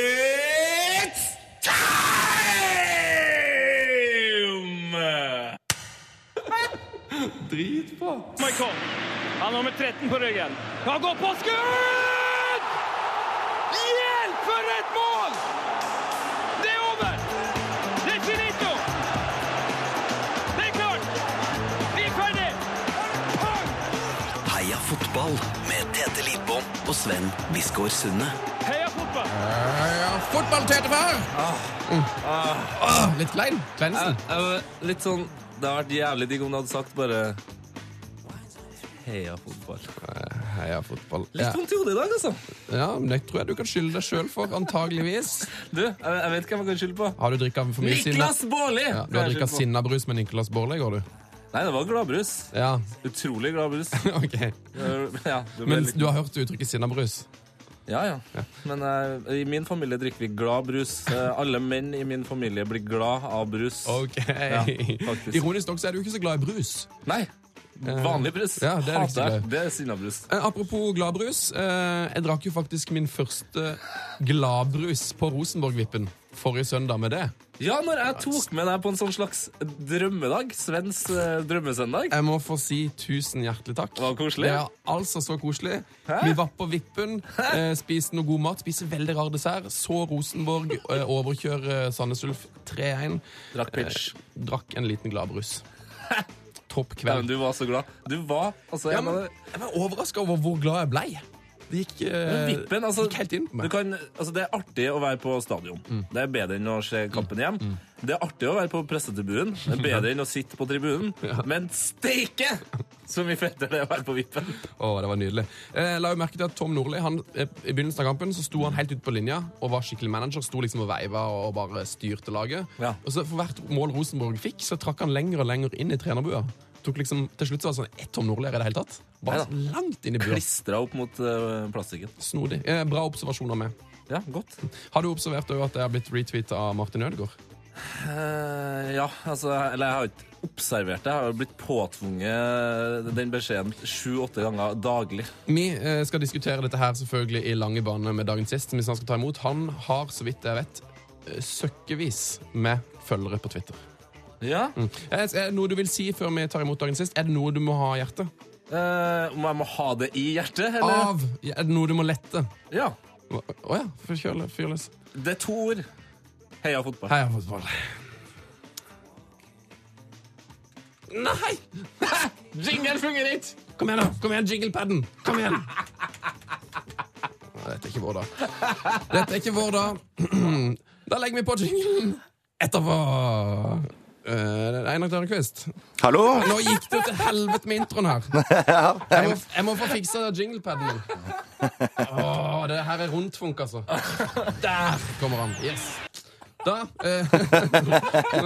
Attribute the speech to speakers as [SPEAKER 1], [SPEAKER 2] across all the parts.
[SPEAKER 1] It's time!
[SPEAKER 2] Dritbra.
[SPEAKER 3] Michael. Han har nummer 13 på ryggen. Han går på skudd! Hjelp for et mål! Det er over! Det er finito! Det er klart! Vi er ferdig!
[SPEAKER 4] Heia fotball med Tete Lidbom og Sven Biskår Sunde.
[SPEAKER 3] Heia fotball!
[SPEAKER 2] Ja, fotball, Tete Far! Åh, Litt klein. Kleinsen.
[SPEAKER 5] litt sånn Det hadde vært jævlig digg om du hadde sagt bare Heia fotball.
[SPEAKER 2] Heia fotball.
[SPEAKER 5] Litt
[SPEAKER 2] Ja.
[SPEAKER 5] vondt i hodet i dag, altså.
[SPEAKER 2] ja, men det tror jeg du kan skylde deg sjøl for, antageligvis.
[SPEAKER 5] Du, jeg, jeg vet hvem jeg kan skylde på.
[SPEAKER 2] Har du drikka for mye sinna?
[SPEAKER 5] Niklas Baarli!
[SPEAKER 2] Ja, du har
[SPEAKER 5] kan jeg
[SPEAKER 2] drikka
[SPEAKER 5] skylde på.
[SPEAKER 2] sinnabrus med Nicolas Baarli i går, du?
[SPEAKER 5] Nei, det var gladbrus.
[SPEAKER 2] Ja,
[SPEAKER 5] Utrolig gladbrus.
[SPEAKER 2] ok.
[SPEAKER 5] ja, det ble
[SPEAKER 2] Men
[SPEAKER 5] litt-
[SPEAKER 2] du har hørt uttrykket sinnabrus?
[SPEAKER 5] Ja, ja. Men eh, i min familie drikker vi glad brus. Eh, alle menn i min familie blir glad av brus.
[SPEAKER 2] Ok.
[SPEAKER 5] Ja, faktisk.
[SPEAKER 2] Ironisk nok så er du ikke så glad i brus.
[SPEAKER 5] Nei! Vanlig brus.
[SPEAKER 2] Eh, ja, det
[SPEAKER 5] Hater
[SPEAKER 2] er riktig.
[SPEAKER 5] jeg. Det er sinnabrus.
[SPEAKER 2] Eh, Apropos gladbrus. Eh, jeg drakk jo faktisk min første gladbrus på Rosenborg-vippen forrige søndag med det.
[SPEAKER 5] Ja, når jeg tok med deg på en sånn slags drømmedag, Svens eh, drømmesøndag
[SPEAKER 2] Jeg må få si tusen hjertelig takk.
[SPEAKER 5] Det var koselig.
[SPEAKER 2] Det er altså så koselig.
[SPEAKER 5] Hæ?
[SPEAKER 2] Vi var på vippen, eh, spiste noe god mat, spiste veldig rar dessert. Så Rosenborg eh, overkjøre Sandnes Ulf 3-1.
[SPEAKER 5] Drakk pitch.
[SPEAKER 2] eh, Drakk en liten gladbrus. Topp
[SPEAKER 5] Ja, men
[SPEAKER 2] kveld.
[SPEAKER 5] du var så glad. Du var altså
[SPEAKER 2] Ja,
[SPEAKER 5] en
[SPEAKER 2] men
[SPEAKER 5] av de-
[SPEAKER 2] jeg var overraska over hvor glad jeg blei. Det gikk, eh,
[SPEAKER 5] Vippen, altså,
[SPEAKER 2] gikk helt inn Mm.
[SPEAKER 5] du
[SPEAKER 2] på meg.
[SPEAKER 5] kan, altså Det er artig å være på stadion. Det er bedre enn å se kampen hjem.
[SPEAKER 2] Mm.
[SPEAKER 5] Det er artig å være på pressetribunen. Det er bedre enn å sitte på tribunen. Men steike så mye fetere det er å være på vippen!
[SPEAKER 2] Å, det var nydelig. Eh, Jeg la jo merke til at Tom Nordli han, eh, I begynnelsen av kampen så sto han helt ute på linja og var skikkelig manager. Sto liksom og veiva og bare styrte laget.
[SPEAKER 5] Ja.
[SPEAKER 2] Og så For hvert mål Rosenborg fikk, så trakk han lenger og lenger inn i trenerbua. Tok liksom, til slutt så var det sånn ett Tom Nordli her i det hele tatt. Bare
[SPEAKER 5] Neida.
[SPEAKER 2] langt inn i bua.
[SPEAKER 5] Klistra opp mot eh, plastikken.
[SPEAKER 2] Snodig. Eh, Bra observasjoner med.
[SPEAKER 5] Ja, godt.
[SPEAKER 2] Har du observert også at jeg har blitt retweeta av Martin Ødegaard?
[SPEAKER 5] Eh, ja, altså Eller jeg har jo ikke observert det. Jeg har jo blitt påtvunget den beskjeden sju-åtte ganger daglig.
[SPEAKER 2] Vi eh, skal diskutere dette her selvfølgelig i lange bane med dagens gjest, som vi snart skal ta imot. Han har, så vidt jeg vet, eh, søkkevis med følgere på Twitter.
[SPEAKER 5] Ja.
[SPEAKER 2] Er Eh, er det noe du vil si før vi tar imot dagens gjest? Er det noe du må ha i hjertet?
[SPEAKER 5] Eh, om jeg må ha det i hjertet, eller?
[SPEAKER 2] Av! Er det noe du må lette?
[SPEAKER 5] Ja.
[SPEAKER 2] Å ja, fyr kjøle- fyr løs.
[SPEAKER 5] Det er to ord. Heia fotball.
[SPEAKER 2] Heia fotball. Nei! Jingle fungerer ikke! Kom igjen, da. Kom igjen, jinglepaden. Kom igjen. Dette er ikke vår, da. Dette er ikke vår, da. Da legger vi på jinglen etterpå. Eh, Einar Tørnquist.
[SPEAKER 6] Hallo?
[SPEAKER 2] Nå gikk det til helvete med introen her. Jeg må, jeg må få fiksa jinglepaden min. Åh, det her er rundfunk, altså. Der kommer han. Yes. Da eh,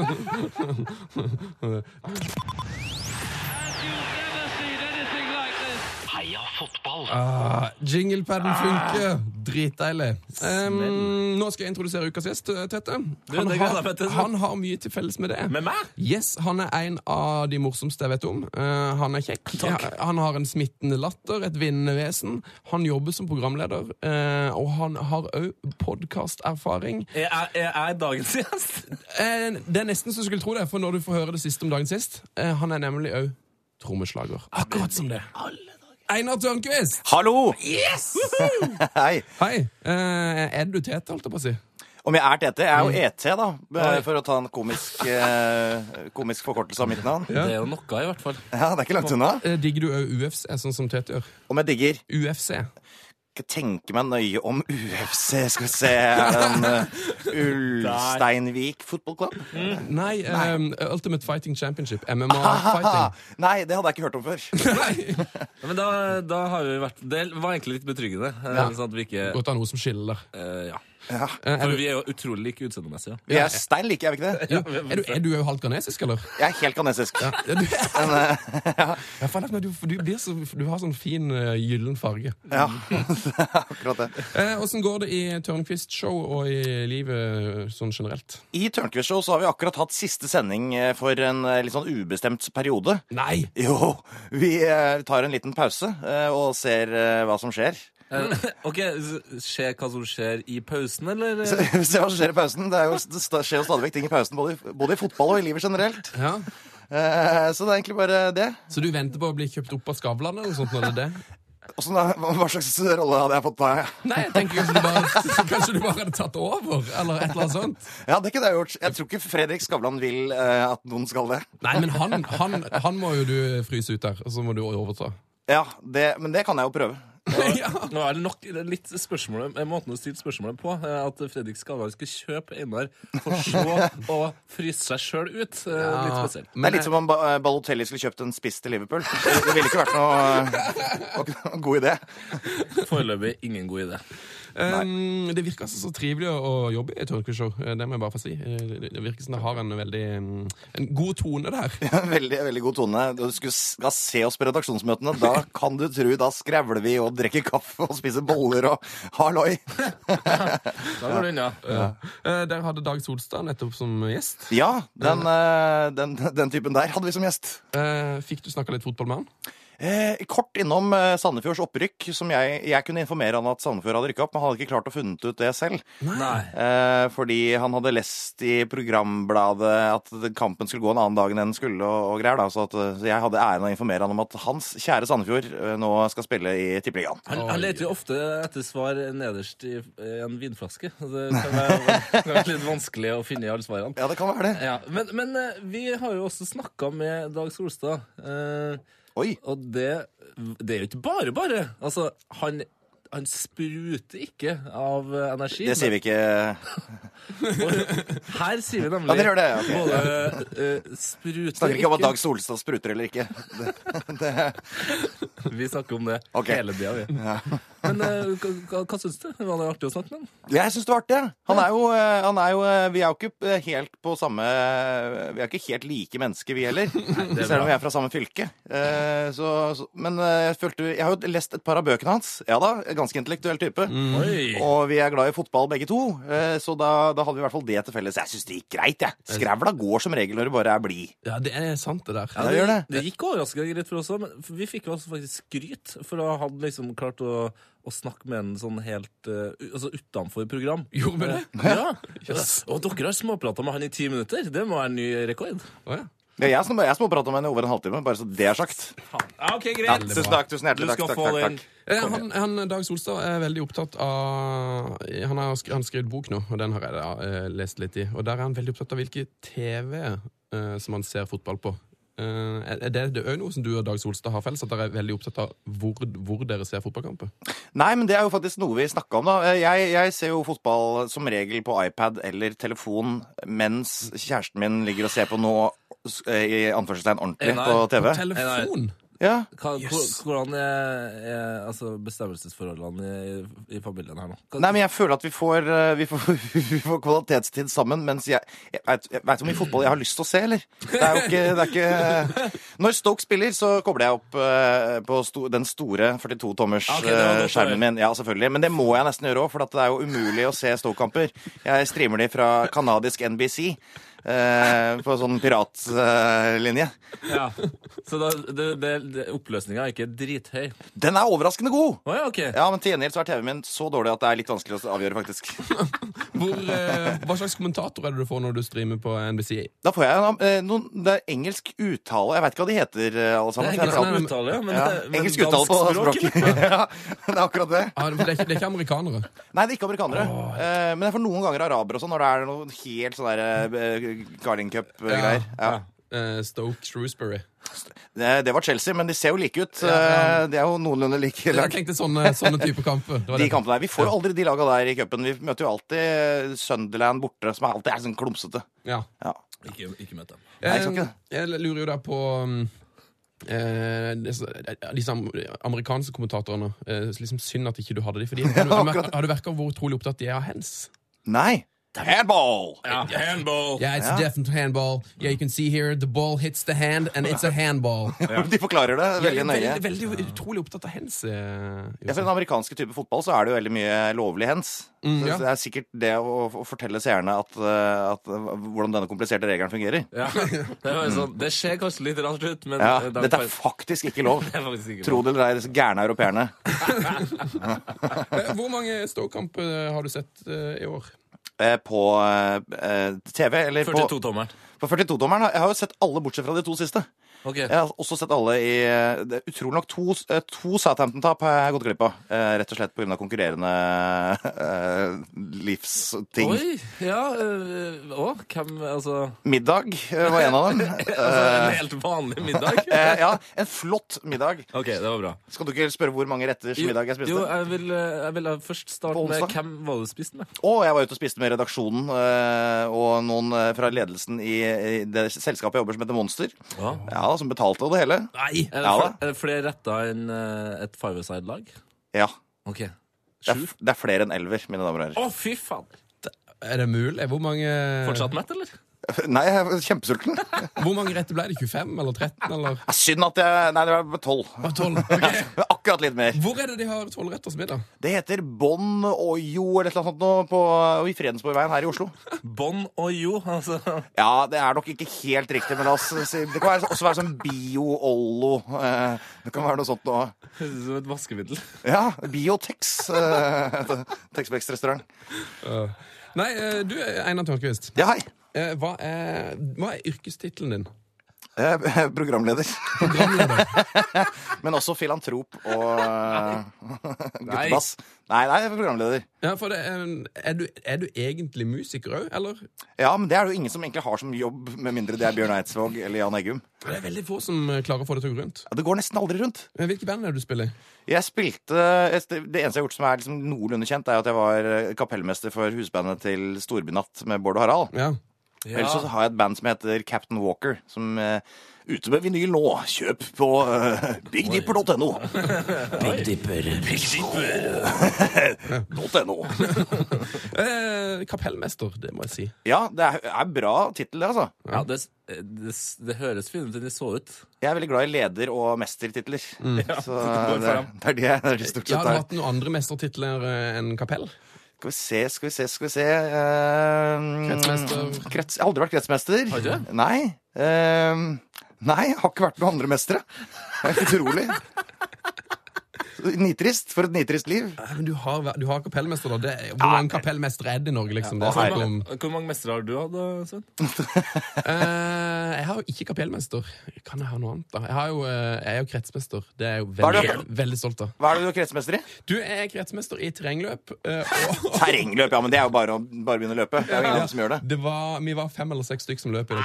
[SPEAKER 4] Heia fotball!
[SPEAKER 2] ah, Jinglepaden funker. Dritdeilig. Em, nå skal jeg introdusere ukas gjest, eh, Tette. Han
[SPEAKER 5] det gleder jeg meg
[SPEAKER 2] har,
[SPEAKER 5] til.
[SPEAKER 2] han har mye til felles med det.
[SPEAKER 5] Med meg?
[SPEAKER 2] Yes, Han er en av de morsomste jeg vet om. Eh, han er kjekk.
[SPEAKER 5] Takk.
[SPEAKER 2] Han har en smittende latter, et vinnende vesen. Han jobber som programleder, eh, og han har òg podkasterfaring.
[SPEAKER 5] Er jeg, er jeg dagens gjest?
[SPEAKER 2] Eh, det er nesten så du skulle tro det, for når du får høre det siste om dagen sist eh, Han er nemlig òg trommeslager. Akkurat som det. Einar Tørnquist!
[SPEAKER 6] Hallo! Hei.
[SPEAKER 2] Hei. Eh, er det du Tete, holdt jeg på å si?
[SPEAKER 6] Om jeg er Tete? Jeg er jo ET, da. eh, For å ta en komisk, eh, komisk forkortelse av mitt navn.
[SPEAKER 2] Ja.
[SPEAKER 5] Det er jo noe, i hvert fall.
[SPEAKER 6] Ja, det er ikke langt unna.
[SPEAKER 2] Eh, digger du òg UFC, sånn som Tete gjør?
[SPEAKER 6] Om jeg digger
[SPEAKER 2] UFC.
[SPEAKER 6] Ikke tenke meg nøye om UFC. Skal vi se Er det en eh, Ulsteinvik Football Club?
[SPEAKER 2] Nei, eh, Ultimate Fighting Championship. MMA-fighting.
[SPEAKER 6] Nei, det hadde jeg ikke hørt om før.
[SPEAKER 2] Nei!
[SPEAKER 5] Ja, Men da, da har vi vært Det var egentlig litt betryggende. eh,
[SPEAKER 2] Ja.
[SPEAKER 5] Sånn at vi ikke
[SPEAKER 2] Godt å ha noe som skiller.
[SPEAKER 5] eh, Ja.
[SPEAKER 6] Ja.
[SPEAKER 5] For vi er jo utrolig like utseendemessig.
[SPEAKER 6] Vi er stein like, er vi ikke det?
[SPEAKER 2] Er du, er du, er du jo halvt ghanesisk, eller?
[SPEAKER 6] Jeg er helt kanesisk.
[SPEAKER 2] Ja, er du,
[SPEAKER 6] Men, eh,
[SPEAKER 2] ja, faen, Ahmed, du, for du, blir så, du har sånn fin eh, gyllen farge.
[SPEAKER 6] ja, det er akkurat det.
[SPEAKER 2] Åssen går det i Tørnquist-show og i livet sånn generelt?
[SPEAKER 6] I Tørnquist Show så har vi akkurat hatt siste sending eh, for en eh, litt sånn ubestemt periode.
[SPEAKER 2] Nei!
[SPEAKER 6] Jo, vi eh, tar en liten pause eh, og ser eh, hva som skjer.
[SPEAKER 5] Eh, Ok, s- Se hva som skjer i pausen, eller?
[SPEAKER 6] Se se hva som skjer i pausen. Det, er jo, det sta- skjer jo stadig vekk ting i pausen, både i, både i fotball og i livet generelt.
[SPEAKER 2] Ja.
[SPEAKER 6] Eh, så det er egentlig bare det.
[SPEAKER 2] Så du venter på å bli kjøpt opp av Skavlan eller noe sånt? Når det er det?
[SPEAKER 6] Og så da, hva hva slags rolle hadde jeg fått da?
[SPEAKER 2] Nei, jeg tenker kanskje du, bare, kanskje du bare hadde tatt over, eller et eller annet sånt.
[SPEAKER 6] Ja, det kunne jeg gjort. Jeg tror ikke Fredrik Skavlan vil eh, at noen skal det.
[SPEAKER 2] Nei, men han, han, han må jo du fryse ut der, og så må du overta.
[SPEAKER 6] Ja, det, Men det kan jeg jo prøve.
[SPEAKER 2] Ja.
[SPEAKER 5] Nå er det nok litt spørsmålet, eh, måten å stille spørsmålet på, eh, at Fredrik Skavlan skal kjøpe Einar for så å fryse seg sjøl ut. eh, Litt spesielt.
[SPEAKER 6] Det er litt som om Ba- eh, Balotelli skulle kjøpt en spiss til Liverpool. Det det ville ikke vært noe eh, god idé.
[SPEAKER 5] Foreløpig ingen god idé.
[SPEAKER 2] Um, det virker altså så trivelig å å jobbe i et tørkeshow. Eh, Det må jeg bare få si. Eh, Det det virker som det har en veldig um, en god tone der.
[SPEAKER 6] Veldig veldig god tone. Du skulle skal se oss på redaksjonsmøtene. Da kan du tro da skravler vi og drikker kaffe og spiser boller og halloi.
[SPEAKER 5] Da går det unna.
[SPEAKER 2] Eh, Der hadde Dag Solstad nettopp som gjest.
[SPEAKER 6] Ja, den, eh, den, den typen der hadde vi som gjest.
[SPEAKER 2] Eh, Fikk du snakka litt fotball med han?
[SPEAKER 6] Eh, kort innom eh, Sandefjords opprykk, som jeg, jeg kunne informere han at Sandefjord hadde rykka opp, men han hadde ikke klart å funnet ut det selv.
[SPEAKER 5] Nei.
[SPEAKER 6] Eh, fordi han hadde lest i programbladet at kampen skulle gå en annen dag enn den skulle, og, og greier. da, Så, at, eh, så jeg hadde æren av å informere han om at hans kjære Sandefjord eh, nå skal spille i Tippeligaen.
[SPEAKER 5] Han, han leter jo ofte etter svar nederst i eh, en vinflaske. Det kan være, kan være litt vanskelig å finne i alle svarene.
[SPEAKER 6] Ja, det kan være det.
[SPEAKER 5] Ja, men, men eh, vi har jo også snakka med Dag Solstad. eh,
[SPEAKER 6] Oi.
[SPEAKER 5] Og det, det er jo ikke bare bare. Altså, han, han spruter ikke av eh, energi.
[SPEAKER 6] Det sier vi ikke.
[SPEAKER 5] Her sier vi
[SPEAKER 6] Ja,
[SPEAKER 5] nemlig
[SPEAKER 6] dere gjør det. ja, ok.
[SPEAKER 5] både eh, spruter
[SPEAKER 6] Snakker ikke om at Dag Solstad spruter eller ikke.
[SPEAKER 5] Vi snakker om det
[SPEAKER 6] Ok.
[SPEAKER 5] hele tida, vi. Men eh, hva, hva, hva syns du? Var det artig å snakke med ham?
[SPEAKER 6] Jeg syns det var artig. jeg. Han er jo, eh, han er jo eh, Vi er jo ikke eh, helt på samme eh, Vi er ikke helt like mennesker, vi heller. Selv om vi er fra samme fylke. Eh, Så, så, men eh, jeg følte Jeg har jo lest et par av bøkene hans. Ja da, en ganske intellektuell type.
[SPEAKER 5] Mm. Oi!
[SPEAKER 6] Og vi er glad i fotball begge to, eh, så da, da hadde vi i hvert fall det til felles. Jeg syns det gikk greit, jeg. Skrævla går som regel når du bare er blid.
[SPEAKER 2] Ja, det er sant, det der.
[SPEAKER 6] Ja, det gjør det.
[SPEAKER 5] Det gikk overraskende greit for oss òg, men vi fikk jo altså faktisk skryt for å ha liksom klart å, å snakke med en sånn helt uh, altså utenfor program.
[SPEAKER 2] Gjorde vi det?
[SPEAKER 5] Ja. Og dere har småprata med han i ti minutter. Det må være en ny rekord.
[SPEAKER 2] Å, ja.
[SPEAKER 6] Ja, jeg sm- jeg småprata med henne i over en halvtime, bare så det er sagt.
[SPEAKER 5] Ja, ok, greit.
[SPEAKER 6] Tusen takk, tusen
[SPEAKER 5] Du
[SPEAKER 6] hjertelig takk.
[SPEAKER 5] skal
[SPEAKER 6] takk,
[SPEAKER 5] få
[SPEAKER 6] takk,
[SPEAKER 5] den.
[SPEAKER 6] takk.
[SPEAKER 2] Eh, Han, han, Dag Solstad er veldig opptatt av Han har sk- han har skrevet bok nå, og den har jeg da, eh, lest litt i. Og Der er han veldig opptatt av hvilke TV eh, som han ser fotball på. Eh, er det, det er jo noe som du og Dag Solstad har felles, at dere er veldig opptatt av hvor, hvor dere ser fotballkamper?
[SPEAKER 6] Nei, men det er jo faktisk noe vi snakka om, da. Eh, Jeg, jeg ser jo fotball som regel på iPad eller telefon mens kjæresten min ligger og ser på noe s- eh, i anførselstegn ordentlig
[SPEAKER 5] Nei,
[SPEAKER 6] på TV.
[SPEAKER 2] Telefon!
[SPEAKER 6] Ja.
[SPEAKER 5] Hva, hvor- Hvordan er, er altså bestemmelsesforholdene i, i familien her nå? Hva,
[SPEAKER 6] Nei, men jeg føler at vi får, eh, vi får, vi får kvalitetstid sammen, mens jeg, jeg veit ikke om mye fotball jeg har lyst til å se, eller? Det er jo ikke, det er ikke Når Stoke spiller, så kobler jeg opp eh, på sto, den store 42-tommers
[SPEAKER 5] Ja, ok, det var godt å høre.
[SPEAKER 6] skjermen min. Ja, selvfølgelig. Men det må jeg nesten gjøre òg, for at det er jo umulig å se Stoke-kamper. Jeg streamer de fra kanadisk NBC. eh, på sånn piratlinje.
[SPEAKER 5] ja. Så da, det, det, det, oppløsninga er ikke drithøy? Å
[SPEAKER 6] Den er overraskende god!
[SPEAKER 5] ja, ok.
[SPEAKER 6] Ja, men til gjengjeld så er TV-en min så dårlig at det er litt vanskelig å avgjøre, faktisk.
[SPEAKER 2] Hvor, eh, hva slags kommentator er det du får når du streamer på NBC?
[SPEAKER 6] Da får jeg en, eh, noen, Det er engelsk uttale. Jeg veit ikke hva de heter, eh, alle sammen.
[SPEAKER 5] Det er
[SPEAKER 6] for jeg
[SPEAKER 5] engelsk
[SPEAKER 6] prater-
[SPEAKER 5] uttale, ja. Men,
[SPEAKER 6] ja,
[SPEAKER 5] men
[SPEAKER 6] engelsk
[SPEAKER 5] dansk
[SPEAKER 6] uttale på
[SPEAKER 5] språk,
[SPEAKER 6] språket.
[SPEAKER 5] eller?
[SPEAKER 6] ja, det er akkurat det.
[SPEAKER 2] Ah, for det, er ikke, det er ikke amerikanere.
[SPEAKER 6] Nei, det er ikke amerikanere. Eh, men jeg får noen ganger arabere og sånn, når det er noe helt sånn der eh, Garling Cup-greier. Ja.
[SPEAKER 2] Eh, Stoke Shrewsbury.
[SPEAKER 6] Det, det var Chelsea, men de ser jo like ut. Eh, de er jo noenlunde like
[SPEAKER 2] Jeg
[SPEAKER 6] lag.
[SPEAKER 2] tenkte sånne, sånne type kamper. Det var
[SPEAKER 6] De
[SPEAKER 2] det.
[SPEAKER 6] kampene der. Vi får jo aldri de laga der i cupen. Vi møter jo alltid eh, Sunderland borte, som er alltid er sånn klumsete.
[SPEAKER 2] Ja.
[SPEAKER 6] Ja.
[SPEAKER 5] Ikke, ikke møtt dem.
[SPEAKER 6] Nei, jeg skal ikke det.
[SPEAKER 2] Eh, Jeg lurer jo da på um, eh, disse, disse am- amerikanske kommentatorene. Eh, liksom Synd at ikke du hadde de, for de har, du-
[SPEAKER 6] Ja, akkurat.
[SPEAKER 2] har du merka hvor utrolig opptatt de er av hands?
[SPEAKER 6] Nei! Handball!
[SPEAKER 5] Handball!
[SPEAKER 2] Yeah, it's
[SPEAKER 6] Ja.
[SPEAKER 2] definitely handball. Yeah, you can see here the ball hits the hand, and it's a handball.
[SPEAKER 6] De forklarer det veldig nøye.
[SPEAKER 2] Veldig, veldig utrolig opptatt av hands. eh,
[SPEAKER 6] Ja, for den amerikanske type fotball så er det jo veldig mye lovlig hens. så
[SPEAKER 2] ja.
[SPEAKER 6] Det er sikkert det å, å fortelle seerne at, eh, at, eh, hvordan denne kompliserte regelen fungerer.
[SPEAKER 5] Ja. Det, var jo sånn, det ser kanskje litt rart ut, men
[SPEAKER 6] Ja,
[SPEAKER 5] eh, de
[SPEAKER 6] Dette
[SPEAKER 5] kan-
[SPEAKER 6] er faktisk ikke lov.
[SPEAKER 5] Det er faktisk ikke
[SPEAKER 6] Tro det eller ei, disse gærne europeerne.
[SPEAKER 2] Eh, Hvor mange ståkamper eh, har du sett eh, i år?
[SPEAKER 6] Eh, På eh, TV eller på
[SPEAKER 5] 42-tommeren.
[SPEAKER 6] På 42-dommeren har jeg har jo sett alle bortsett fra de to siste.
[SPEAKER 5] Ok.
[SPEAKER 6] Jeg har også sett alle i eh, det er Utrolig nok to, eh, to Southampton-tap har jeg gått glipp av. Eh, Rett og slett pga. konkurrerende eh, livsting.
[SPEAKER 5] Oi! Ja, øh, å, hvem Altså
[SPEAKER 6] Middag eh, var en av dem.
[SPEAKER 5] altså, En helt vanlig middag?
[SPEAKER 6] Eh, ja, en flott middag.
[SPEAKER 5] OK, det var bra.
[SPEAKER 6] Skal du ikke spørre hvor mange retters middag jeg spiste?
[SPEAKER 5] Jo,
[SPEAKER 6] Å,
[SPEAKER 5] jeg vil, eh, jeg vil eh, først
[SPEAKER 6] På
[SPEAKER 5] starte med
[SPEAKER 6] onsdag?
[SPEAKER 5] hvem var det du spiste med?
[SPEAKER 6] jeg var ute og spiste med redaksjonen eh, og noen eh, fra ledelsen i, i det selskapet jeg jobber som heter Monster.
[SPEAKER 5] Ja.
[SPEAKER 6] Ja, Som betalte og det hele.
[SPEAKER 5] Nei! Er det,
[SPEAKER 6] Ja,
[SPEAKER 5] fl-
[SPEAKER 6] da.
[SPEAKER 5] er det flere retter enn eh, et five-a-side-lag?
[SPEAKER 6] Ja.
[SPEAKER 5] OK.
[SPEAKER 6] Det er,
[SPEAKER 5] Sju?
[SPEAKER 6] f- det er flere enn elver, mine damer og herrer.
[SPEAKER 5] Å, fy faen!
[SPEAKER 2] Er det mulig? Hvor mange,
[SPEAKER 5] Fortsatt mett, eller?
[SPEAKER 6] Nei, jeg er kjempesulten.
[SPEAKER 2] hvor mange rette ble det? 25 eller 13? Eller?
[SPEAKER 6] Ja, synd at jeg Nei, det var tolv.
[SPEAKER 2] 12.
[SPEAKER 6] Akkurat litt mer.
[SPEAKER 2] Hvor er det de har tolvretters middag?
[SPEAKER 6] Det heter Bånn Ojo eller et eller annet sånt nå på, i Fredensborgveien her i Oslo.
[SPEAKER 5] Bon og jo, altså.
[SPEAKER 6] Ja, det er nok ikke helt riktig, men la oss si Det kan være, også være sånn bio-ollo. eh, Det kan være noe sånt noe.
[SPEAKER 5] Høres ut som et vaskemiddel.
[SPEAKER 6] Ja, Biotex. eh, Texbex-restaurant.
[SPEAKER 2] Nei, eh, du Einar Tørnquist.
[SPEAKER 6] Ja, hei.
[SPEAKER 2] Eh, Hva er, hva er yrkestittelen din?
[SPEAKER 6] Jeg er programleder.
[SPEAKER 2] Programleder.
[SPEAKER 6] Men også filantrop og eh,
[SPEAKER 5] Nei.
[SPEAKER 6] guttebass. Nei, nei, jeg er programleder.
[SPEAKER 2] Ja, for det, eh, er, du, er du egentlig musiker òg, eller?
[SPEAKER 6] Ja, men det er det jo ingen som egentlig har som jobb, med mindre det er Bjørn Eidsvåg eller Jan Eggum.
[SPEAKER 2] Det er veldig få som eh, klarer å få det til å gå rundt.
[SPEAKER 6] Ja, det går nesten aldri rundt.
[SPEAKER 2] Men Hvilke band er det du spiller i?
[SPEAKER 6] Jeg spilte jeg- Det eneste jeg har gjort som er liksom noenlunde kjent, er at jeg var eh, kapellmester for husbandet til Storbynatt med Bård og Harald.
[SPEAKER 2] Ja.
[SPEAKER 6] Ellers så har jeg et band som heter Captain Walker, som eh, ute med vinyl nå. Kjøp på eh, bigdipper.no.
[SPEAKER 4] Big Dipper.
[SPEAKER 6] .no.
[SPEAKER 2] Eh, kapellmester, det må jeg si.
[SPEAKER 6] Ja, det er, er bra tittel, det, altså.
[SPEAKER 5] Ja, det, eh, det, det høres finere ut enn det så ut.
[SPEAKER 6] Jeg er veldig glad i leder- og mestertitler. Så
[SPEAKER 5] går
[SPEAKER 6] det,
[SPEAKER 5] fram.
[SPEAKER 6] det er det jeg det er stort
[SPEAKER 2] Jeg
[SPEAKER 6] sett
[SPEAKER 2] hadde
[SPEAKER 6] er.
[SPEAKER 2] hatt noen andre mestertitler eh, enn kapell.
[SPEAKER 6] Skal vi se, skal vi se, skal vi se eh,
[SPEAKER 2] Kretsmester.
[SPEAKER 6] Krets, jeg har aldri vært kretsmester.
[SPEAKER 5] Har du det?
[SPEAKER 6] Nei. eh, nei, jeg har ikke vært noen andre mestere. Det er helt utrolig. Nitrist. For et nitrist liv.
[SPEAKER 2] Eh, Men du har, vært- du har kapellmester, da. Det, er- hvor mange kapellmestere er det i Norge, liksom? Det er
[SPEAKER 6] Ja,
[SPEAKER 2] snakk om.
[SPEAKER 5] Hvor mange mestere har du hatt, da, Sven?
[SPEAKER 2] Eh, jeg har jo ikke kapellmester. Kan jeg ha noe annet, da? Jeg, har jo, eh, jeg er jo kretsmester. Det er jeg jo
[SPEAKER 6] er
[SPEAKER 2] veldig,
[SPEAKER 6] det-
[SPEAKER 2] veldig stolt av.
[SPEAKER 6] Hva er det du er kretsmester i?
[SPEAKER 2] Du jeg er kretsmester i terrengløp. eh, og
[SPEAKER 6] Terrengløp, ja, men det er jo bare å bare begynne å løpe. Det er jo ingen andre som gjør det.
[SPEAKER 2] det var, vi var fem eller seks stykker som løp i det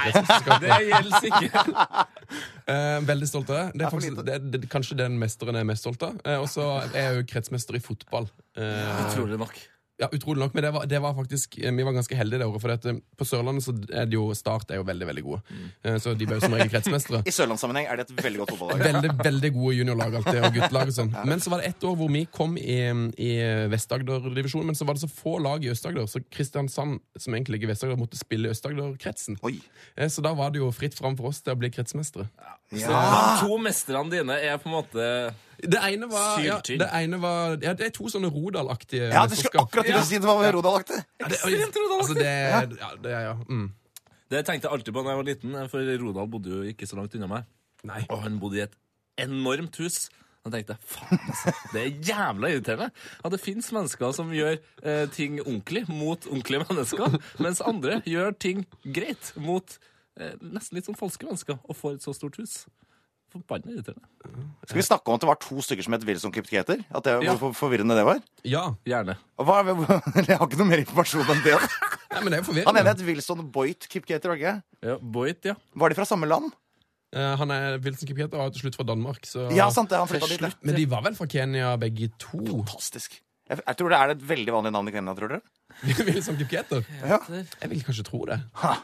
[SPEAKER 2] kretsmesterskapet. Det gjelder sikkert. Eh, veldig stolt av det. Det er, faktisk, det, det, kanskje den mesteren jeg er mest stolt av. Eh, og så er jeg jo kretsmester i fotball. Eh,
[SPEAKER 5] Utrolig nok.
[SPEAKER 2] Ja, utrolig nok, men det var, det var faktisk eh, Vi var ganske heldige det året, for at, eh, på Sørlandet så er det jo Start er jo veldig, veldig gode. Eh, Så de ble jo som regel kretsmestere.
[SPEAKER 6] I sørlandssammenheng er det et veldig godt fotballag.
[SPEAKER 2] Veldig veldig gode juniorlag alltid, og guttelag og sånn. Men så var det ett år hvor vi kom i, i Vest-Agder-divisjonen, men så var det så få lag i Øst-Agder, så Kristiansand, som egentlig ligger i Vest-Agder, måtte spille i Øst-Agder-kretsen.
[SPEAKER 6] Oi.
[SPEAKER 2] Eh, Så da var det jo fritt fram for oss til å bli kretsmestere.
[SPEAKER 5] Så de to mesterne dine er på en måte
[SPEAKER 2] Det ene var, ja,
[SPEAKER 5] Syltynn.
[SPEAKER 2] det, ene var ja, det er to sånne Rodal-aktige
[SPEAKER 6] Ja, det skulle akkurat til å si det var Rodal-aktig.
[SPEAKER 2] Ja, det, altså, det, ja, det, ja, mm.
[SPEAKER 5] Det tenkte jeg alltid på da jeg var liten, for Rodal bodde jo ikke så langt unna meg.
[SPEAKER 2] Nei.
[SPEAKER 5] Og han bodde i et enormt hus. Da tenkte jeg, faen altså, Det er jævla irriterende at det fins mennesker som gjør eh, ting ordentlig mot ordentlige mennesker, mens andre gjør ting greit mot eh, nesten litt sånn falske mennesker og får et så stort hus. Forbanna irriterende.
[SPEAKER 6] Skal vi snakke om at det var to stykker som het Wilson Kipketer? At det,
[SPEAKER 5] Ja.
[SPEAKER 6] Hvor forvirrende det var?
[SPEAKER 2] Ja.
[SPEAKER 5] Gjerne.
[SPEAKER 6] Og Hva, jeg har ikke noe mer informasjon enn det.
[SPEAKER 2] Nei, men det er jo
[SPEAKER 6] Han ene
[SPEAKER 2] forvirrende.
[SPEAKER 6] het Wilson Boit Kipketer, var det ikke?
[SPEAKER 5] Ja, Boit, ja.
[SPEAKER 6] Var de fra samme land?
[SPEAKER 2] Eh, Han er Wilson Kipieter og er til slutt fra Danmark. Så...
[SPEAKER 6] Ja, sant det. Han flytta dit. ja.
[SPEAKER 2] Men de var vel fra Kenya, begge to?
[SPEAKER 6] Fantastisk. Jeg, jeg tror det er et veldig vanlig navn i Kenya, tror dere?
[SPEAKER 2] Wilson Kipieter?
[SPEAKER 6] Ja.
[SPEAKER 2] Jeg vil kanskje tro det.
[SPEAKER 6] Ha.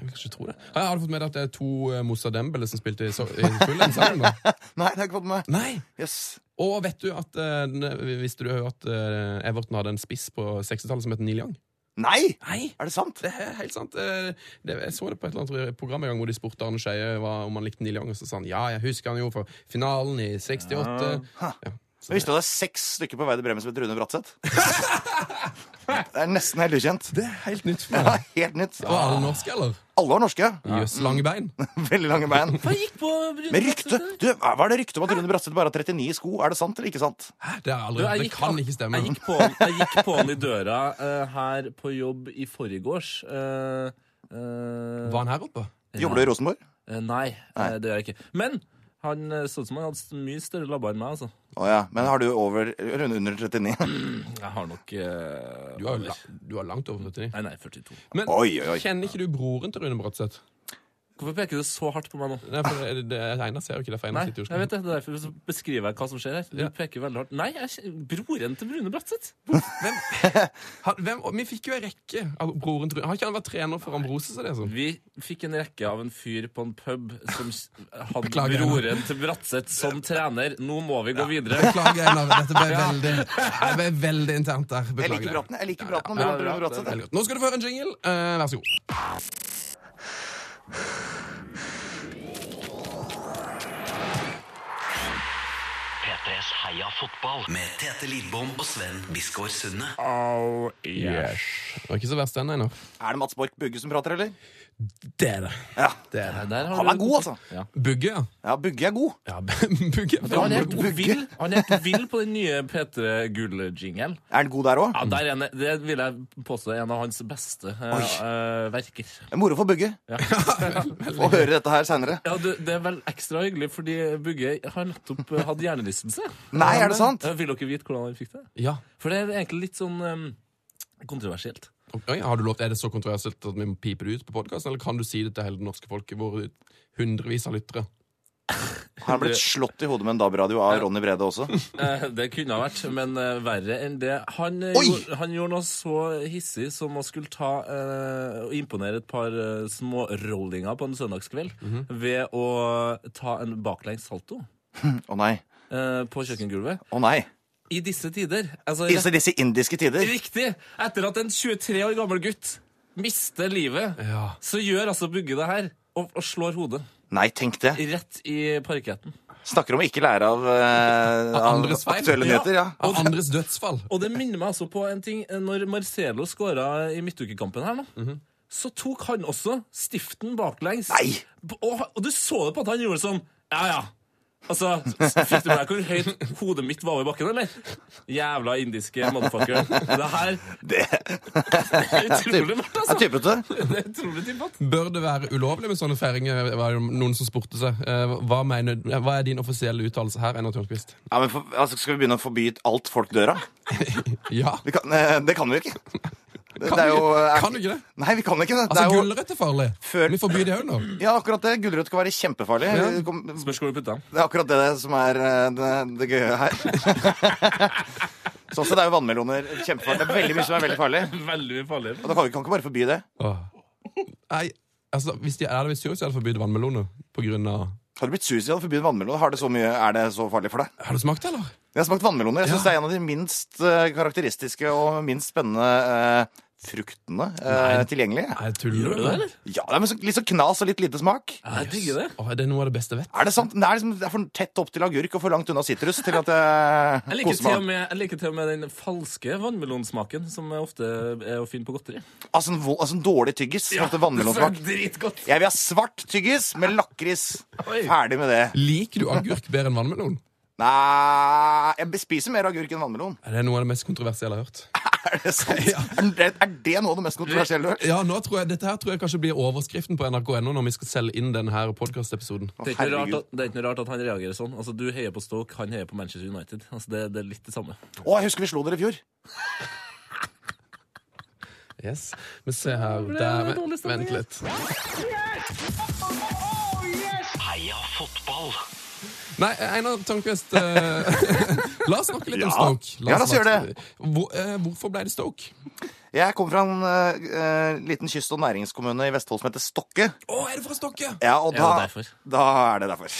[SPEAKER 2] Jeg vil kanskje tro det. Har har du fått med deg at det er to eh, Moussa Dembele som spilte i, so i Fulham sammen? da?
[SPEAKER 6] Nei, det har jeg ikke fått med meg.
[SPEAKER 2] Nei!
[SPEAKER 6] Yes.
[SPEAKER 2] Og vet du at, eh, den- visste du at eh, Everton hadde en spiss på 60-tallet som het Neil Young?
[SPEAKER 6] Nei!
[SPEAKER 2] Nei.
[SPEAKER 6] Er det sant?
[SPEAKER 2] Det er helt sant. Eh, Det, jeg så det på et eller annet program en gang hvor de spurte Arne Skeie hva- om han likte Neil Young. Og så sa han ja, jeg husker han jo fra finalen i 68.
[SPEAKER 5] Ah.
[SPEAKER 2] Ja.
[SPEAKER 6] Jeg visste at det er seks stykker på vei til Bremen som heter Rune Bratseth. Det er nesten helt ukjent.
[SPEAKER 2] Det er helt nytt for
[SPEAKER 6] Ja,
[SPEAKER 2] meg.
[SPEAKER 6] helt nytt.
[SPEAKER 5] Ah.
[SPEAKER 2] Var alle norske, eller?
[SPEAKER 6] Alle var norske.
[SPEAKER 2] Jøss, lange bein.
[SPEAKER 5] Mm.
[SPEAKER 6] Veldig lange bein.
[SPEAKER 5] Hva gikk på Brune
[SPEAKER 6] Men rykte,
[SPEAKER 5] Bratseth?
[SPEAKER 6] du, Hva er det rykte om at Rune Bratseth bare har 39 sko? Er det sant eller ikke sant?
[SPEAKER 2] Hæ, Det, er
[SPEAKER 5] Du,
[SPEAKER 2] aldri,
[SPEAKER 5] jeg
[SPEAKER 2] det
[SPEAKER 5] gikk-
[SPEAKER 2] kan ikke stemme.
[SPEAKER 5] Jeg gikk på, jeg gikk på han i døra eh, her på jobb i forgårs. eh, eh,
[SPEAKER 2] Var han her oppe?
[SPEAKER 6] Jobber du i Rosenborg?
[SPEAKER 5] eh, nei, eh, det gjør jeg ikke. Men han eh, så ut som han hadde st- mye større labber enn meg. altså.
[SPEAKER 6] Å ja. Men har du over eller under 39?
[SPEAKER 5] Jeg har nok eh,
[SPEAKER 2] Du er, jo la, du er langt over 39.
[SPEAKER 5] Nei, nei, 42.
[SPEAKER 2] Men
[SPEAKER 6] Oi, oi, oi.
[SPEAKER 2] kjenner ikke du broren til Rune Bratseth?
[SPEAKER 5] Hvorfor peker du så hardt på meg nå?
[SPEAKER 2] Nei, for det, det, Einar ser jo ikke det, for Einar
[SPEAKER 5] Nei,
[SPEAKER 2] sitter
[SPEAKER 5] jeg
[SPEAKER 2] jo og
[SPEAKER 5] vet det, det er derfor så beskriver jeg hva som skjer her. Du
[SPEAKER 2] Ja.
[SPEAKER 5] peker veldig hardt. Nei, jeg, kjen- broren til Brune Bratseth!
[SPEAKER 2] Hvem, han, hvem, og vi fikk jo en rekke av broren til Rune. Har ikke han vært trener for Ambrose? Så det, er sånn?
[SPEAKER 5] Vi fikk en rekke av en fyr på en pub som s- hadde
[SPEAKER 2] Beklager, Einar.
[SPEAKER 5] broren til Bratseth som trener. Nå må vi gå videre.
[SPEAKER 2] Beklager, Einar. Dette ble veldig, det ble veldig internt der.
[SPEAKER 6] Jeg
[SPEAKER 2] Beklager.
[SPEAKER 6] liker praten. Jeg liker praten om
[SPEAKER 5] Ja,
[SPEAKER 6] Rune
[SPEAKER 5] ja,
[SPEAKER 6] Bratseth.
[SPEAKER 2] Veldig godt. Nå skal du få høre en jingle. Eh, vær så god.
[SPEAKER 4] P3s Heia fotball med Tete Lidbom og Sven Biskår Sunde.
[SPEAKER 2] Det var ikke så verst den, Einar.
[SPEAKER 6] Er det Mats Borch Bugge som prater, eller?
[SPEAKER 2] Det er det.
[SPEAKER 6] Ja.
[SPEAKER 2] det, er det.
[SPEAKER 5] Nei, der har
[SPEAKER 6] Han
[SPEAKER 5] du-
[SPEAKER 6] er god, altså.
[SPEAKER 2] Bugge, ja.
[SPEAKER 6] Ja, Bugge er god.
[SPEAKER 2] ja Bugge.
[SPEAKER 5] Ja, Han er
[SPEAKER 6] Bugge.
[SPEAKER 5] helt vill, han er helt vill på den nye P3 Gull-jingelen.
[SPEAKER 6] Er han god der òg?
[SPEAKER 5] Ja, der er han- det vil jeg påstå er en av hans beste eh, eh, verker.
[SPEAKER 6] Det er Moro for Bugge å høre dette her seinere.
[SPEAKER 5] Ja, det, det er vel ekstra hyggelig, fordi Bugge har nettopp eh, hatt hjernerystelse.
[SPEAKER 6] Nei, er det sant?
[SPEAKER 5] Eh, Vil dere vite hvordan han fikk det?
[SPEAKER 2] Ja.
[SPEAKER 5] For det er egentlig litt sånn eh, kontroversielt.
[SPEAKER 2] Oi, har du lov, er det så kontroversielt at vi må pipe det ut på podkasten, eller kan du si det til hele det norske folket, våre hundrevis av lyttere?
[SPEAKER 6] Har han blitt slått i hodet med en DAB-radio av Ronny Brede også?
[SPEAKER 5] Eh, Det kunne ha vært, men eh, verre enn det. Han, eh,
[SPEAKER 6] Oi!
[SPEAKER 5] gjorde, han gjorde noe så hissig som å skulle ta eh, og imponere et par eh, små rollinger på en søndagskveld ved å ta en baklengs salto
[SPEAKER 6] Å nei.
[SPEAKER 5] eh, på kjøkkengulvet.
[SPEAKER 6] Å nei.
[SPEAKER 5] I disse tider. Altså,
[SPEAKER 6] I disse, disse indiske tider.
[SPEAKER 5] Riktig! Etter at en 23 år gammel gutt mister livet,
[SPEAKER 2] Ja.
[SPEAKER 5] så gjør altså Bugge det her. Og, og slår hodet
[SPEAKER 6] Nei, tenk det.
[SPEAKER 5] rett i parketten.
[SPEAKER 6] Snakker om å ikke lære av, eh, av
[SPEAKER 2] andres feil.
[SPEAKER 6] aktuelle
[SPEAKER 5] Ja.
[SPEAKER 6] nyheter. ja.
[SPEAKER 2] Av andres dødsfall.
[SPEAKER 5] Og det minner meg altså på en ting. Når Marcelo skåra i midtukekampen her nå, så tok han også stiften baklengs.
[SPEAKER 6] Mhm. Nei!
[SPEAKER 5] Og, og du så det på at han gjorde sånn Ja, ja. Altså, Fikk du med deg hvor høyt hodet mitt var over bakken, eller? Jævla indiske motherfucker. Det her
[SPEAKER 6] Det
[SPEAKER 5] er utrolig mørkt, altså.
[SPEAKER 6] er typete.
[SPEAKER 5] Det er utrolig tilbake.
[SPEAKER 2] Bør det være ulovlig med sånne feiringer? var det Noen som spurte seg. Eh, Hva, mener, hva er din offisielle uttalelse her, Einar Tørnquist?
[SPEAKER 6] Ja, men for, altså, skal vi begynne å forby alt folk dør av?
[SPEAKER 2] Ja.
[SPEAKER 6] Vi kan- eh, Det kan vi jo ikke. Det, det er jo,
[SPEAKER 2] vi-
[SPEAKER 6] eh,
[SPEAKER 2] kan vi ikke det?
[SPEAKER 6] Nei, vi kan ikke det. det
[SPEAKER 2] Altså,
[SPEAKER 6] er jo,
[SPEAKER 2] gulrøtt er farlig.
[SPEAKER 6] Før-
[SPEAKER 2] Vi forbyr det òg nå.
[SPEAKER 6] ja, akkurat det. Gulrøtt skal være kjempefarlig.
[SPEAKER 2] Ja.
[SPEAKER 6] Kom-
[SPEAKER 5] Spørs hvor du putter den.
[SPEAKER 6] Det er akkurat det som er eh, det, det gøye her. Sånn sett er jo vannmeloner kjempefarlig. Det er veldig mye som er veldig farlig.
[SPEAKER 5] Veldig mye farligere.
[SPEAKER 6] Og da kan vi kan ikke bare forby det.
[SPEAKER 2] Nei, altså, hvis de er det hvis de hadde forbydd vannmeloner på grunn av
[SPEAKER 6] Har du blitt suicid av å forby vannmeloner? Har det så mye, er det så farlig for deg?
[SPEAKER 2] Har du smakt det, eller?
[SPEAKER 6] Jeg har smakt vannmeloner. Jeg syns
[SPEAKER 2] Ja.
[SPEAKER 6] det er en av de minst eh, karakteristiske og minst spennende eh, fruktene eh, tilgjengelige.
[SPEAKER 2] Nei, tuller
[SPEAKER 5] Gjør du det, eller?
[SPEAKER 6] Ja, det er med så, litt så knas og litt lite smak.
[SPEAKER 5] Jeg digger det.
[SPEAKER 2] Å, er det noe av det beste jeg vet?
[SPEAKER 6] Er det sant? Det er, liksom, det er for tett opp til agurk og for langt unna sitrus til at jeg,
[SPEAKER 5] Jeg liker, til og med, jeg liker til og med den falske vannmelonsmaken som er ofte er å finne på godteri.
[SPEAKER 6] Altså, en, vo- altså en dårlig tyggis. Ja, vannmelonsmak.
[SPEAKER 5] Dritgodt.
[SPEAKER 6] Jeg vil ha svart tyggis med lakris.
[SPEAKER 5] Oi.
[SPEAKER 6] Ferdig med det.
[SPEAKER 2] Liker du agurk bedre enn vannmelon?
[SPEAKER 6] Nei Jeg spiser mer agurk enn vannmelon.
[SPEAKER 2] Er det noe av det mest kontroversielle jeg har hørt?
[SPEAKER 6] Er det sant? Er det, er det noe av det mest kontroversielle du har hørt?
[SPEAKER 2] Ja, nå tror jeg, Dette her tror jeg kanskje blir overskriften på NRK.no når vi skal selge inn denne podkastepisoden.
[SPEAKER 6] Å,
[SPEAKER 5] Det er, ikke noe rart
[SPEAKER 6] herregud.
[SPEAKER 5] at, det er ikke noe rart at han reagerer sånn. Altså, Du heier på Stoke, han heier på Manchester United. Altså, Det, det er litt det samme.
[SPEAKER 6] Å, jeg husker vi slo dere i fjor.
[SPEAKER 2] Yes, Men se her der,
[SPEAKER 5] dårlig
[SPEAKER 2] vent,
[SPEAKER 5] stemning,
[SPEAKER 2] vent litt.
[SPEAKER 4] Heia fotball.
[SPEAKER 2] Nei, Einar Tørnquist, eh, la oss snakke litt om
[SPEAKER 6] Ja.
[SPEAKER 2] Stoke.
[SPEAKER 6] Ja, la oss
[SPEAKER 2] snakke-
[SPEAKER 6] gjøre det.
[SPEAKER 2] Hvor, eh, hvorfor ble det Stoke?
[SPEAKER 6] Jeg kommer fra en eh, eh, liten kyst- og næringskommune i Vestfold som heter Stokke.
[SPEAKER 2] Å, er det fra Stokke?
[SPEAKER 6] Ja, og
[SPEAKER 5] Ja,
[SPEAKER 6] da,
[SPEAKER 5] derfor.
[SPEAKER 6] da er det derfor.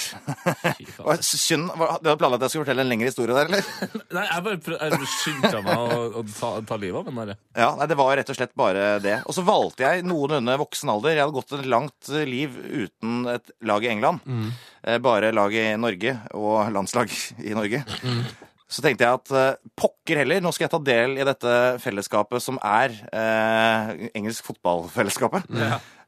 [SPEAKER 5] Fy faen.
[SPEAKER 6] Hva- Synd. hva- Du hadde planlagt at jeg skulle fortelle en lengre historie der, eller?
[SPEAKER 5] Nei, jeg bare prøv, jeg skyndte meg å, å ta, ta livet av den der.
[SPEAKER 6] Ja, nei, Det var rett og slett bare det. Og så valgte jeg noenlunde voksen alder. Jeg hadde gått et langt eh, liv uten et lag i England.
[SPEAKER 5] Mm.
[SPEAKER 6] Eh, Bare lag i Norge og landslag i Norge. Så tenkte jeg at eh, pokker heller, nå skal jeg ta del i dette fellesskapet som er eh, engelsk fotballfellesskapet.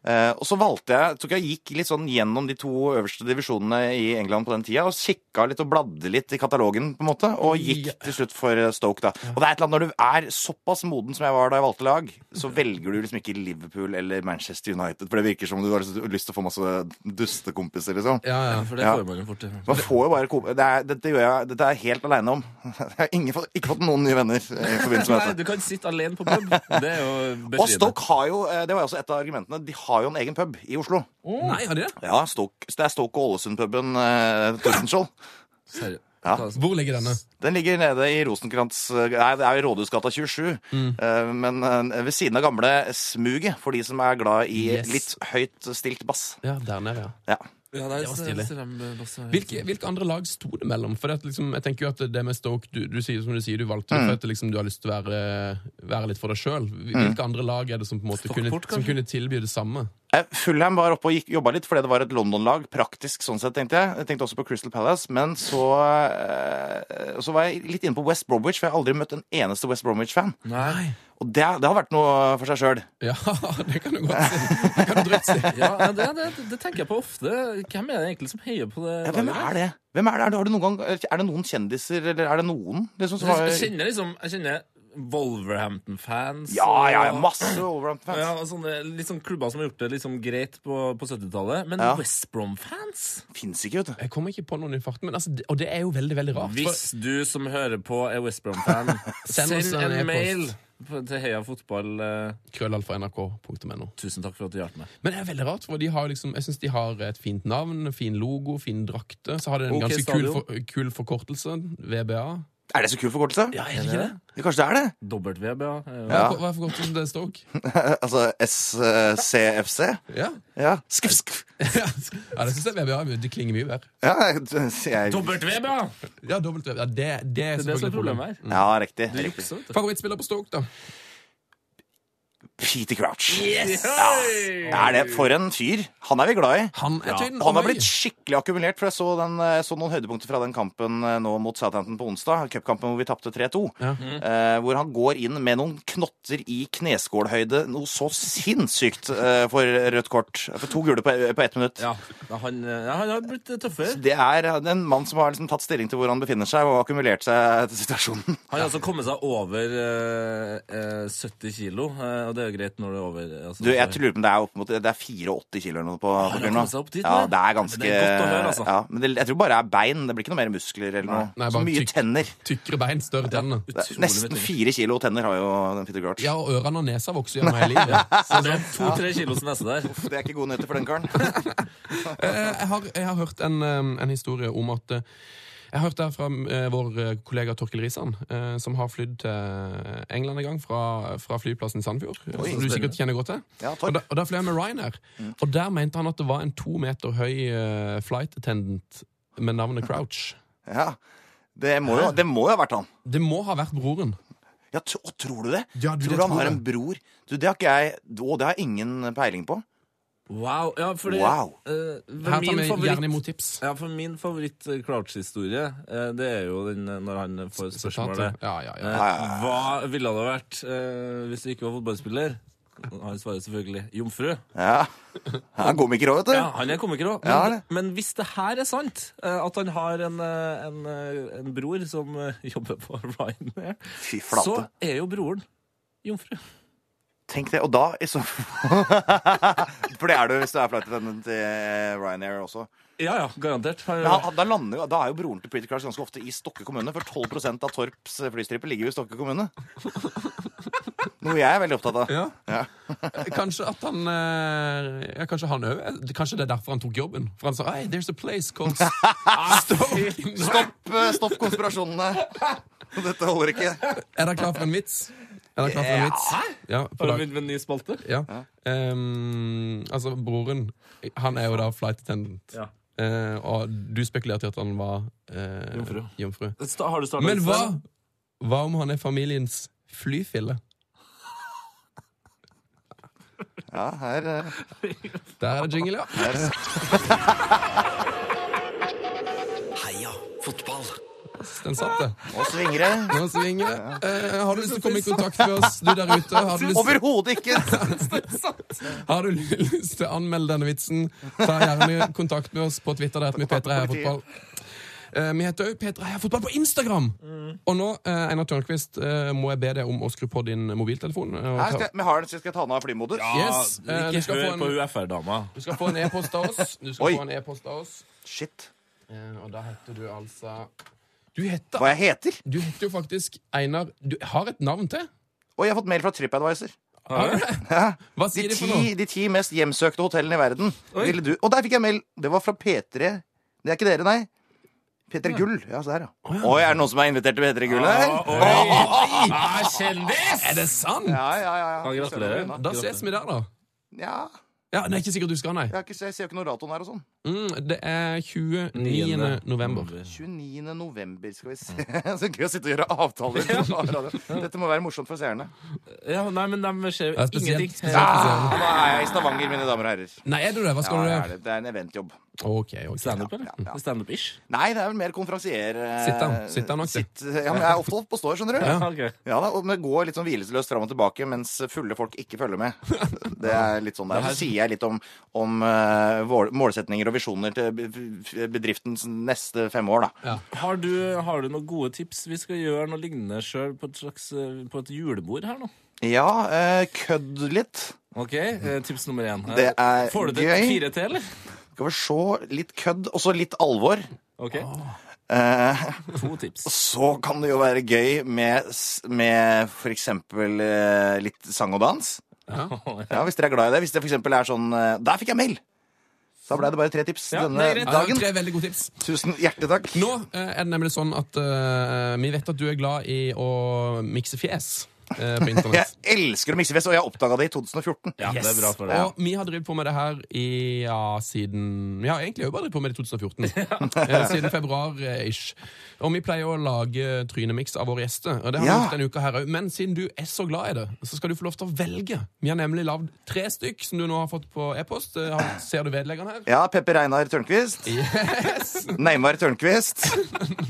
[SPEAKER 6] Eh, og så valgte jeg, tok jeg gikk litt sånn gjennom de to øverste divisjonene i England på den tida, og kikka litt og bladde litt i katalogen, på en måte, og gikk til slutt for eh, Stoke, da. Og det er et eller annet, når du er såpass moden som jeg var da jeg valgte lag, så velger du liksom ikke Liverpool eller Manchester United, for det virker som om du har lyst til å få masse dustekompiser, liksom.
[SPEAKER 2] Ja, ja.
[SPEAKER 5] For det
[SPEAKER 6] Ja.
[SPEAKER 5] får man jo fort.
[SPEAKER 6] Man får jo bare kom- det er, dette, gjør jeg, dette er jeg helt aleine om. Jeg har ingen, fått- ikke fått noen nye venner eh, i forbindelse med
[SPEAKER 5] Nei,
[SPEAKER 6] dette.
[SPEAKER 5] du kan sitte alene på pub. Det er jo
[SPEAKER 6] Og
[SPEAKER 5] befriende.
[SPEAKER 6] Stoke har jo, eh, det var jo også et av argumentene, de har jo en egen pub i Oslo.
[SPEAKER 2] Nei, har de det?
[SPEAKER 6] Ja, Stoke, det er Stoke og Ålesund-puben eh, Tordenskjold.
[SPEAKER 5] Seriø-
[SPEAKER 6] Ja.
[SPEAKER 5] Ta-
[SPEAKER 2] Hvor ligger denne?
[SPEAKER 6] Den ligger nede i Rosenkrantz eh, Nei, det er jo i Rådhusgata 27.
[SPEAKER 5] Mm.
[SPEAKER 6] eh, Men eh, ved siden av gamle Smuget, for de som er glad i
[SPEAKER 2] Yes.
[SPEAKER 6] litt høyt stilt bass.
[SPEAKER 2] Ja, der nede, ja.
[SPEAKER 6] Ja.
[SPEAKER 5] Ja, det er-
[SPEAKER 2] Det var stilig.
[SPEAKER 5] det er- det er- det er-
[SPEAKER 2] Hvilke, hvilke andre lag sto det mellom? For det at liksom, jeg tenker jo at det med Stoke Du, du sier som du sier, du valgte det for at liksom, du har lyst til å være, være litt for deg sjøl. Hvilke andre lag er det som på en måte kunne,
[SPEAKER 5] Stockport, kanskje?
[SPEAKER 2] som kunne tilby det samme?
[SPEAKER 6] Eh, Fulham var oppe og gikk- jobba litt fordi det var et London-lag. Praktisk sånn sett, tenkte jeg. Jeg tenkte også på Crystal Palace. Men så, eh, så var jeg litt inne på West Bromwich, for jeg har aldri møtt en eneste West Bromwich-fan.
[SPEAKER 5] Nei.
[SPEAKER 6] Og det, det hadde vært noe for seg sjøl.
[SPEAKER 2] Ja, det kan du godt si. Det kan du drøyt si.
[SPEAKER 5] Ja, nei, det, det, det tenker jeg på ofte. Hvem er det egentlig som heier på det?
[SPEAKER 6] Ja, hvem
[SPEAKER 5] laget?
[SPEAKER 6] er det? Hvem er det? Er det, har du noen gang, er det noen kjendiser, eller er det noen? Liksom, som har,
[SPEAKER 5] Jeg kjenner liksom Jeg kjenner Wolverhampton-fans.
[SPEAKER 6] ja, ja, ja,
[SPEAKER 5] og-
[SPEAKER 6] masse Wolverhampton-fans.
[SPEAKER 5] Ja, og sånne litt sånn klubber som har gjort det litt sånn greit på, på 70-tallet. Men
[SPEAKER 6] Ja.
[SPEAKER 5] West Brom-fans?
[SPEAKER 6] Fins ikke, vet du.
[SPEAKER 2] Jeg kommer ikke på noen i farten, men altså, det- og det er jo veldig, veldig rart. For,
[SPEAKER 5] Hvis du som hører på er West Brom-fan,
[SPEAKER 2] Send
[SPEAKER 5] send
[SPEAKER 2] oss en
[SPEAKER 5] en
[SPEAKER 2] e-post.
[SPEAKER 5] mail på- til Heia Fotball. eh,
[SPEAKER 2] krøllalfa nrk.no.
[SPEAKER 5] Tusen takk for at du hjalp meg.
[SPEAKER 2] Men det er veldig rart, for de har liksom, jeg syns de har et fint navn, fin logo, fin drakte. Så har de en
[SPEAKER 5] Ok,
[SPEAKER 2] ganske kul,
[SPEAKER 5] stadion.
[SPEAKER 2] for, kul forkortelse, VBA.
[SPEAKER 6] Er det så kul forkortelse?
[SPEAKER 2] Ja, er det ikke
[SPEAKER 5] Eh,
[SPEAKER 2] det?
[SPEAKER 6] Ja, Kanskje det er det?
[SPEAKER 5] WBA. eh,
[SPEAKER 6] Ja.
[SPEAKER 2] Hva hva er forkortelsen til Stoke?
[SPEAKER 6] altså SCFC?
[SPEAKER 2] Ja,
[SPEAKER 6] Ja. Skuff, skuff.
[SPEAKER 2] ja det syns jeg VBA det klinger mye bedre.
[SPEAKER 6] Ja, jeg,
[SPEAKER 5] WBA!
[SPEAKER 2] Ja, dobbelt VBA. Det, det er
[SPEAKER 5] Det er det som
[SPEAKER 2] selvfølgelig
[SPEAKER 5] er problemet her.
[SPEAKER 6] ja riktig.
[SPEAKER 5] Du
[SPEAKER 6] riktig.
[SPEAKER 5] jukser, vet du.
[SPEAKER 2] Favorittspiller på Stoke, da?
[SPEAKER 6] Peter Crouch.
[SPEAKER 5] Ja.
[SPEAKER 6] Er det for en fyr? Han er vi glad i.
[SPEAKER 2] Han er tynn.
[SPEAKER 6] Han har
[SPEAKER 2] og høy.
[SPEAKER 6] blitt skikkelig akkumulert, for jeg så, den, jeg så noen høydepunkter fra den kampen eh, nå mot Southampton på onsdag, cupkampen hvor vi tapte 3-2,
[SPEAKER 2] Ja.
[SPEAKER 6] eh, hvor han går inn med noen knotter i kneskålhøyde, noe så sinnssykt eh, for rødt kort. For to gule på, på ett minutt.
[SPEAKER 5] Ja, da han, eh, ja, han har blitt tøffere.
[SPEAKER 6] Det er en mann som har liksom tatt stilling til hvor han befinner seg, og akkumulert seg til situasjonen.
[SPEAKER 5] Han har altså kommet seg over eh, eh, 70 kilo, eh, og det er jo greit når det er over. Altså,
[SPEAKER 6] Du, jeg lurer på om det er opp mot Det er 84 kilo eller noe på
[SPEAKER 5] det
[SPEAKER 6] papiret nå.
[SPEAKER 5] kommer seg opp dit,
[SPEAKER 6] Ja,
[SPEAKER 5] det.
[SPEAKER 6] det er ganske
[SPEAKER 5] Det er godt å høre, altså.
[SPEAKER 6] ja, Men det, jeg tror bare det er bein. Det blir ikke noe mer muskler eller noe.
[SPEAKER 2] Nei,
[SPEAKER 6] så
[SPEAKER 2] bare
[SPEAKER 6] mye
[SPEAKER 2] tykk-
[SPEAKER 6] tenner.
[SPEAKER 2] Tykkere bein, større tenner.
[SPEAKER 6] Det
[SPEAKER 5] Utrolig
[SPEAKER 6] er nesten
[SPEAKER 5] mye.
[SPEAKER 6] fire kilo tenner har jo den Peter Grouch.
[SPEAKER 2] Ja, og ørene og nesa vokser gjennom hele livet.
[SPEAKER 5] Så det er to-tre kilos neste der.
[SPEAKER 6] Det er ikke gode nyheter for den karen.
[SPEAKER 2] Eh, Jeg har, jeg har hørt en, eh, en historie om at eh, Jeg har hørt det her fra eh, vår eh, kollega Torkil Risan, eh, som har flydd til England en gang fra, fra flyplassen i Sandfjord, eh, som du sikkert kjenner godt til.
[SPEAKER 6] Ja,
[SPEAKER 2] Og
[SPEAKER 6] Torp.
[SPEAKER 2] da, og da fløy jeg med Ryanair, og der mente han at det var en to meter høy eh, flight attendant med navnet Crouch.
[SPEAKER 6] Ja. Det må, jo, det må jo ha vært han.
[SPEAKER 2] Det må ha vært broren.
[SPEAKER 6] Ja, tro, å, tror du det?
[SPEAKER 2] Ja, du, det
[SPEAKER 6] tror du han
[SPEAKER 2] tror
[SPEAKER 6] har
[SPEAKER 2] jeg.
[SPEAKER 6] en bror? Du, det har ikke jeg Å, det har jeg ingen peiling på.
[SPEAKER 5] Wow. Ja, fordi
[SPEAKER 6] Wow.
[SPEAKER 5] eh, for
[SPEAKER 2] Her tar
[SPEAKER 5] min
[SPEAKER 2] vi gjerne
[SPEAKER 5] favoritt
[SPEAKER 2] imot tips.
[SPEAKER 5] ja, for min favoritt-Crouch-historie, eh, det er jo den eh, når han får spørsmålet
[SPEAKER 2] Ja, ja, ja.
[SPEAKER 5] eh,
[SPEAKER 6] ja,
[SPEAKER 5] Hva ville det ha vært eh, hvis du ikke var fotballspiller? Han svarer selvfølgelig jomfru.
[SPEAKER 6] Ja. Han er komiker òg, vet du.
[SPEAKER 5] Ja, han er komiker òg.
[SPEAKER 6] Ja,
[SPEAKER 5] Men,
[SPEAKER 6] det.
[SPEAKER 5] men hvis det her er sant, eh, at han har en, eh, en, eh, en bror som eh, jobber på Ryanair,
[SPEAKER 6] Fy flate.
[SPEAKER 5] så er jo broren jomfru.
[SPEAKER 6] Tenk det. Og da i så For det er du hvis du er flight attendant til Ryanair også.
[SPEAKER 5] Ja, ja, garantert. Han,
[SPEAKER 6] Men han, da, lander jo, da er jo broren til Peter Crouch ganske ofte i Stokke kommune, for 12 av Torps eh, flystriper ligger jo i Stokke kommune. Noe jeg er veldig opptatt
[SPEAKER 5] Eh,
[SPEAKER 6] av.
[SPEAKER 2] Ja. Kanskje at han eh, ja, Kanskje han også- Kanskje det er derfor han tok jobben. For han sa hey, there's a place called Stoke.
[SPEAKER 6] Stopp, eh, stopp konspirasjonene. Dette holder ikke.
[SPEAKER 2] Er dere klar for en vits? Eller klart det er en vits. Ja, på
[SPEAKER 5] Har du
[SPEAKER 2] dag.
[SPEAKER 5] begynt med en ny spalte?
[SPEAKER 2] Ja. Ehm, altså, broren Han er jo da flight attendant.
[SPEAKER 5] Ja.
[SPEAKER 2] Eh, og du spekulerte i at han var eh,
[SPEAKER 5] Jomfru.
[SPEAKER 2] jomfru.
[SPEAKER 5] Sta- Har du startet
[SPEAKER 2] Men
[SPEAKER 5] litt
[SPEAKER 2] hva,
[SPEAKER 5] selv?
[SPEAKER 2] hva om han er familiens flyfille?
[SPEAKER 6] Ja, her eh,
[SPEAKER 2] Der er det jingle, ja.
[SPEAKER 4] Heia fotball.
[SPEAKER 2] Den satt, det.
[SPEAKER 6] Nå svinger det.
[SPEAKER 2] Nå svinger det. Eh, har du lyst til å komme i kontakt med oss, du der ute? Har du lyst,
[SPEAKER 6] Overhodet ikke!
[SPEAKER 2] har du lyst til å anmelde denne vitsen? Ta gjerne kontakt med oss på Twitter. Der heter vi Petra Heia Fotball. Eh, vi heter òg Petra Heia Fotball på Instagram! Og nå, eh, Einar Tørnquist, eh, må jeg be deg om å skru på din mobiltelefon. eh, og
[SPEAKER 6] Her
[SPEAKER 2] ta-
[SPEAKER 6] skal, jeg- men har den, så skal jeg ta den av flymodus?
[SPEAKER 2] Yes, eh,
[SPEAKER 5] Ah, Ikke
[SPEAKER 2] du skal
[SPEAKER 5] hør
[SPEAKER 2] få en-
[SPEAKER 5] på UFR-dama.
[SPEAKER 2] Du skal få en e-post av oss. Du skal
[SPEAKER 6] Oi.
[SPEAKER 2] få en e-post av oss.
[SPEAKER 6] Shit.
[SPEAKER 2] Eh, og da heter du altså Du heter,
[SPEAKER 6] Hva jeg heter?
[SPEAKER 2] du heter jo faktisk Einar Du har et navn til.
[SPEAKER 6] Oi, jeg har fått mail fra TripAdvisor.
[SPEAKER 2] Har du det? Hva
[SPEAKER 6] De
[SPEAKER 2] sier de for
[SPEAKER 6] ti,
[SPEAKER 2] noe?
[SPEAKER 6] de ti mest hjemsøkte hotellene i verden. Ville du Og der fikk jeg mail! Det var fra P3. Det er ikke dere, nei. P3 Gull. Ja, Ah, se her, ja. Oi, er det noen som er invitert til P3 Gull her?
[SPEAKER 5] Oi! Ah, kjendis!
[SPEAKER 2] Er det sant?
[SPEAKER 6] Ja, ja, ja. ja.
[SPEAKER 5] Ja, gratulerer.
[SPEAKER 6] Søren,
[SPEAKER 2] Da ses vi der, da.
[SPEAKER 6] Ja,
[SPEAKER 2] Ja, Det er ikke sikkert du skal, nei.
[SPEAKER 6] jeg, har ikke, jeg ser jo ikke noe datoen her og sånn.
[SPEAKER 2] Mm, det er 29. eh, november.
[SPEAKER 6] 29. november, skal vi se. Så gøy å sitte og gjøre avtaler. på radio. Dette må være morsomt for seerne.
[SPEAKER 5] Ja, nei, men de ser
[SPEAKER 2] Ja, spesielt-
[SPEAKER 5] ingenting.
[SPEAKER 2] spesielt-
[SPEAKER 5] Ja.
[SPEAKER 6] Ah, nå er jeg i Stavanger, mine damer og herrer.
[SPEAKER 2] Nei, er du det? Hva
[SPEAKER 6] Ja,
[SPEAKER 2] skal
[SPEAKER 6] jeg
[SPEAKER 2] du
[SPEAKER 6] er det. det er en eventjobb.
[SPEAKER 2] Ok, ok.
[SPEAKER 5] Standup, eller? Standup-ish?
[SPEAKER 6] Nei, det er vel mer konferansier. eh,
[SPEAKER 2] Sitt han. Sitt han nok, det.
[SPEAKER 6] sitt- Ja, men jeg er ofte oppe og står, skjønner du.
[SPEAKER 5] Ah, ok.
[SPEAKER 6] Ja da, og men det går litt sånn hvilesløst fram og tilbake mens fulle folk ikke følger med. Det er litt sånn der. Så sier jeg litt om, om eh, vår- målsetninger og visjoner til be- be- bedriftens neste fem år, da.
[SPEAKER 5] Har du, har du noen gode tips? Vi skal gjøre noe lignende sjøl på, et slags, eh, på et julebord her nå.
[SPEAKER 6] Ja, eh, kødd litt.
[SPEAKER 5] Ok, eh, Tips nummer én. Eh,
[SPEAKER 6] Det er
[SPEAKER 5] Får du til
[SPEAKER 6] gøy.
[SPEAKER 5] fire til, eller?
[SPEAKER 6] Skal vi se. Litt kødd, og så litt alvor.
[SPEAKER 5] Ok,
[SPEAKER 6] Eh,
[SPEAKER 5] To tips.
[SPEAKER 6] så kan det jo være gøy med, s- med for eksempel eh, litt sang og dans. Ja, hvis dere er glad i det. Hvis det for eksempel er sånn eh, Der fikk jeg mail! Da ble det bare tre tips
[SPEAKER 5] Ja,
[SPEAKER 6] denne
[SPEAKER 5] det er greit.
[SPEAKER 2] Ja,
[SPEAKER 6] dagen.
[SPEAKER 2] tre veldig gode tips.
[SPEAKER 6] Tusen hjertelig takk.
[SPEAKER 2] Nå eh, er det nemlig sånn at eh, vi vet at du er glad i å mikse fjes eh, på
[SPEAKER 6] Jeg
[SPEAKER 2] internett.
[SPEAKER 6] elsker å mikse fjes, og jeg oppdaga det i 2014.
[SPEAKER 5] Ja, det er bra for deg.
[SPEAKER 2] Og vi har drevet på med det her i, ja, siden Vi har egentlig jo bare drevet på med det i 2014. Eh, siden februar-ish. Og vi pleier å lage trynemix av våre gjester. Og det har
[SPEAKER 6] Ja.
[SPEAKER 2] vi gjort denne uka her òg. Men siden du er så glad i det, så skal du få lov til å velge. Vi har nemlig lagd tre stykk som du nå har fått på e-post. Eh, har- Ser du vedleggene her?
[SPEAKER 6] Ja, Pepper Einar Tørnquist. Neymar Tørnquist.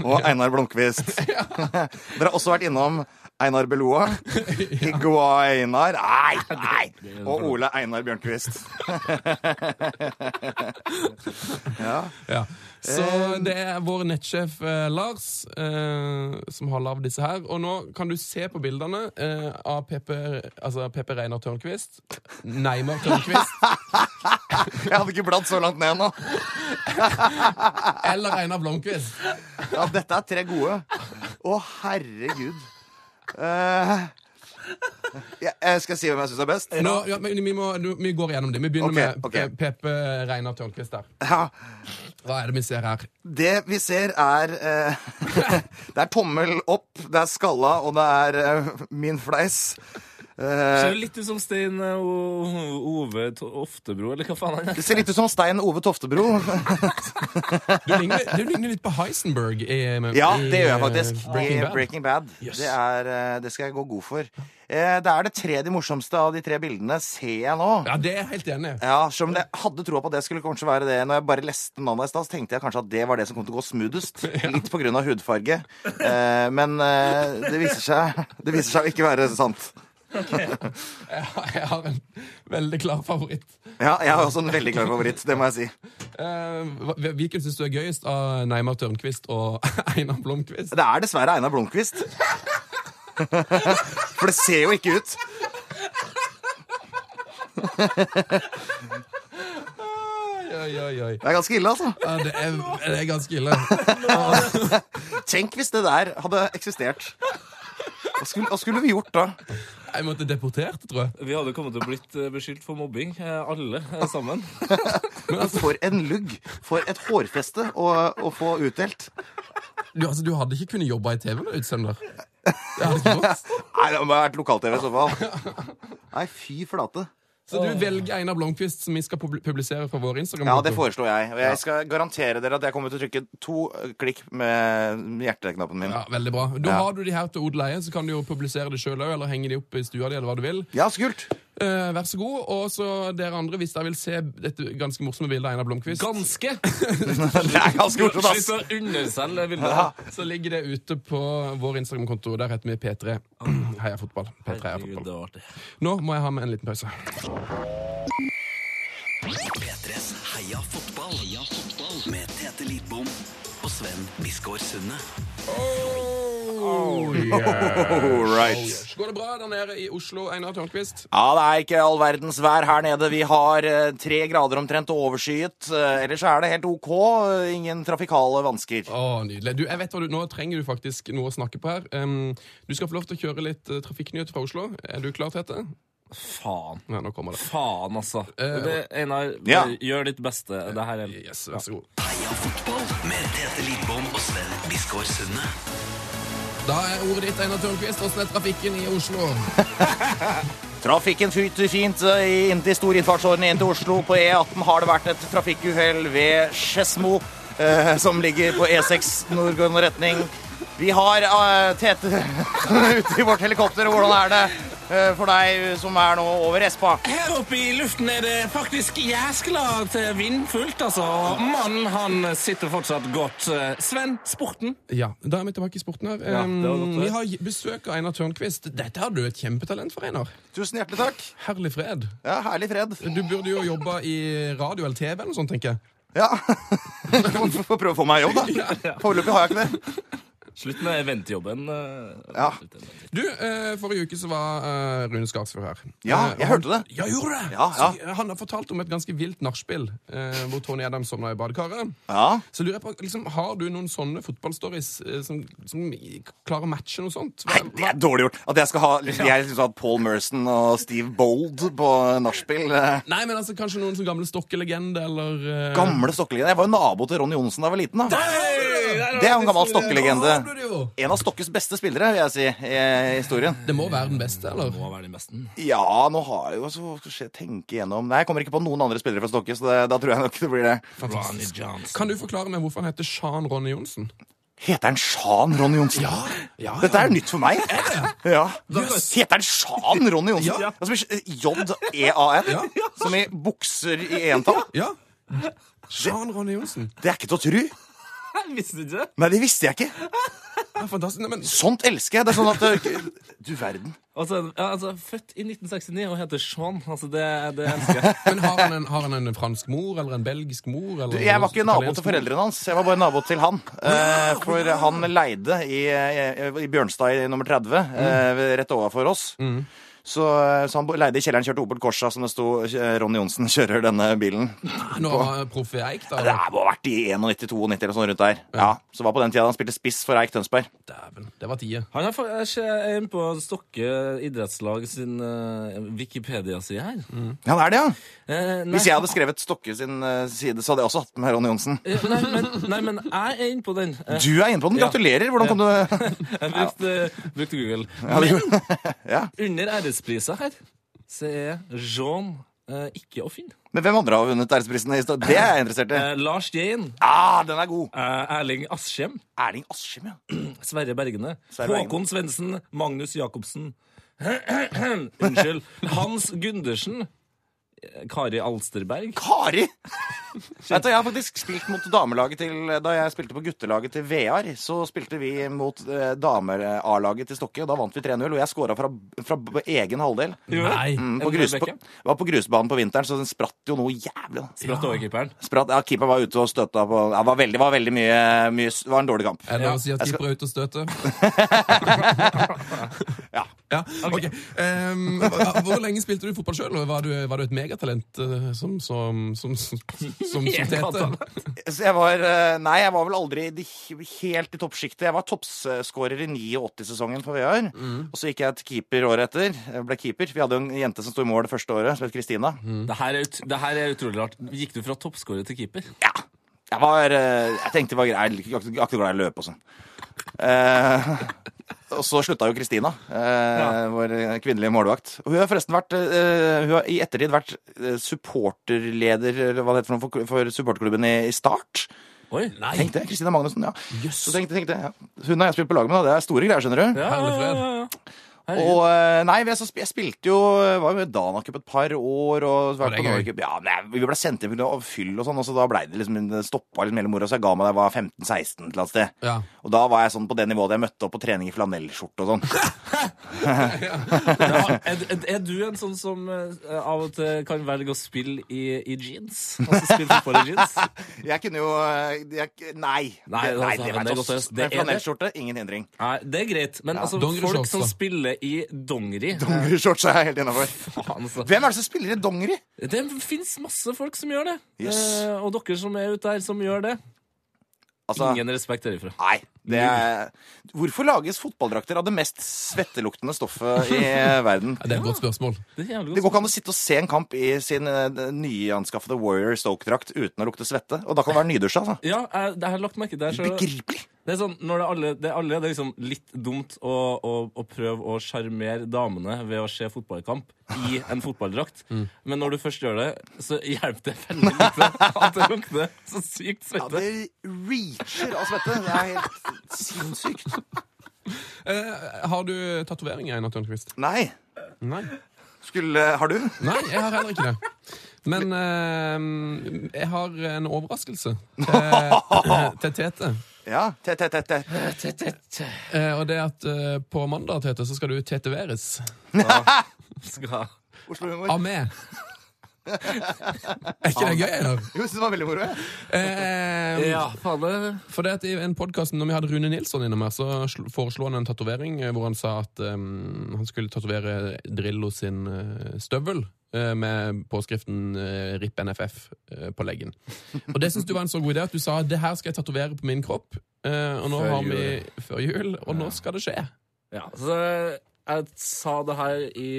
[SPEAKER 6] Og Einar Blomkvist. Dere har også vært innom Einar Beloa. Igua Einar. Nei, nei! Og Ole Einar Bjørnquist.
[SPEAKER 2] Ja. Så det er vår nettsjef eh, Lars eh, som har lagd disse her. Og nå kan du se på bildene eh, av PP, altså PP Reinar Tørnquist. Neymar Tørnquist.
[SPEAKER 6] Jeg hadde ikke bladd så langt ned nå.
[SPEAKER 2] Eller Reinar Blomkvist.
[SPEAKER 6] Ja, dette er tre gode. Å, herregud. Eh, jeg, jeg skal si hvem jeg syns er best.
[SPEAKER 2] Nå, ja, men vi, må, du- vi går gjennom dem. Vi begynner
[SPEAKER 6] Ok,
[SPEAKER 2] med
[SPEAKER 6] ok.
[SPEAKER 2] okay. PP Reinar Tørnquist der.
[SPEAKER 6] Ja,
[SPEAKER 2] Hva er det vi ser her?
[SPEAKER 6] det vi ser, er eh, Det er tommel opp, det er skalla, og det er eh, min fleis. Eh,
[SPEAKER 5] Ser jo litt ut som Stein eh, O- Ove To- Oftebro, eller hva faen han er.
[SPEAKER 6] det ser litt ut som Stein Ove Toftebro.
[SPEAKER 2] Du ligner, du ligner litt på Heisenberg. I,
[SPEAKER 6] Ja,
[SPEAKER 2] i,
[SPEAKER 6] det gjør jeg faktisk.
[SPEAKER 2] eh,
[SPEAKER 6] Breaking
[SPEAKER 2] Breaking
[SPEAKER 6] Bad.
[SPEAKER 2] Bad.
[SPEAKER 6] Breaking Bad.
[SPEAKER 2] Yes.
[SPEAKER 6] Det, er, eh, det skal jeg gå god for. Eh, det er det tredje morsomste av de tre bildene, ser jeg nå.
[SPEAKER 2] Ja, det er jeg helt enig i.
[SPEAKER 6] Ja, selv om jeg hadde troa på at det skulle kanskje være det. Når jeg bare leste den mandag i stad, så tenkte jeg kanskje at det var det som kom til å gå smoothest. Litt på grunn av hudfarge. Eh, men eh, det, viser seg, det viser seg å ikke være sant.
[SPEAKER 2] Jeg har- Jeg har en veldig klar favoritt.
[SPEAKER 6] Ja, jeg har også en veldig klar favoritt, det må jeg si.
[SPEAKER 2] Eh, hva- Hvilken syns du er gøyest av Neymar Tørnquist og Einar Blomkvist?
[SPEAKER 6] Det er dessverre Einar Blomkvist. For det ser jo ikke ut.
[SPEAKER 2] Oi, oi, oi, oi.
[SPEAKER 6] Det er ganske ille, altså.
[SPEAKER 2] Ja, det, er, det er ganske ille.
[SPEAKER 6] Tenk hvis det der hadde eksistert. Hva skulle, hva skulle vi gjort da?
[SPEAKER 2] Jeg måtte deportert, tror jeg.
[SPEAKER 5] Vi hadde kommet til å blitt eh, beskyldt for mobbing, eh, alle eh, sammen.
[SPEAKER 6] For en lugg! For et hårfeste å, å få utdelt.
[SPEAKER 2] Du, altså, du hadde ikke kunnet jobbe i TV med utsender. Det hadde ikke gått.
[SPEAKER 6] Nei, det må ha vært lokal-TV i så fall. Nei, fy flate.
[SPEAKER 2] Så du velger Einar Blomkvist, som vi skal pub- publisere på vår Instagram.
[SPEAKER 6] Ja, det foreslår jeg. Og jeg skal garantere dere at jeg kommer til å trykke to klikk med hjerteknappen min.
[SPEAKER 2] Ja, Veldig bra. Da
[SPEAKER 6] Ja.
[SPEAKER 2] har du de her til Odd Leie, så kan du jo publisere det sjøl òg, eller henge de opp i stua di, eller hva du vil.
[SPEAKER 6] Ja, så kult!
[SPEAKER 2] Eh, vær så god. Og så dere andre, hvis dere vil se dette ganske morsomme bildet av Einar Blomkvist,
[SPEAKER 5] Ganske!
[SPEAKER 6] Det er ganske morsomt, ass.
[SPEAKER 5] Slitt å underselge bildet.
[SPEAKER 2] så ligger det ute på vår Instagram-konto. Der heter vi P3
[SPEAKER 6] Ah.
[SPEAKER 2] Heia Fotball. P3 Heia
[SPEAKER 5] Herregud,
[SPEAKER 2] Fotball.
[SPEAKER 5] det var artig.
[SPEAKER 2] Nå må jeg ha med en liten pause.
[SPEAKER 4] P3s Heia fotball. Heia fotball. Med Tete Lidbom og Sven Biskår Sunde.
[SPEAKER 6] Oh, All right.
[SPEAKER 2] Oh, Går det bra der nede i Oslo, Einar Tørnquist?
[SPEAKER 6] Ja, det er ikke all verdens vær her nede. Vi har eh, tre grader omtrent og overskyet. Eh, Ellers er det helt OK. eh, Ingen trafikale vansker.
[SPEAKER 2] Å, nydelig. Du, jeg vet hva du, Nå trenger du faktisk noe å snakke på her. Em, du skal få lov til å kjøre litt uh, trafikknyhet fra Oslo. Er du klar, Tete?
[SPEAKER 5] Faen.
[SPEAKER 2] Ja, nå kommer det.
[SPEAKER 5] Faen, altså. Det, Einar,
[SPEAKER 6] Ja.
[SPEAKER 5] gjør ditt beste. Det her er
[SPEAKER 2] Eh, Yes, vær så god.
[SPEAKER 4] Heia fotball. Med Tete Lidbom og Sven Biskår Sunde.
[SPEAKER 2] Da er ordet ditt, Einar Tørnquist. Åssen er trafikken i Oslo?
[SPEAKER 6] Trafikken flyter fint eh, i- inn til storinnfartsårene inn til Oslo. På E18 har det vært et trafikkuhell ved Skedsmo, eh, som ligger på E6 nordgående retning. Vi har eh, Tete ute i vårt helikopter. Hvordan er det eh, for deg som er nå over Espa?
[SPEAKER 5] Her oppe i luften er det faktisk jæskla til vindfullt, altså. Mannen, han sitter fortsatt godt. Eh, Sven, sporten?
[SPEAKER 2] Ja, Da er vi tilbake i sporten her.
[SPEAKER 5] Ja, det var godt,
[SPEAKER 2] Em,
[SPEAKER 5] det.
[SPEAKER 2] vi har j- besøk av Einar Tørnquist. Dette har du et kjempetalent for, Einar.
[SPEAKER 6] Tusen hjertelig takk.
[SPEAKER 2] Herlig fred.
[SPEAKER 6] Ja, Herlig fred.
[SPEAKER 2] Du burde jo jobba i radio eller TV eller noe sånt, tenker jeg.
[SPEAKER 6] Ja. Få få prøve å få meg jobb, da. Foreløpig har jeg ikke det.
[SPEAKER 5] Slutt med eventjobben. eh,
[SPEAKER 6] Ja.
[SPEAKER 5] slutt med eventjobben.
[SPEAKER 2] Du, eh, forrige uke så var eh, Rune Skarsfjord her.
[SPEAKER 6] Ja,
[SPEAKER 2] Eh, og
[SPEAKER 6] jeg
[SPEAKER 2] han-
[SPEAKER 6] hørte det.
[SPEAKER 2] Ja, gjorde du det?
[SPEAKER 6] Ja, ja.
[SPEAKER 2] Så, eh, han har fortalt om et ganske vilt nachspiel eh, hvor Tony Adams sovna i badekaret.
[SPEAKER 6] Ja.
[SPEAKER 2] Så lurer jeg på, liksom, Har du noen sånne fotballstories eh, som, som i- klarer å matche noe sånt? Hva-
[SPEAKER 6] Nei, det er dårlig gjort. At jeg skal ha liksom, jeg synes at Paul Merson og Steve Bold på nachspiel eh,
[SPEAKER 2] Nei, men altså, Kanskje noen som gamle stokkelegende, eller eh,
[SPEAKER 6] Gamle stokkelegende. Jeg var jo nabo til Ronny Johnsen da jeg var liten. da Det er jo en gammel stokkelegende.
[SPEAKER 2] Da har du det jo!
[SPEAKER 6] En av Stokkes beste spillere, vil jeg si, i historien.
[SPEAKER 2] Det må være den beste, eller?
[SPEAKER 5] Må være den beste.
[SPEAKER 6] Ja, nå har jeg jo så skal jeg tenke igjennom Nei, jeg kommer ikke på noen andre spillere fra Stokke, så det, da tror jeg nok det blir det.
[SPEAKER 5] Ronny Johnson.
[SPEAKER 2] Kan du forklare meg hvorfor han heter Shan Ronny Johnsen?
[SPEAKER 6] Heter han Sjan Ronny Johnsen?
[SPEAKER 2] ja,
[SPEAKER 6] Dette er nytt for meg. Ja.
[SPEAKER 2] Jøss.
[SPEAKER 6] Heter han Sjan Ronny Johnsen?
[SPEAKER 2] Ja.
[SPEAKER 6] Altså, J-E-A-N, som i bukser i entall.
[SPEAKER 2] Ja. Shan Ronny Johnsen.
[SPEAKER 6] Det er ikke til å tru.
[SPEAKER 5] Jeg visste ikke det.
[SPEAKER 6] Nei, det visste jeg ikke.
[SPEAKER 2] Det er fantastisk. Nei, men
[SPEAKER 6] Sånt elsker jeg. Det er sånn at eh, Du verden.
[SPEAKER 5] Altså, ja, altså, født i 1969 og heter Sean. Altså, det, det elsker jeg.
[SPEAKER 2] Men har han, en, har han en fransk mor eller en belgisk mor? Eller
[SPEAKER 6] Jeg var ikke nabo
[SPEAKER 2] italiensk
[SPEAKER 6] til
[SPEAKER 2] mor?
[SPEAKER 6] foreldrene hans. Jeg var bare nabo til han. Eh, For han leide i, eh, i Bjørnstad i nummer 30, eh, ved- rett overfor oss. Så, eh, så han bo- leide i kjelleren, kjørte Opel Corsa, som det sto eh, Ronny Johnsen kjører denne bilen.
[SPEAKER 2] Nå har Proff Eik, da.
[SPEAKER 6] Det
[SPEAKER 2] eller?
[SPEAKER 6] må ha vært i 91-92 eller sånn rundt der. Ja, Så var på den tida han spilte spiss for Eik Tønsberg.
[SPEAKER 2] Dæven, det var tide.
[SPEAKER 5] Han er, fa- jeg ser- jeg er inne på Stokke idrettslag sin eh, Wikipedia-side her.
[SPEAKER 6] Ja, det er det, ja.
[SPEAKER 5] Eh, nei,
[SPEAKER 6] Hvis jeg hadde skrevet Stokke sin eh, side, så hadde jeg også hatt med Ronny Johnsen.
[SPEAKER 5] eh, nei, men, nei, men jeg er inne på den. Eh,
[SPEAKER 6] Du er inne på den. Gratulerer. Hvordan kom du
[SPEAKER 5] Jeg brukte, brukte Google.
[SPEAKER 6] Ja.
[SPEAKER 5] Men under ærespriser her så er Jean eh, ikke å finne.
[SPEAKER 6] Men hvem andre har vunnet æresprisen? i historien? Det er jeg interessert i.
[SPEAKER 5] Eh, Lars Jane,
[SPEAKER 6] Ah, den er god.
[SPEAKER 5] eh, Erling Askjem,
[SPEAKER 6] Erling Askim, ja.
[SPEAKER 5] Sverre Bergene,
[SPEAKER 6] Sverre Bergene.
[SPEAKER 5] Håkon Svendsen, Magnus Jacobsen Unnskyld. Hans Gundersen, eh, Kari Alsterberg.
[SPEAKER 6] Kari! Vet du, Jeg har faktisk spilt mot damelaget til Da jeg spilte på guttelaget til VR, så spilte vi mot eh, dame-A-laget til Stokke, og da vant vi 3-0. Og jeg scora fra, fra b- egen halvdel.
[SPEAKER 2] Nei.
[SPEAKER 6] Mm,
[SPEAKER 5] En
[SPEAKER 6] På grus, på,
[SPEAKER 5] Rebecca?
[SPEAKER 6] var på grusbanen på vinteren, så den spratt jo noe jævlig. da.
[SPEAKER 5] Spratt overkeeperen.
[SPEAKER 6] Spratt, ja, Keeper var ute og støta på ja, Det var veldig, var veldig mye, mye Det var en dårlig kamp.
[SPEAKER 2] Er det lov
[SPEAKER 5] Ja,
[SPEAKER 2] å si at
[SPEAKER 6] jeg skal-
[SPEAKER 2] keeper er ute og støter?
[SPEAKER 6] Ja.
[SPEAKER 2] Ja, ok. Ehm, hva- hvor lenge spilte du fotball sjøl? Var, du- var du et megatalent eh, som, som, som, som som, som Tete?
[SPEAKER 6] Så jeg var eh, Nei, jeg var vel aldri i de- helt i toppsjiktet. Jeg var toppskårer i 89-sesongen for Vear. Og så gikk jeg til keeper året etter. Jeg ble keeper. Vi hadde jo en jente som sto i mål det første året, som het Kristina.
[SPEAKER 5] Det her, er ut, det her er utrolig rart. Gikk du fra toppskårer til keeper?
[SPEAKER 6] Ja. Jeg var eh, Jeg tenkte det var greit. Jeg er ikke glad i å løpe og sånn. Eh, og så slutta jo Kristina, eh, vår kvinnelige målvakt. Og hun har forresten vært eh, Hun har i ettertid vært eh, supporterleder, eller hva det heter for noe, for, for supporterklubben i, i Start.
[SPEAKER 5] Oi.
[SPEAKER 2] Nei.
[SPEAKER 6] Tenkte jeg, Kristina Magnussen, ja.
[SPEAKER 2] Jøss.
[SPEAKER 6] Så tenkte, tenkte jeg, ja. Hun har jeg spilt på lag med, da. Det er store greier, skjønner du.
[SPEAKER 5] Ja,
[SPEAKER 2] Herlig
[SPEAKER 5] ja,
[SPEAKER 2] fred.
[SPEAKER 5] ja, ja.
[SPEAKER 6] Og eh, nei, jeg, så, sp- jeg spilte jo eh, Var jo med i Dana Cup et par år og
[SPEAKER 2] Var
[SPEAKER 6] vært
[SPEAKER 2] det
[SPEAKER 6] på Norge Cup. Ja, nei, vi ble sendt hjem av fyll og sånn, og så da blei det liksom det stoppa litt mellom mora, så jeg ga meg da jeg var 15-16 et eller annet sted.
[SPEAKER 2] Ja.
[SPEAKER 6] Og da var jeg sånn på det nivået der jeg møtte opp på trening i flanellskjorte og sånn.
[SPEAKER 5] Ja, er, er, er du en sånn som eh, av og til kan velge å spille i, i jeans? Altså spille fotball i jeans?
[SPEAKER 6] Jeg kunne jo eh, jeg, Nei.
[SPEAKER 5] Nei,
[SPEAKER 6] det,
[SPEAKER 5] altså, men det
[SPEAKER 6] vet
[SPEAKER 5] er godt å gjøre.
[SPEAKER 6] oss.
[SPEAKER 5] Det er
[SPEAKER 6] Men
[SPEAKER 5] det.
[SPEAKER 6] flanellskjorte, ingen hindring.
[SPEAKER 5] Nei, det er greit. Men altså,
[SPEAKER 2] Dongerishorts,
[SPEAKER 5] folk som
[SPEAKER 2] da.
[SPEAKER 5] spiller i dongeri eh,
[SPEAKER 6] Dongerishorts er jeg helt innafor.
[SPEAKER 5] faen, altså.
[SPEAKER 6] Hvem er det som spiller i dongeri?
[SPEAKER 5] Det fins masse folk som gjør det.
[SPEAKER 6] Yes.
[SPEAKER 5] Eh, og dere som er ute der, som gjør det.
[SPEAKER 6] Altså,
[SPEAKER 5] Ingen respekt derifra.
[SPEAKER 6] Nei. Det er... Hvorfor lages fotballdrakter av det mest svetteluktende stoffet i verden?
[SPEAKER 2] Ja, Det er et godt spørsmål.
[SPEAKER 5] Det er jævlig
[SPEAKER 6] Det
[SPEAKER 5] godt.
[SPEAKER 6] går ikke an å sitte og se en kamp i sin eh, nyanskaffede Warrior Stoke-drakt uten å lukte svette. Og da kan det være nydusja, altså.
[SPEAKER 5] Ja, jeg, jeg har lagt merke til det. selv.
[SPEAKER 6] Begripelig!
[SPEAKER 5] Det er sånn, når det er alle, det er alle det er liksom litt dumt å, å, å prøve å sjarmere damene ved å se fotballkamp i en fotballdrakt. Men når du først gjør det, så hjelper det veldig lite at det lukter så sykt
[SPEAKER 6] Ja,
[SPEAKER 5] svette.
[SPEAKER 6] det reacher av svette. Det er helt sinnssykt.
[SPEAKER 2] Eh, har du tatoveringer, Einar Tørnquist?
[SPEAKER 6] Nei.
[SPEAKER 2] Nei.
[SPEAKER 6] Skulle Har du?
[SPEAKER 2] Nei, jeg har heller ikke det. Men eh, jeg har en overraskelse til, til Tete.
[SPEAKER 6] Ja. T-t-t-t.
[SPEAKER 2] Eh, og det er at eh, på mandag, Tete, så skal du teteveres
[SPEAKER 5] Skal.
[SPEAKER 6] Oslo-humor.
[SPEAKER 2] av meg. Er ikke det gøy, Einar?
[SPEAKER 6] Jo, synes det var veldig moro. jeg.
[SPEAKER 2] Eh,
[SPEAKER 5] Ja, faen det.
[SPEAKER 2] For det at I en podcast når vi hadde Rune Nilsson innom her, så sl- foreslo han en tatovering eh, hvor han sa at eh, han skulle tatovere Drillo sin eh, støvel eh, med påskriften eh, RIP NFF eh, på leggen. Og det syns du var en så god idé at du sa det her skal jeg tatovere på min kropp. eh, og nå
[SPEAKER 5] Før
[SPEAKER 2] har vi
[SPEAKER 5] jul.
[SPEAKER 2] før jul, og nå skal det skje.
[SPEAKER 5] Ja, så jeg sa det her i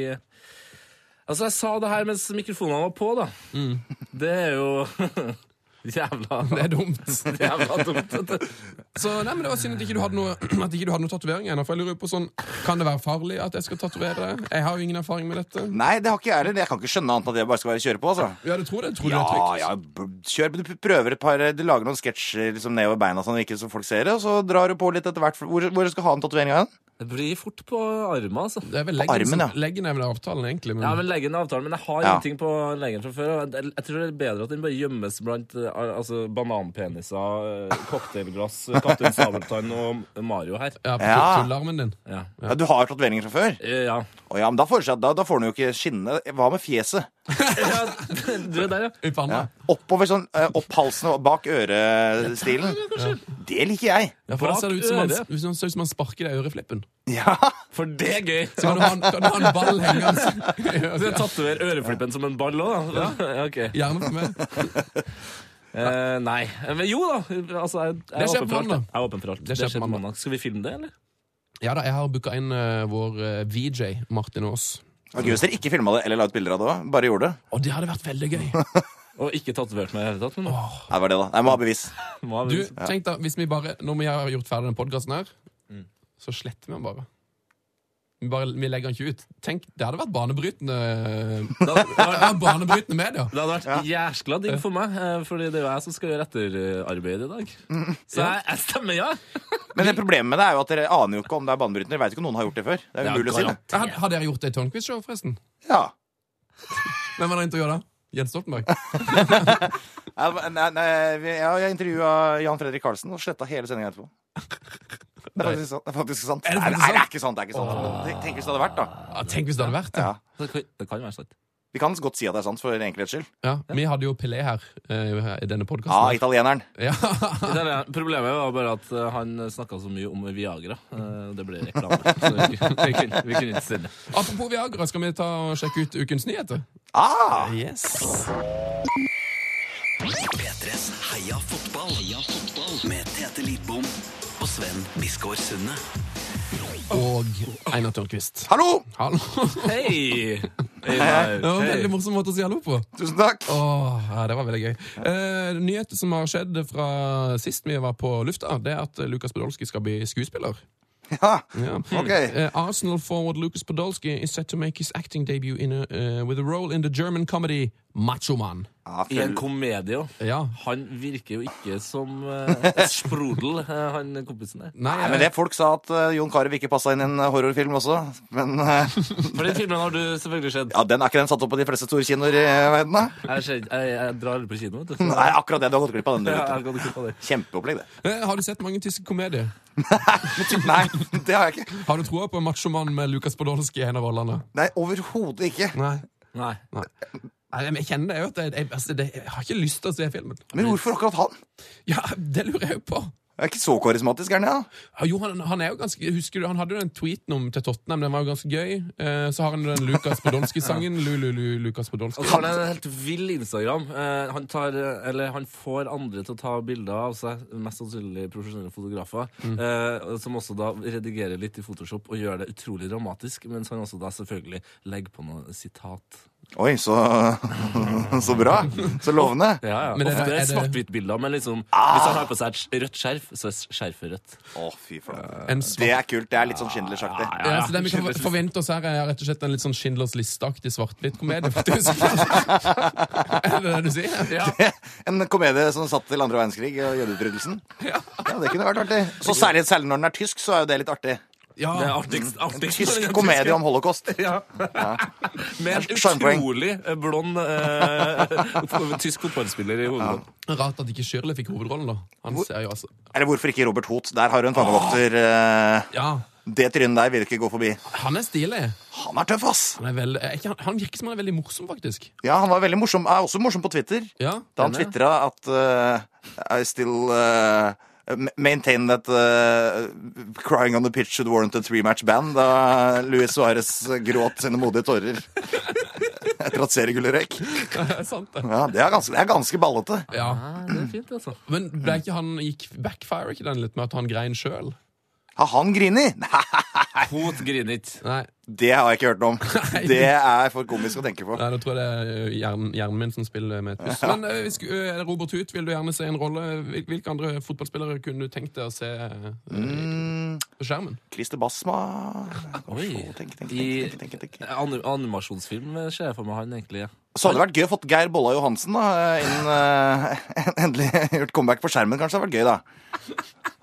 [SPEAKER 5] Altså, jeg sa det her mens mikrofonene var på, da. Det er jo jævla,
[SPEAKER 2] Det er dumt.
[SPEAKER 5] jævla dumt. vet du.
[SPEAKER 2] Så nei, men Det var synd at ikke du hadde noe At ikke du hadde noe tatovering ennå. For jeg lurer på sånn Kan det være farlig at jeg skal tatovere det? Jeg har jo ingen erfaring med dette.
[SPEAKER 6] Nei, det har ikke jeg heller. Jeg kan ikke skjønne annet enn at det bare skal være kjøre på, altså.
[SPEAKER 2] Ja, du tror det? Tror du
[SPEAKER 6] Ja,
[SPEAKER 2] det er trygt?
[SPEAKER 6] ja, b- kjør. men Du prøver et par Du lager noen sketsjer liksom, nedover beina, sånn ikke så folk ser det, og så drar du på litt etter hvert. Hvor, hvor skal du ha den tatoveringa hen?
[SPEAKER 5] Det blir fort på armen, altså.
[SPEAKER 2] Det er vel leggen,
[SPEAKER 6] armen,
[SPEAKER 2] som-
[SPEAKER 6] ja.
[SPEAKER 2] leggen er vel avtalen, egentlig. Men,
[SPEAKER 5] Ja, men legge inn avtalen, men jeg har
[SPEAKER 6] Ja.
[SPEAKER 5] ingenting på leggen fra før. og Jeg, jeg tror det er bedre at den bare gjemmes blant eh, al- altså, bananpeniser, eh, cocktailglass, eh, Kaptein Sabeltann og Mario her.
[SPEAKER 2] ja, på
[SPEAKER 6] Ja.
[SPEAKER 2] tullarmen din.
[SPEAKER 5] Ja.
[SPEAKER 6] Ja, du har tatoveringer fra før?
[SPEAKER 5] Eh, ja.
[SPEAKER 6] Å ja, men da får, du seg- da, da får den jo ikke skinne. Hva med fjeset?
[SPEAKER 5] ja. Du er der, ja.
[SPEAKER 2] I panna.
[SPEAKER 6] Oppover sånn, eh, opp halsen og bak ørestilen. Det liker jeg.
[SPEAKER 2] Ja, for da
[SPEAKER 5] Bak
[SPEAKER 2] ser det ut som man,
[SPEAKER 5] øret.
[SPEAKER 2] det ser ut som man sparker deg i øreflippen.
[SPEAKER 6] Ja,
[SPEAKER 5] For det er gøy!
[SPEAKER 2] Så kan du ha en, kan du ha en ball hengende.
[SPEAKER 5] Du
[SPEAKER 2] Ja,
[SPEAKER 5] tatoverer øreflippen som en ball òg, da. Ja, ok.
[SPEAKER 2] Gjerne for meg.
[SPEAKER 5] Eh, nei. Men jo da. Altså, jeg, jeg,
[SPEAKER 2] Det
[SPEAKER 5] er
[SPEAKER 2] skjer
[SPEAKER 5] åpen
[SPEAKER 2] på
[SPEAKER 5] for alt,
[SPEAKER 2] mandag.
[SPEAKER 5] jeg. jeg er åpen for alt.
[SPEAKER 2] Det
[SPEAKER 5] Det
[SPEAKER 2] skjer
[SPEAKER 5] skjer
[SPEAKER 2] på
[SPEAKER 5] på mandag. Skal vi filme det, eller?
[SPEAKER 2] Ja da, jeg har booka inn eh, vår eh, VJ, Martin Aas.
[SPEAKER 6] Det var Gøy hvis dere ikke filma det eller la ut bilder av det òg. Bare gjorde det.
[SPEAKER 2] Og det hadde vært veldig gøy.
[SPEAKER 5] Og ikke tatovert meg i det hele tatt. Men nå.
[SPEAKER 6] Nei, det var det, da. Jeg må ha bevis.
[SPEAKER 5] Må
[SPEAKER 2] Du,
[SPEAKER 5] jeg-
[SPEAKER 2] tenk da, hvis vi bare, Når vi har gjort ferdig den podkasten her, så sletter vi den bare. Vi, bare. vi legger den ikke ut. Tenk, Det hadde vært banebrytende Det
[SPEAKER 5] Da- da-
[SPEAKER 2] hadde vært banebrytende medier.
[SPEAKER 5] Det hadde vært jæskla digg for meg, eh, Fordi det er jo jeg som skal gjøre etterarbeid i dag. Så jeg, jeg stemmer ja.
[SPEAKER 6] Men det problemet med det er jo at dere aner jo ikke om det er banebrytende. Dere vet ikke om noen har gjort det før. Det er
[SPEAKER 5] Ja,
[SPEAKER 6] umulig å si det.
[SPEAKER 5] garantert.
[SPEAKER 2] Har, har dere gjort det i Tørnquist-show, forresten?
[SPEAKER 6] Ja.
[SPEAKER 2] Hvem var det intervjua da? Jens Stoltenberg?
[SPEAKER 6] Nei, nei, nei, vi- ja, jeg intervjua Jan Fredrik Karlsen og sletta hele sendinga etterpå. Det er faktisk sant. Det er faktisk sant.
[SPEAKER 2] Er det
[SPEAKER 6] Nei,
[SPEAKER 2] faktisk
[SPEAKER 6] nei, det er ikke sant. Det er ikke sant. Tenk- Tenk hvis det hadde vært, da.
[SPEAKER 2] Ja, tenk hvis det hadde vært det.
[SPEAKER 6] Ja.
[SPEAKER 5] Det kan, det kan være sant.
[SPEAKER 6] Vi kan godt si at det er sant, for enkelhets skyld.
[SPEAKER 2] Ja, vi hadde jo Pelé her eh, i denne
[SPEAKER 6] Ja,
[SPEAKER 2] podkasten.
[SPEAKER 6] italieneren.
[SPEAKER 2] Ja.
[SPEAKER 5] Det er- Problemet var bare at eh, han snakka så mye om Viagra. eh, Det ble reklame. Så vi, vi, kunne, vi kunne ikke stille.
[SPEAKER 2] Apropos Viagra, skal vi ta og sjekke ut ukens nyheter?
[SPEAKER 6] Ah!
[SPEAKER 2] Yes.
[SPEAKER 4] P3s Heia fotball. Heia fotball med Tete Lidbom og Sven Biskår Sunde.
[SPEAKER 2] Og Einar Tørnquist.
[SPEAKER 6] Hallo!
[SPEAKER 2] Hallo.
[SPEAKER 5] Hei!
[SPEAKER 2] Det var en veldig morsom måte å si hallo på.
[SPEAKER 6] Tusen takk.
[SPEAKER 2] Åh, ja, det var veldig gøy. Eh, nyhet som har skjedd fra sist vi var på lufta, det er at Lukas Podolsky skal bli skuespiller.
[SPEAKER 6] Ja,
[SPEAKER 2] Ja.
[SPEAKER 6] ok.
[SPEAKER 2] Eh, Arsenal forward Lukas Podolsky is set to make his acting debut in a, eh, with a role in the German comedy Machoman.
[SPEAKER 6] Ja,
[SPEAKER 5] I en
[SPEAKER 6] Ah, full-
[SPEAKER 5] komedie òg.
[SPEAKER 2] Ja.
[SPEAKER 5] Han virker jo ikke som eh, et sprodel, eh, han kompisen der.
[SPEAKER 2] Nei,
[SPEAKER 6] Nei, men det Folk sa at eh, Jon Carew ikke passa inn i en eh, horrorfilm også, men eh,
[SPEAKER 5] For den filmen har du selvfølgelig sett.
[SPEAKER 6] ja, den er ikke den satt opp på de fleste store kinoer i eh, verden, da?
[SPEAKER 5] Jeg, ser- jeg, jeg drar aldri på kino, vet du.
[SPEAKER 6] Nei, akkurat det. Du har gått glipp av den.
[SPEAKER 5] Ja,
[SPEAKER 6] du,
[SPEAKER 5] jeg kan ikke ta det.
[SPEAKER 6] vet du. Kjempeopplegg, det.
[SPEAKER 2] Eh, Har du sett mange tyske komedier?
[SPEAKER 6] Nei, det har jeg ikke.
[SPEAKER 2] Har du troa på Machoman med Lukas Podolsky i en av rollene?
[SPEAKER 6] Nei, overhodet ikke.
[SPEAKER 2] Nei.
[SPEAKER 5] Nei.
[SPEAKER 2] Nei. Nei, men jeg kjenner jo at jeg, jeg, altså, det, jeg har ikke lyst til å se filmen.
[SPEAKER 6] Men hvorfor akkurat han?
[SPEAKER 2] Ja, Det lurer jeg jo på.
[SPEAKER 6] Jeg er ikke så karismatisk, er han? Ja?
[SPEAKER 2] Ja, Jo, han, han er jo ganske Husker du, han hadde jo den tweeten om til Tottenham, den var jo ganske gøy. Eh, så har han den Lukas Podolsky-sangen. Lu-lu-lu, Lukas
[SPEAKER 5] Og
[SPEAKER 2] Podolsky.
[SPEAKER 5] så har han en helt vill Instagram. Eh, han, tar, eh, eller, han får andre til å ta bilder av seg, mest sannsynlig profesjonelle fotografer, eh, som også da redigerer litt i Photoshop og gjør det utrolig dramatisk, mens han også da selvfølgelig legger på noe sitat.
[SPEAKER 6] Oi, så, så bra. Så lovende.
[SPEAKER 5] Ja, ja.
[SPEAKER 2] Men er det-
[SPEAKER 5] Ofte
[SPEAKER 2] er det-
[SPEAKER 5] svart-hvitt-bilder, men liksom, hvis han har på seg et rødt skjerf, så er skjerfet rødt.
[SPEAKER 6] Å, fy faen.
[SPEAKER 2] En
[SPEAKER 6] Det
[SPEAKER 2] svart,
[SPEAKER 6] er kult. Det er litt sånn Schindler-sjaktig.
[SPEAKER 2] ja, så det vi kan forvente oss her, er rett og slett en litt sånn Schindlers liste-aktig svart-hvitt komedie. faktisk. er det det du sier? Ja.
[SPEAKER 6] En komedie som satt til andre verdenskrig og jødeutryddelsen. Ja, det kunne vært artig. Så særlig, særlig når den er tysk, så er jo det litt artig.
[SPEAKER 5] Det er
[SPEAKER 2] ja.
[SPEAKER 5] artigst,
[SPEAKER 6] En
[SPEAKER 5] artigst
[SPEAKER 6] tysk komedie om holocaust.
[SPEAKER 5] Med en
[SPEAKER 6] Skjermpoeng.
[SPEAKER 5] utrolig eh, blond eh, tysk fotballspiller i hovedrollen.
[SPEAKER 2] Rart at ikke Shirley fikk hovedrollen, da. Han ser jo altså
[SPEAKER 6] Eller hvorfor ikke Robert Hoth? Der har du en fangevokter. eh,
[SPEAKER 2] Ja,
[SPEAKER 6] Det trynet der vil du ikke gå forbi.
[SPEAKER 2] han er stilig.
[SPEAKER 6] Han er tøff, ass!
[SPEAKER 2] Han, er vel, er ikke, han- han virker som han er veldig morsom, faktisk.
[SPEAKER 6] Ja, han var veldig morsom. Er også morsom på Twitter.
[SPEAKER 2] Ja,
[SPEAKER 6] Da han
[SPEAKER 5] Denne?
[SPEAKER 6] tvitra at eh, I still eh, ma- Maintain that eh, crying on the pitch should warrant a three-match ban da Luis Suárez gråt sine modige tårer etter at seriegullet røyk.
[SPEAKER 2] det er sant, det.
[SPEAKER 6] Ja, det er ganske, det er ganske ballete.
[SPEAKER 2] Ja.
[SPEAKER 5] Ja, det er fint, altså.
[SPEAKER 2] Men ble ikke han, gikk backfire ikke den litt med at han grein sjøl?
[SPEAKER 6] Har han grini? Nei,
[SPEAKER 5] Hot griner ikke.
[SPEAKER 2] Nei,
[SPEAKER 6] det har jeg ikke hørt noe om. Det er for komisk å tenke på.
[SPEAKER 2] nei, da tror jeg det er ø, hjernen, hjernen min som spiller med et puss. Men eh, ø, hvis- ø, er det Robert Huth, vil du gjerne se en rolle? Hvil- Hvilke andre fotballspillere kunne du tenkt deg å se ø,
[SPEAKER 6] Mm,
[SPEAKER 2] på skjermen?
[SPEAKER 6] Christer Basma
[SPEAKER 5] Oi.
[SPEAKER 6] Tenk, tenk, tenk,
[SPEAKER 5] I-
[SPEAKER 6] tenk, tenk, tenk.
[SPEAKER 5] Anim animasjonsfilm eh, ser jeg for meg han egentlig. Ja.
[SPEAKER 6] Så hadde det vært gøy å fått Geir Bolla Johansen da, innen eh, endelig gjort comeback på skjermen. Kanskje det hadde vært gøy, da.